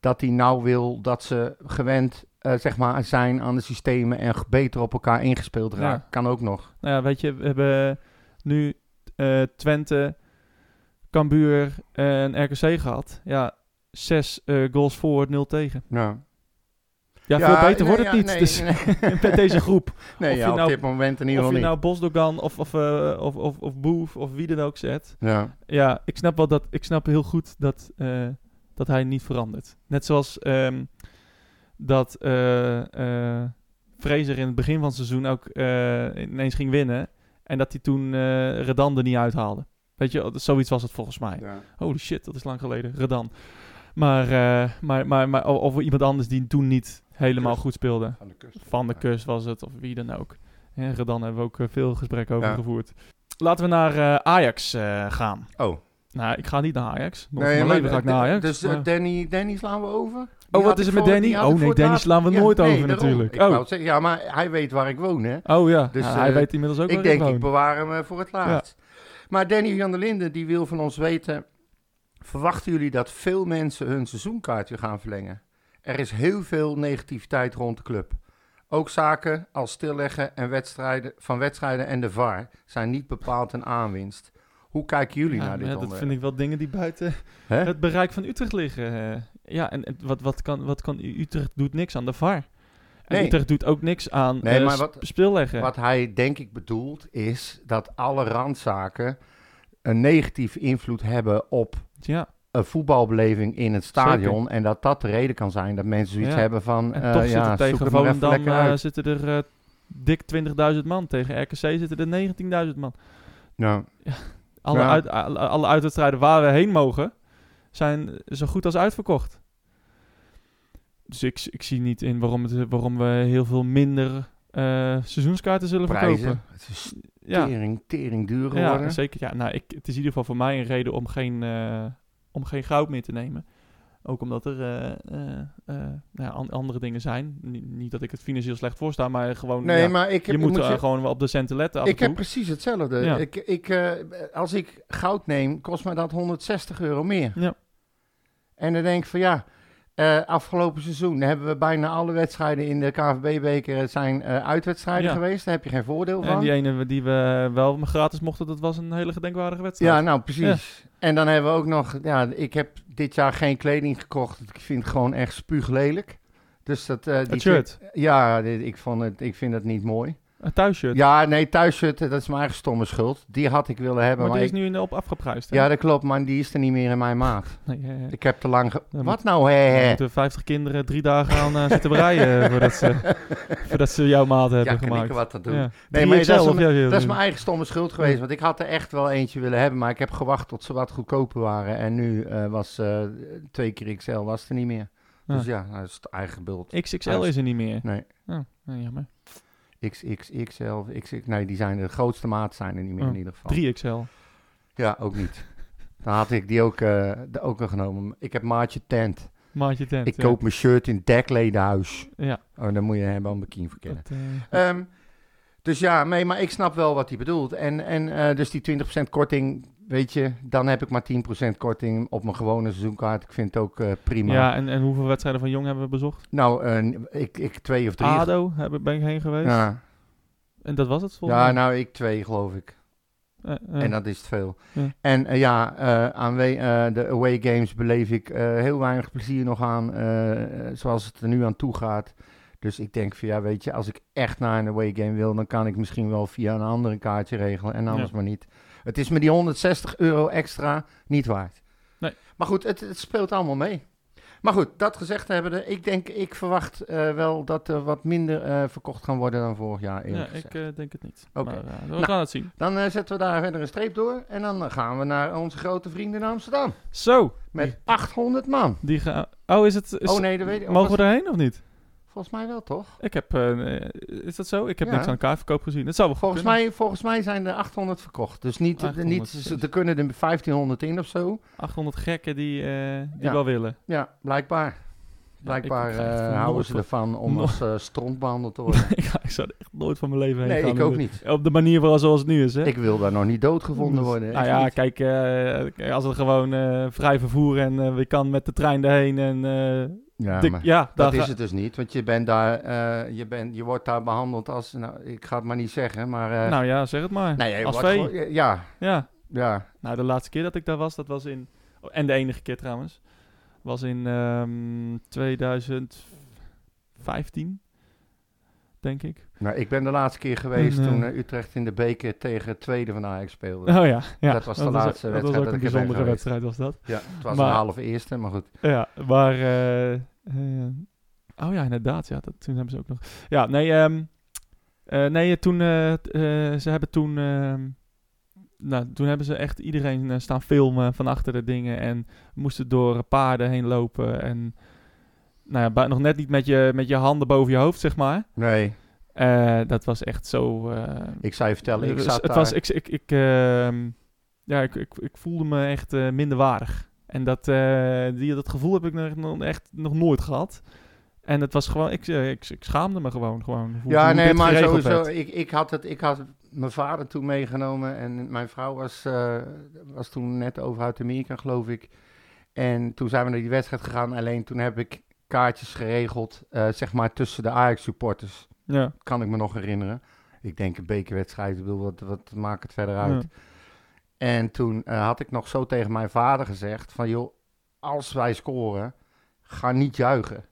Speaker 2: dat hij nou wil dat ze gewend eh, zeg maar zijn aan de systemen. En g- beter op elkaar ingespeeld
Speaker 1: Ja.
Speaker 2: raken. Kan ook nog.
Speaker 1: nou ja, weet je, we hebben nu eh, Twente, Cambuur en RKC gehad. Ja, zes eh, goals voor, nul tegen.
Speaker 2: Ja,
Speaker 1: Ja, veel beter wordt het niet.
Speaker 2: Nee,
Speaker 1: dus
Speaker 2: nee,
Speaker 1: met deze groep.
Speaker 2: nee,
Speaker 1: of
Speaker 2: ja,
Speaker 1: je
Speaker 2: op
Speaker 1: nou-
Speaker 2: dit moment in ieder
Speaker 1: Of je
Speaker 2: geval niet.
Speaker 1: nou Bosdogan of, of, eh, of, of, of Boef of wie dan ook zet.
Speaker 2: ja.
Speaker 1: Ja, ik snap, wel dat, ik snap heel goed dat, eh, dat hij niet verandert. Net zoals ehm, dat eh eh, Fraser in het begin van het seizoen ook eh, ineens ging winnen. En dat hij toen eh, Redan er niet uithaalde. Weet je, zoiets was het volgens mij.
Speaker 2: Ja.
Speaker 1: Holy shit, dat is lang geleden. Redan. Maar, eh, maar, maar, maar of of iemand anders die toen niet helemaal
Speaker 2: Kust.
Speaker 1: goed speelde.
Speaker 2: Van de kust.
Speaker 1: Van de Kus was het, of wie dan ook. Hè, Redan hebben we ook eh, veel gesprekken over
Speaker 2: Ja.
Speaker 1: gevoerd. Laten we naar eh, Ajax eh, gaan.
Speaker 2: Oh.
Speaker 1: Nou, ik ga niet naar Ajax. Nog
Speaker 2: Nee,
Speaker 1: nee,
Speaker 2: maar
Speaker 1: leven ga ik naar Ajax.
Speaker 2: Dus eh,
Speaker 1: maar-
Speaker 2: Danny, Danny slaan we over? Die
Speaker 1: oh, wat
Speaker 2: had
Speaker 1: is
Speaker 2: ik
Speaker 1: er met
Speaker 2: voor-
Speaker 1: Danny?
Speaker 2: die had ik
Speaker 1: Oh
Speaker 2: voor
Speaker 1: nee,
Speaker 2: het
Speaker 1: Danny
Speaker 2: laatst-
Speaker 1: slaan we
Speaker 2: Ja,
Speaker 1: nooit
Speaker 2: nee,
Speaker 1: over
Speaker 2: daarom.
Speaker 1: natuurlijk.
Speaker 2: Ik wou
Speaker 1: Oh.
Speaker 2: het zeggen, ja, maar hij weet waar ik woon, hè?
Speaker 1: oh ja,
Speaker 2: Dus,
Speaker 1: dus, hij
Speaker 2: eh,
Speaker 1: weet inmiddels ook
Speaker 2: Ik
Speaker 1: waar ik
Speaker 2: denk,
Speaker 1: woon.
Speaker 2: ik bewaar hem eh, voor het laatst. Maar Danny van der Linden, die wil van ons weten... verwachten jullie dat veel mensen hun seizoenkaartje gaan verlengen? Er is heel veel negativiteit rond de club. Ook zaken als stilleggen en wedstrijden, van wedstrijden en de VAR... zijn niet bepaald een aanwinst. Hoe kijken jullie
Speaker 1: Ja,
Speaker 2: naar dit
Speaker 1: maar ja, dat vind ik wel dingen die buiten
Speaker 2: Hè?
Speaker 1: het bereik van Utrecht liggen. eh. Ja, en, en wat, wat, kan, wat kan... Utrecht doet niks aan de VAR. En
Speaker 2: Nee.
Speaker 1: Utrecht doet ook niks aan
Speaker 2: Nee,
Speaker 1: eh,
Speaker 2: maar
Speaker 1: sp-
Speaker 2: wat-
Speaker 1: speelleggen.
Speaker 2: Wat hij denk ik bedoelt is dat alle randzaken... een negatieve invloed hebben op
Speaker 1: Ja,
Speaker 2: een voetbalbeleving in het stadion. En dat dat de reden kan zijn dat mensen zoiets
Speaker 1: Ja.
Speaker 2: hebben van...
Speaker 1: en
Speaker 2: eh,
Speaker 1: toch
Speaker 2: ja,
Speaker 1: zitten
Speaker 2: zoek
Speaker 1: tegen
Speaker 2: het maar even
Speaker 1: Volendam
Speaker 2: lekker
Speaker 1: eh,
Speaker 2: uit.
Speaker 1: zitten er eh, dik 20.000 man. Tegen RKC zitten er 19.000 man. eh,
Speaker 2: Ja.
Speaker 1: Alle,
Speaker 2: Ja.
Speaker 1: uit, alle, alle uitwedstrijden waar we heen mogen, zijn zo goed als uitverkocht. Dus ik, ik zie niet in waarom, het, waarom we heel veel minder eh, seizoenskaarten zullen
Speaker 2: Prijzen.
Speaker 1: verkopen.
Speaker 2: Het is
Speaker 1: Ja,
Speaker 2: tering, tering duur geworden.
Speaker 1: ja zeker. Ja, nou, ik, het is in ieder geval voor mij een reden om geen, eh, om geen goud meer te nemen. Ook omdat er eh, eh, eh, nou ja, an- andere dingen zijn. Niet, niet dat ik het financieel slecht voorsta, maar gewoon...
Speaker 2: nee,
Speaker 1: ja,
Speaker 2: maar ik heb,
Speaker 1: je moet,
Speaker 2: moet
Speaker 1: eh,
Speaker 2: je-
Speaker 1: gewoon wel op de centen letten af
Speaker 2: ik
Speaker 1: en
Speaker 2: heb
Speaker 1: toe.
Speaker 2: precies hetzelfde.
Speaker 1: Ja.
Speaker 2: Ik, ik, eh, als ik goud neem, kost me dat 160 euro meer.
Speaker 1: Ja.
Speaker 2: En dan denk ik van ja, eh, afgelopen seizoen hebben we bijna alle wedstrijden in de KVB-beker zijn eh, uitwedstrijden
Speaker 1: Ja.
Speaker 2: geweest. Daar heb je geen voordeel van.
Speaker 1: En die ene die we wel gratis mochten, dat was een hele gedenkwaardige wedstrijd.
Speaker 2: Ja, nou precies. En dan hebben we ook nog, ja, ik heb dit jaar geen kleding gekocht. Ik vind het gewoon echt spuuglelijk. Dus dat. eh, die
Speaker 1: Het shirt.
Speaker 2: Ja, dit- ik, vond het, ik vind het niet mooi.
Speaker 1: Een thuisshirt.
Speaker 2: Ja, nee, thuisshirt, eh, dat is mijn eigen stomme schuld. Die had ik willen hebben.
Speaker 1: maar
Speaker 2: Maar
Speaker 1: die is
Speaker 2: ik-
Speaker 1: nu in de op afgeprijsd. hè?
Speaker 2: ja, dat klopt, maar die is er niet meer in mijn maat.
Speaker 1: Nee, hè, hè.
Speaker 2: Ik heb te lang. ge-
Speaker 1: Dan
Speaker 2: Wat nou, hè?
Speaker 1: Dan
Speaker 2: hè?
Speaker 1: moeten 50 kinderen drie dagen aan eh, zitten breien voordat, ze, voordat ze jouw maat hebben
Speaker 2: Ja, kan ik
Speaker 1: gemaakt.
Speaker 2: er wat aan doen?
Speaker 1: Ja.
Speaker 2: Nee, maar
Speaker 1: 3XL
Speaker 2: dat is,
Speaker 1: of
Speaker 2: mijn,
Speaker 1: jij wil
Speaker 2: dat is
Speaker 1: doen.
Speaker 2: mijn eigen stomme schuld geweest. Want ik had er echt wel eentje willen hebben. Maar ik heb gewacht tot ze wat goedkoper waren. En nu eh, was eh, twee keer XL was er niet meer.
Speaker 1: Ja.
Speaker 2: Dus ja, nou, dat is het eigen beeld.
Speaker 1: XXL is er niet meer.
Speaker 2: Nee.
Speaker 1: Oh, nou, jammer.
Speaker 2: XXXL, XX, nee, die zijn de grootste maat zijn er niet meer
Speaker 1: Oh,
Speaker 2: in ieder geval.
Speaker 1: 3XL.
Speaker 2: Ja, ook niet. Dan had ik die ook, eh, de- ook al genomen. Ik heb maatje tent.
Speaker 1: Maatje tent.
Speaker 2: Ik
Speaker 1: ja.
Speaker 2: koop mijn shirt in dekledenhuis.
Speaker 1: eh, Ja.
Speaker 2: Oh, dan moet je hem wel een bikini voor kennen.
Speaker 1: Dat, eh,
Speaker 2: Ehm, dus ja, nee, maar ik snap wel wat hij bedoelt. En, en eh, dus die 20% korting, weet je, dan heb ik maar 10% korting op mijn gewone seizoenkaart. Ik vind het ook eh, prima.
Speaker 1: ja, en, en hoeveel wedstrijden van Jong hebben we bezocht?
Speaker 2: Nou, eh, ik, ik twee of drie.
Speaker 1: ADO heb ik- ben ik heen geweest.
Speaker 2: ja.
Speaker 1: En dat was het volgens
Speaker 2: ja,
Speaker 1: mij.
Speaker 2: nou, ik twee, geloof ik.
Speaker 1: Eh, eh,
Speaker 2: En dat is te veel.
Speaker 1: Ja.
Speaker 2: En eh, ja, eh, aan we- eh, de away games beleef ik eh, heel weinig plezier nog aan, eh, zoals het er nu aan toe gaat. Dus ik denk van ja, weet je, als ik echt naar een away game wil, dan kan ik misschien wel via een andere kaartje regelen en anders
Speaker 1: Ja.
Speaker 2: maar niet. Het is me die 160 euro extra niet waard.
Speaker 1: Nee.
Speaker 2: Maar goed, het, het speelt allemaal mee. Maar goed, dat gezegd hebbende, ik denk, ik verwacht eh, wel dat er wat minder eh, verkocht gaan worden dan vorig jaar. eerlijk
Speaker 1: ja, ik
Speaker 2: gezegd.
Speaker 1: eh, denk het niet.
Speaker 2: Oké.
Speaker 1: Maar, eh, we
Speaker 2: Nou.
Speaker 1: gaan het zien.
Speaker 2: Dan eh, zetten we daar verder een streep door. En dan eh, gaan we naar onze grote vrienden in Amsterdam.
Speaker 1: Zo.
Speaker 2: Met 800 man.
Speaker 1: Die gaan... Oh, is het... is-
Speaker 2: Oh nee, dat weet ik.
Speaker 1: Mogen we
Speaker 2: volgens,
Speaker 1: daarheen of niet?
Speaker 2: volgens mij wel, toch?
Speaker 1: Ik heb... eh, eh, is dat zo? Ik heb
Speaker 2: Ja.
Speaker 1: niks aan kaartverkoop gezien. Het zou wel goed
Speaker 2: Volgens
Speaker 1: kunnen.
Speaker 2: mij, volgens mij zijn er 800 verkocht. Dus niet,
Speaker 1: 800,
Speaker 2: niet,
Speaker 1: precies.
Speaker 2: ze- er kunnen er 1500 in of zo.
Speaker 1: 800 gekken die, eh, die
Speaker 2: Ja.
Speaker 1: wel willen.
Speaker 2: Ja, blijkbaar. Blijkbaar
Speaker 1: ik ga echt
Speaker 2: eh,
Speaker 1: nooit
Speaker 2: houden ze
Speaker 1: van-
Speaker 2: ervan om
Speaker 1: nooit-
Speaker 2: als eh stront behandeld te worden.
Speaker 1: ik, ga- ik zou er echt nooit van mijn leven heen
Speaker 2: Nee,
Speaker 1: gaan.
Speaker 2: ik ook niet.
Speaker 1: Op de manier waarop- zoals het nu is, hè?
Speaker 2: Ik wil daar nog niet doodgevonden worden.
Speaker 1: Nou
Speaker 2: Echt
Speaker 1: ja,
Speaker 2: niet.
Speaker 1: kijk, eh, als het gewoon eh, vrij vervoer en eh we kan met de trein daarheen en... eh,
Speaker 2: ja,
Speaker 1: dik-
Speaker 2: maar
Speaker 1: ja, daar
Speaker 2: dat is
Speaker 1: ga-
Speaker 2: het dus niet. Want je, bent daar, eh, je, bent, je wordt daar behandeld als... Nou, ik ga het maar niet zeggen, maar... eh,
Speaker 1: Nou ja, zeg het maar.
Speaker 2: nee, je
Speaker 1: als
Speaker 2: wordt
Speaker 1: vee.
Speaker 2: gewoon- ja,
Speaker 1: Ja.
Speaker 2: ja.
Speaker 1: Nou, de laatste keer dat ik daar was, dat was in... oh, En de enige keer trouwens. Was in ehm 2015, denk ik.
Speaker 2: Nou, ik ben de laatste keer geweest
Speaker 1: En, eh,
Speaker 2: toen eh, Utrecht in de beker tegen het tweede van Ajax speelde.
Speaker 1: Oh ja, ja.
Speaker 2: Dat was de
Speaker 1: ook-
Speaker 2: laatste
Speaker 1: Dat
Speaker 2: wedstrijd
Speaker 1: was ook
Speaker 2: dat
Speaker 1: een
Speaker 2: ik er ben
Speaker 1: bijzondere
Speaker 2: geweest.
Speaker 1: wedstrijd, was dat.
Speaker 2: Ja, het was
Speaker 1: Maar-
Speaker 2: een half eerste, maar goed.
Speaker 1: Ja, maar... eh, eh, oh ja, inderdaad. Ja, dat, toen hebben ze ook nog... Ja, nee, ehm, eh, nee toen, eh, t- eh, ze hebben toen... ehm, nou, toen hebben ze echt iedereen eh, staan filmen van achter de dingen en moesten door eh, paarden heen lopen en... Nou ja, bu- nog net niet met je, met je handen boven je hoofd, zeg maar.
Speaker 2: Nee,
Speaker 1: Eh, dat was echt zo... eh,
Speaker 2: ik zou je vertellen, ik
Speaker 1: het
Speaker 2: zat
Speaker 1: het
Speaker 2: daar...
Speaker 1: was, ik, ik, ik, ehm, ja, ik, ik, ik voelde me echt eh minderwaardig. En dat, eh, die, dat gevoel heb ik nog- nog, echt nog nooit gehad. En het was gewoon, ik, eh, ik, ik schaamde me gewoon. gewoon hoe-
Speaker 2: Ja,
Speaker 1: hoe
Speaker 2: nee,
Speaker 1: dit
Speaker 2: maar
Speaker 1: geregeld
Speaker 2: sowieso.
Speaker 1: werd.
Speaker 2: Ik, ik, had het, ik had mijn vader toen meegenomen en mijn vrouw was, eh, was toen net over uit Amerika, geloof ik. En toen zijn we naar die wedstrijd gegaan. Alleen toen heb ik kaartjes geregeld, eh, zeg maar tussen de Ajax-supporters.
Speaker 1: Ja,
Speaker 2: Kan ik me nog herinneren. Ik denk een bekerwedstrijd, ik bedoel, wat, wat maakt het verder uit?
Speaker 1: ja.
Speaker 2: En toen eh, had ik nog zo tegen mijn vader gezegd van... joh, als wij scoren, ga niet juichen.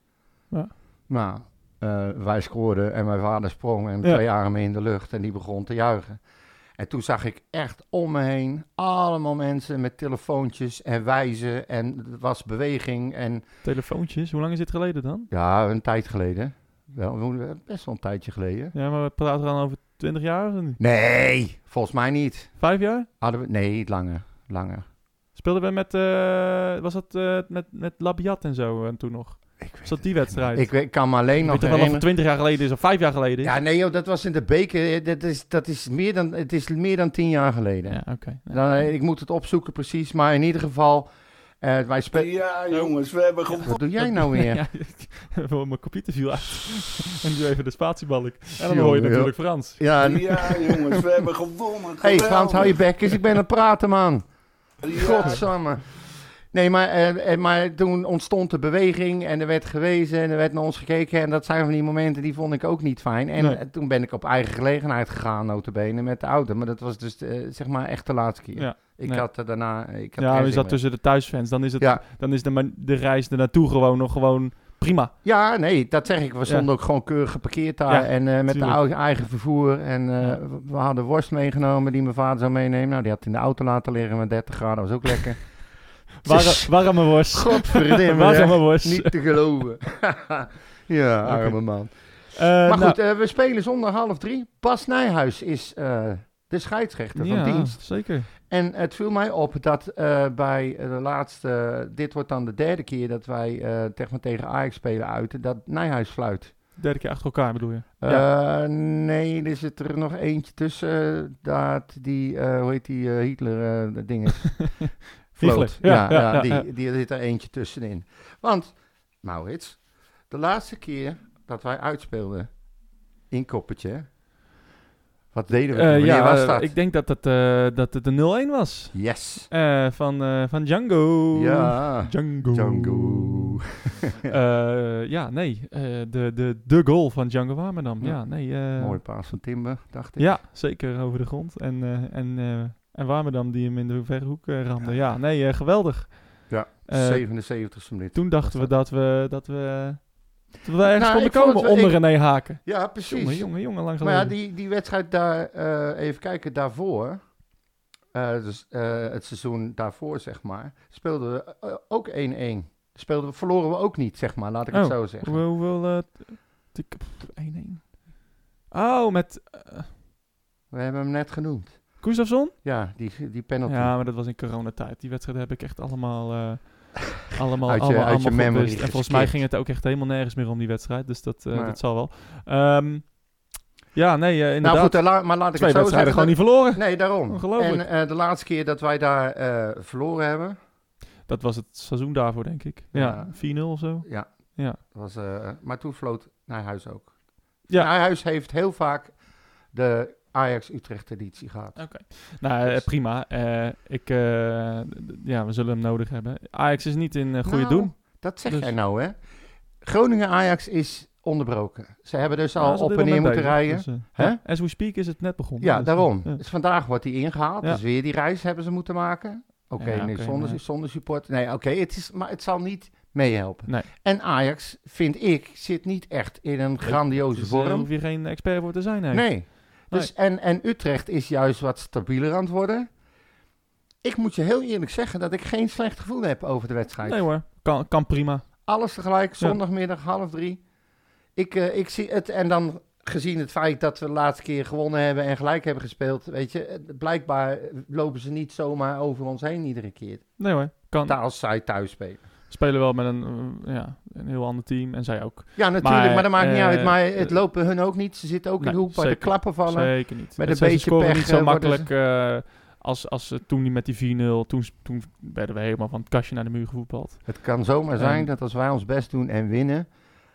Speaker 1: Ja.
Speaker 2: Nou, eh, wij scoorden en mijn vader sprong en
Speaker 1: Ja.
Speaker 2: twee armen in de lucht en die begon te juichen. En toen zag ik echt om me heen allemaal mensen met telefoontjes en wijzen en er was beweging en...
Speaker 1: Telefoontjes, hoe lang is dit geleden dan?
Speaker 2: Ja, een tijd geleden. Wel, best wel een tijdje geleden.
Speaker 1: Ja, maar we praten dan over 20 jaar of niet?
Speaker 2: Nee, volgens mij niet.
Speaker 1: Vijf jaar?
Speaker 2: Hadden we... Nee, langer, langer.
Speaker 1: Speelden we met, eh, was dat eh, met, met Labiat en zo en toen nog?
Speaker 2: Ik weet
Speaker 1: Was dat die wedstrijd?
Speaker 2: Ik weet- kan me alleen
Speaker 1: Ik
Speaker 2: nog
Speaker 1: weet toch wel of
Speaker 2: herinneren...
Speaker 1: het 20 jaar geleden is of vijf jaar geleden is?
Speaker 2: Ja, nee, joh, dat was in de beker. Eh, Dat is, dat is, meer, dan, het is meer dan tien jaar geleden.
Speaker 1: Ja, oké. Ja.
Speaker 2: Dan, eh, ik moet het opzoeken precies, maar in ieder geval... eh, wij spelen...
Speaker 4: Ja, jongens, we hebben gewonnen.
Speaker 2: Wat doe jij nou weer?
Speaker 1: Ja, ik- mijn computer viel uit. en nu even de spatiebalk. En dan hoor je
Speaker 2: Jongen,
Speaker 1: natuurlijk Frans.
Speaker 2: Ja, n-
Speaker 4: Ja, jongens, we hebben gewonnen.
Speaker 2: hey, Frans, hou je bek eens. Ik ben aan het praten, man.
Speaker 4: Ja.
Speaker 2: Godsamme. Nee, maar, eh, eh, maar toen ontstond de beweging en er werd gewezen en er werd naar ons gekeken. En dat zijn van die momenten die vond ik ook niet fijn. En
Speaker 1: Nee.
Speaker 2: eh, toen ben ik op eigen gelegenheid gegaan, notabene, met de auto. Maar dat was dus eh, zeg maar echt de laatste keer.
Speaker 1: Ja,
Speaker 2: ik
Speaker 1: nee.
Speaker 2: had er daarna... Ik had
Speaker 1: Ja,
Speaker 2: geen
Speaker 1: maar is
Speaker 2: zin
Speaker 1: dat
Speaker 2: meer.
Speaker 1: tussen de thuisfans? Dan is, het,
Speaker 2: Ja.
Speaker 1: dan is de, man- de reis ernaartoe gewoon nog gewoon prima.
Speaker 2: Ja, nee, dat zeg ik. We stonden
Speaker 1: Ja.
Speaker 2: ook gewoon keurig geparkeerd daar.
Speaker 1: Ja,
Speaker 2: en eh, met de
Speaker 1: tuurlijk.
Speaker 2: oude- eigen vervoer. En eh,
Speaker 1: Ja.
Speaker 2: we- we hadden worst meegenomen die mijn vader zou meenemen. Nou, die had in de auto laten liggen met 30 graden. was ook lekker. Dus
Speaker 1: Warre, warme worst.
Speaker 2: Godverdomme.
Speaker 1: Warme
Speaker 2: hè.
Speaker 1: worst.
Speaker 2: Niet te geloven. ja,
Speaker 1: Oké.
Speaker 2: arme man.
Speaker 1: Eh,
Speaker 2: Maar
Speaker 1: nou,
Speaker 2: goed, eh, we spelen zondag half drie. Bas Nijhuis is eh, de scheidsrechter
Speaker 1: ja,
Speaker 2: van dienst.
Speaker 1: zeker.
Speaker 2: En het viel mij op dat eh, bij de laatste... Dit wordt dan de derde keer dat wij eh, tegen- tegen Ajax spelen uit. Dat Nijhuis fluit.
Speaker 1: Derde keer achter elkaar bedoel je.
Speaker 2: Eh, nee, er zit er nog eentje tussen. eh, dat die, eh, hoe heet die, eh, Hitler eh dat ding is. Floot.
Speaker 1: Hitler, ja,
Speaker 2: Ja,
Speaker 1: ja,
Speaker 2: ja,
Speaker 1: ja,
Speaker 2: die,
Speaker 1: ja.
Speaker 2: die er zit er eentje tussenin. Want, Maurits, de laatste keer dat wij uitspeelden in Koppertje, wat deden we?
Speaker 1: Eh,
Speaker 2: toen? Wanneer
Speaker 1: ja,
Speaker 2: was
Speaker 1: eh,
Speaker 2: dat?
Speaker 1: ik denk dat het, eh, dat het een 0-1 was.
Speaker 2: Yes.
Speaker 1: Eh, van, eh, van Django.
Speaker 2: Ja.
Speaker 1: Django.
Speaker 2: Django.
Speaker 1: Eh, ja, nee. eh, de, de, de goal van Django Warmerdam. Ja,
Speaker 2: Ja.
Speaker 1: nee. eh,
Speaker 2: Mooi paas van Timber, dacht ik.
Speaker 1: Ja, zeker over de grond. En, eh, en, eh, en Warmerdam die hem in de verre hoek eh, ramde. Ja, nee, eh, geweldig.
Speaker 2: Ja,
Speaker 1: Eh,
Speaker 2: 77ste minuut.
Speaker 1: Toen dachten we dat we, dat we, dat we ergens konden
Speaker 2: Nou, ik vond het
Speaker 1: komen
Speaker 2: wel-
Speaker 1: onder
Speaker 2: ik-
Speaker 1: René Haken.
Speaker 2: Ja, precies.
Speaker 1: Jongen, jongen, jongen, lang
Speaker 2: Maar
Speaker 1: geleden.
Speaker 2: ja, die, die wedstrijd daar, eh, even kijken, daarvoor, eh, dus, eh, het seizoen daarvoor, zeg maar, speelden we eh, ook 1-1. Speelden we, verloren we ook niet, zeg maar, laat ik
Speaker 1: Oh,
Speaker 2: het zo zeggen.
Speaker 1: Hoe- hoeveel... eh, t- tik- pff, 1-1. Oh, met eh,
Speaker 2: We hebben hem net genoemd.
Speaker 1: Gustafsson?
Speaker 2: Ja, die, die penalty. Nou
Speaker 1: Ja, maar dat was in coronatijd. Die wedstrijd heb ik echt allemaal... eh, allemaal,
Speaker 2: Uit je-
Speaker 1: allemaal,
Speaker 2: uit je
Speaker 1: allemaal goed
Speaker 2: memory
Speaker 1: bewust. En volgens mij
Speaker 2: geskipt.
Speaker 1: ging het ook echt helemaal nergens meer om die wedstrijd. Dus dat, eh,
Speaker 2: Maar-
Speaker 1: dat zal wel. Ehm, ja, nee, eh, inderdaad.
Speaker 2: nou goed, eh, la- maar laat ik
Speaker 1: Twee
Speaker 2: het zo
Speaker 1: wedstrijden
Speaker 2: zeggen.
Speaker 1: gewoon niet verloren.
Speaker 2: Nee, daarom. En
Speaker 1: Ongelooflijk.
Speaker 2: eh, de laatste keer dat wij daar eh, verloren hebben,
Speaker 1: Dat was het seizoen daarvoor, denk ik. Ja,
Speaker 2: Ja.
Speaker 1: 4-0 of zo.
Speaker 2: ja,
Speaker 1: Ja.
Speaker 2: Was, eh, maar toen floot Nijhuis ook.
Speaker 1: Ja.
Speaker 2: Nijhuis heeft heel vaak de Ajax-Utrecht-editie gehad.
Speaker 1: Oké. Nou, eh,
Speaker 2: Dus-
Speaker 1: prima. Eh, ik, eh, d- d- ja, we zullen hem nodig hebben. Ajax is niet in eh, goede
Speaker 2: Nou,
Speaker 1: doen.
Speaker 2: Dat zeg
Speaker 1: Dus-
Speaker 2: jij nou, hè? Groningen-Ajax is onderbroken. Ze hebben dus al op en neer moeten rijden. Hè?
Speaker 1: En Dus, eh, as we speak is het net begonnen.
Speaker 2: ja,
Speaker 1: Dus,
Speaker 2: daarom.
Speaker 1: eh,
Speaker 2: Dus vandaag wordt die ingehaald.
Speaker 1: Ja.
Speaker 2: Dus weer die reis hebben ze moeten maken. Oké,
Speaker 1: Ja,
Speaker 2: nee,
Speaker 1: oké,
Speaker 2: zonder,
Speaker 1: maar-
Speaker 2: zonder support. Nee, oké, het is, maar het zal niet meehelpen.
Speaker 1: Nee.
Speaker 2: En Ajax, vind ik, zit niet echt in een grandioze
Speaker 1: dus, eh,
Speaker 2: vorm.
Speaker 1: hoef je geen expert voor te zijn
Speaker 2: nee.
Speaker 1: eigenlijk.
Speaker 2: Dus, en, en Utrecht is juist wat stabieler aan het worden. Ik moet je heel eerlijk zeggen dat ik geen slecht gevoel heb over de wedstrijd.
Speaker 1: Nee hoor, kan, kan prima.
Speaker 2: Alles tegelijk, zondagmiddag, half drie. Ik, eh, ik zie het, en dan gezien het feit dat we de laatste keer gewonnen hebben en gelijk hebben gespeeld, weet je, eh, blijkbaar lopen ze niet zomaar over ons heen iedere keer.
Speaker 1: Nee hoor, kan.
Speaker 2: Ta- Als zij thuis spelen.
Speaker 1: Spelen wel met een, eh, ja, een heel ander team en zij ook.
Speaker 2: Ja, natuurlijk, maar,
Speaker 1: Maar,
Speaker 2: dat maakt niet
Speaker 1: eh,
Speaker 2: uit. Maar het
Speaker 1: eh,
Speaker 2: lopen hun ook niet. Ze zitten ook in
Speaker 1: Nee,
Speaker 2: de hoek waar de
Speaker 1: zeker.
Speaker 2: klappen vallen.
Speaker 1: Zeker niet.
Speaker 2: Met
Speaker 1: En
Speaker 2: een
Speaker 1: ze- ze
Speaker 2: beetje
Speaker 1: scoren
Speaker 2: pech,
Speaker 1: niet zo
Speaker 2: eh, worden
Speaker 1: makkelijk eh, als, als ze toen niet met die 4-0. Toen, s- toen werden we helemaal van het kastje naar de muur gevoetbald.
Speaker 2: Het kan zomaar zijn
Speaker 1: Ehm,
Speaker 2: dat als wij ons best doen en winnen,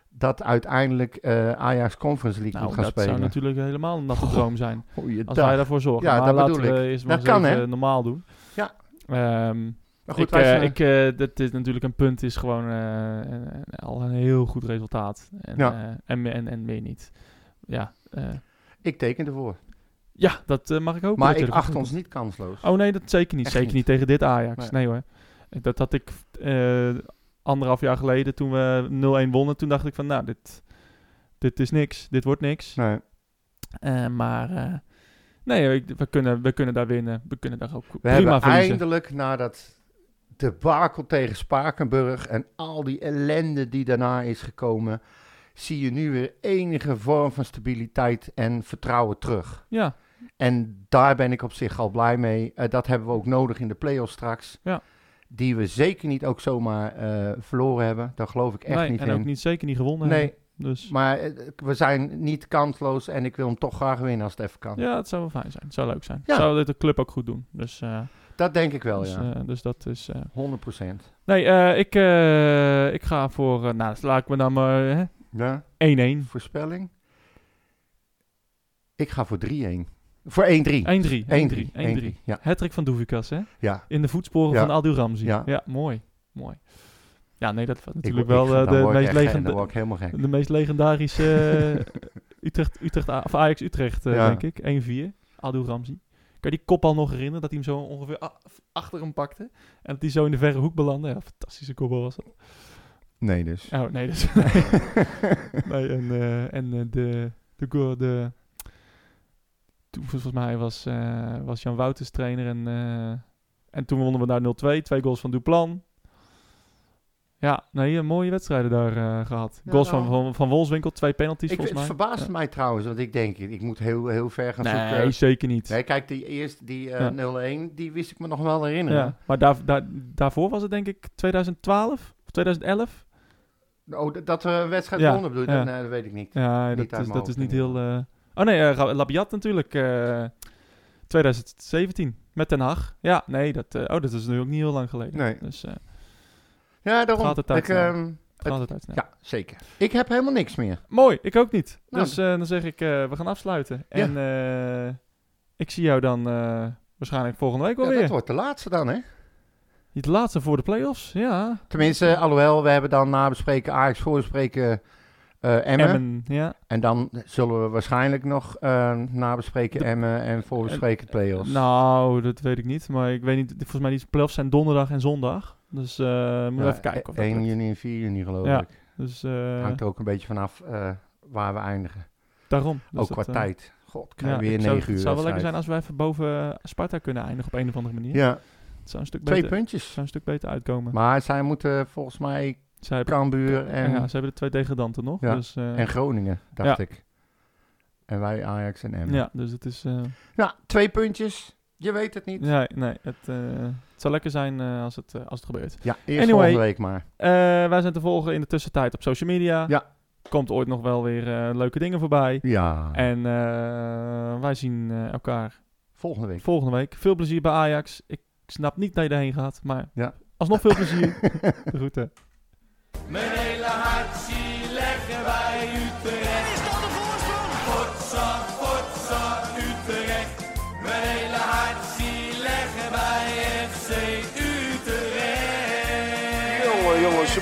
Speaker 2: dat uiteindelijk eh, Ajax Conference League
Speaker 1: Nou,
Speaker 2: moet
Speaker 1: dat
Speaker 2: gaan
Speaker 1: zou
Speaker 2: spelen.
Speaker 1: natuurlijk helemaal een natte droom zijn.
Speaker 2: Goeiedag.
Speaker 1: Als wij daarvoor zorgen.
Speaker 2: Ja,
Speaker 1: maar
Speaker 2: dat
Speaker 1: laten
Speaker 2: bedoel
Speaker 1: we eerst maar
Speaker 2: Dat
Speaker 1: eens
Speaker 2: kan,
Speaker 1: even
Speaker 2: hè?
Speaker 1: normaal doen.
Speaker 2: Ja.
Speaker 1: Ehm,
Speaker 2: Maar goed,
Speaker 1: ik,
Speaker 2: wij
Speaker 1: eh,
Speaker 2: zijn-
Speaker 1: ik, eh, dat dit natuurlijk een punt is gewoon eh, eh, eh, al een heel goed resultaat. En,
Speaker 2: Ja.
Speaker 1: eh, en, en, en meer niet. Ja, eh,
Speaker 2: ik teken ervoor.
Speaker 1: ja dat eh, mag ik hopen.
Speaker 2: Maar
Speaker 1: dat je
Speaker 2: ik
Speaker 1: ervoor
Speaker 2: acht
Speaker 1: komt.
Speaker 2: ons niet kansloos.
Speaker 1: Oh nee, dat zeker niet.
Speaker 2: Echt
Speaker 1: zeker niet.
Speaker 2: niet.
Speaker 1: tegen dit Ajax.
Speaker 2: Nee.
Speaker 1: Nee, hoor. Dat had ik eh, anderhalf jaar geleden toen we 0-1 wonnen. Toen dacht ik van, nou, dit, dit is niks. Dit wordt niks.
Speaker 2: Nee.
Speaker 1: Eh, maar eh, nee, ik- we kunnen, we kunnen daar winnen. We kunnen daar ook
Speaker 2: We
Speaker 1: prima
Speaker 2: hebben
Speaker 1: verliezen.
Speaker 2: eindelijk na dat debakel tegen Spakenburg en al die ellende die daarna is gekomen, zie je nu weer enige vorm van stabiliteit en vertrouwen terug.
Speaker 1: Ja,
Speaker 2: En daar ben ik op zich al blij mee. Eh, dat hebben we ook nodig in de play-offs straks.
Speaker 1: Ja.
Speaker 2: Die we zeker niet ook zomaar eh, verloren hebben. Daar geloof ik echt
Speaker 1: nee,
Speaker 2: niet
Speaker 1: en
Speaker 2: in.
Speaker 1: ook niet, zeker niet gewonnen.
Speaker 2: nee,
Speaker 1: hebben. Dus
Speaker 2: maar eh, we zijn niet kansloos en ik wil hem toch graag winnen als het even kan.
Speaker 1: ja, het zou wel fijn zijn. Het zou leuk zijn.
Speaker 2: Ja.
Speaker 1: Zou dit de club ook goed doen. Dus, eh,
Speaker 2: Dat denk ik wel,
Speaker 1: dus,
Speaker 2: ja.
Speaker 1: eh, dus dat is... eh,
Speaker 2: 100%.
Speaker 1: Nee, eh, ik, eh, ik ga voor... eh, nou, laat ik me dan maar... hè,
Speaker 2: Ja,
Speaker 1: 1-1.
Speaker 2: voorspelling. Ik ga voor 3-1. Voor 1-3.
Speaker 1: 1-3.
Speaker 2: 1-3.
Speaker 1: 1-3.
Speaker 2: 1-3. Ja,
Speaker 1: Hattrick van Doevikas, hè?
Speaker 2: ja.
Speaker 1: In de voetsporen
Speaker 2: Ja.
Speaker 1: van Adil Ramzi. Ja.
Speaker 2: Ja.
Speaker 1: mooi. Mooi. Ja, nee, dat was
Speaker 2: Ik,
Speaker 1: natuurlijk
Speaker 2: word-
Speaker 1: wel eh,
Speaker 2: ik, dan
Speaker 1: de,
Speaker 2: word ik
Speaker 1: meest
Speaker 2: echt- dan
Speaker 1: legenda-
Speaker 2: word ik helemaal gek.
Speaker 1: de meest legendarische eh, Utrecht, Utrecht, of Ajax Utrecht, eh,
Speaker 2: Ja.
Speaker 1: denk ik. 1-4. Adil Ramzi. Kan je die kop al nog herinneren? Dat hij hem zo ongeveer a- achter hem pakte. En dat hij zo in de verre hoek belandde. Ja, fantastische kopbal was dat.
Speaker 2: Nee, dus.
Speaker 1: Oh, nee, dus... nee, en, eh, en eh, de... de, go- de toen, volgens mij was, eh, was Jan Wouters trainer en, eh, en toen wonnen we daar 0-2. Twee goals van Duplan. Ja, nee, eh, mooie wedstrijden daar eh, gehad.
Speaker 2: Ja,
Speaker 1: goals van,
Speaker 2: nou.
Speaker 1: van, van Wolfswinkel, twee penalties
Speaker 2: Ik, het
Speaker 1: volgens mij.
Speaker 2: verbaast mij trouwens, want ik denk, ik moet heel, heel ver gaan
Speaker 1: Nee,
Speaker 2: zoeken.
Speaker 1: zeker niet.
Speaker 2: Nee, kijk, die eerste, die eh,
Speaker 1: Ja.
Speaker 2: 0-1, die wist ik me nog wel herinneren.
Speaker 1: ja, maar daar, daar, daarvoor was het denk ik 2012 of 2011.
Speaker 2: Oh, dat- dat we een wedstrijd
Speaker 1: Ja,
Speaker 2: wonnen bedoel je?
Speaker 1: ja.
Speaker 2: Nee, dat weet ik niet.
Speaker 1: Ja,
Speaker 2: Niet uit
Speaker 1: dat, is,
Speaker 2: mijn
Speaker 1: dat is
Speaker 2: hoofd,
Speaker 1: niet
Speaker 2: in ieder
Speaker 1: heel... eh, Oh nee, eh, Ra- Labiat natuurlijk. eh, 2017 met Den Haag. Ja, nee, dat, eh, oh, dat is nu ook niet heel lang geleden.
Speaker 2: Nee.
Speaker 1: Dus eh,
Speaker 2: Ja, daarom.
Speaker 1: Gaat het uit,
Speaker 2: ik,
Speaker 1: ja.
Speaker 2: ehm,
Speaker 1: het gaat het uit.
Speaker 2: ja, zeker. Ik heb helemaal niks meer.
Speaker 1: Mooi, ik ook niet.
Speaker 2: Nou,
Speaker 1: dus eh, dan zeg ik, eh, we gaan afsluiten. En eh, ik zie jou dan eh, waarschijnlijk volgende week wel
Speaker 2: Ja, dat
Speaker 1: weer.
Speaker 2: wordt de laatste dan, hè?
Speaker 1: Het laatste voor de play-offs, ja.
Speaker 2: Tenminste, alhoewel, we hebben dan nabespreken, Ajax voorbespreken eh Emmen.
Speaker 1: Emmen, ja.
Speaker 2: En dan zullen we waarschijnlijk nog eh, nabespreken Emmen en voorbespreken de play-offs.
Speaker 1: Eh, Nou, dat weet ik niet. Maar ik weet niet, volgens mij die play-offs zijn donderdag en zondag. Dus eh moeten we
Speaker 2: Ja,
Speaker 1: even kijken. Of dat
Speaker 2: 1
Speaker 1: lukt.
Speaker 2: juni en 4 juni geloof
Speaker 1: Ja.
Speaker 2: ik.
Speaker 1: Dus eh,
Speaker 2: Hangt er ook een beetje vanaf eh, waar we eindigen.
Speaker 1: daarom. Dus
Speaker 2: ook
Speaker 1: dat,
Speaker 2: Oh, qua
Speaker 1: eh,
Speaker 2: tijd. God, krijg
Speaker 1: Ja,
Speaker 2: weer
Speaker 1: ik zou-
Speaker 2: 9 uur
Speaker 1: Het zou wel lekker
Speaker 2: wedstrijd.
Speaker 1: zijn als we even boven eh, Sparta kunnen eindigen op een of andere manier.
Speaker 2: Ja,
Speaker 1: Het zou een stuk
Speaker 2: twee
Speaker 1: beter, het
Speaker 2: puntjes.
Speaker 1: zou een stuk beter uitkomen.
Speaker 2: Maar zij moeten volgens mij
Speaker 1: Zij hebben,
Speaker 2: Cambuur en,
Speaker 1: ja, ze hebben de twee degradanten nog.
Speaker 2: Ja,
Speaker 1: Dus, eh,
Speaker 2: en Groningen, dacht ik. En wij Ajax en Emmen. Ja.
Speaker 1: ja, dus het is... eh,
Speaker 2: twee puntjes. Je weet het niet. Ja,
Speaker 1: nee, nee, het, eh, het zou lekker zijn eh, als, het, eh, als het gebeurt.
Speaker 2: eerst
Speaker 1: Anyway.
Speaker 2: volgende week maar.
Speaker 1: Eh, wij zijn te volgen in de tussentijd op social media.
Speaker 2: Ja.
Speaker 1: Komt ooit nog wel weer eh, leuke dingen voorbij.
Speaker 2: Ja,
Speaker 1: En eh, wij zien eh, elkaar
Speaker 2: volgende week.
Speaker 1: volgende week. Veel plezier bij Ajax. Ik snap niet dat je daarheen gaat, maar
Speaker 2: Ja.
Speaker 1: alsnog veel plezier. De groeten.
Speaker 4: Mijn hele hart
Speaker 5: Utrecht. Is dat de voorsprong? Potsa, potsa, Utrecht. Mijn hele hart zie leggen bij FC Utrecht.
Speaker 3: Jongen, jongens, ze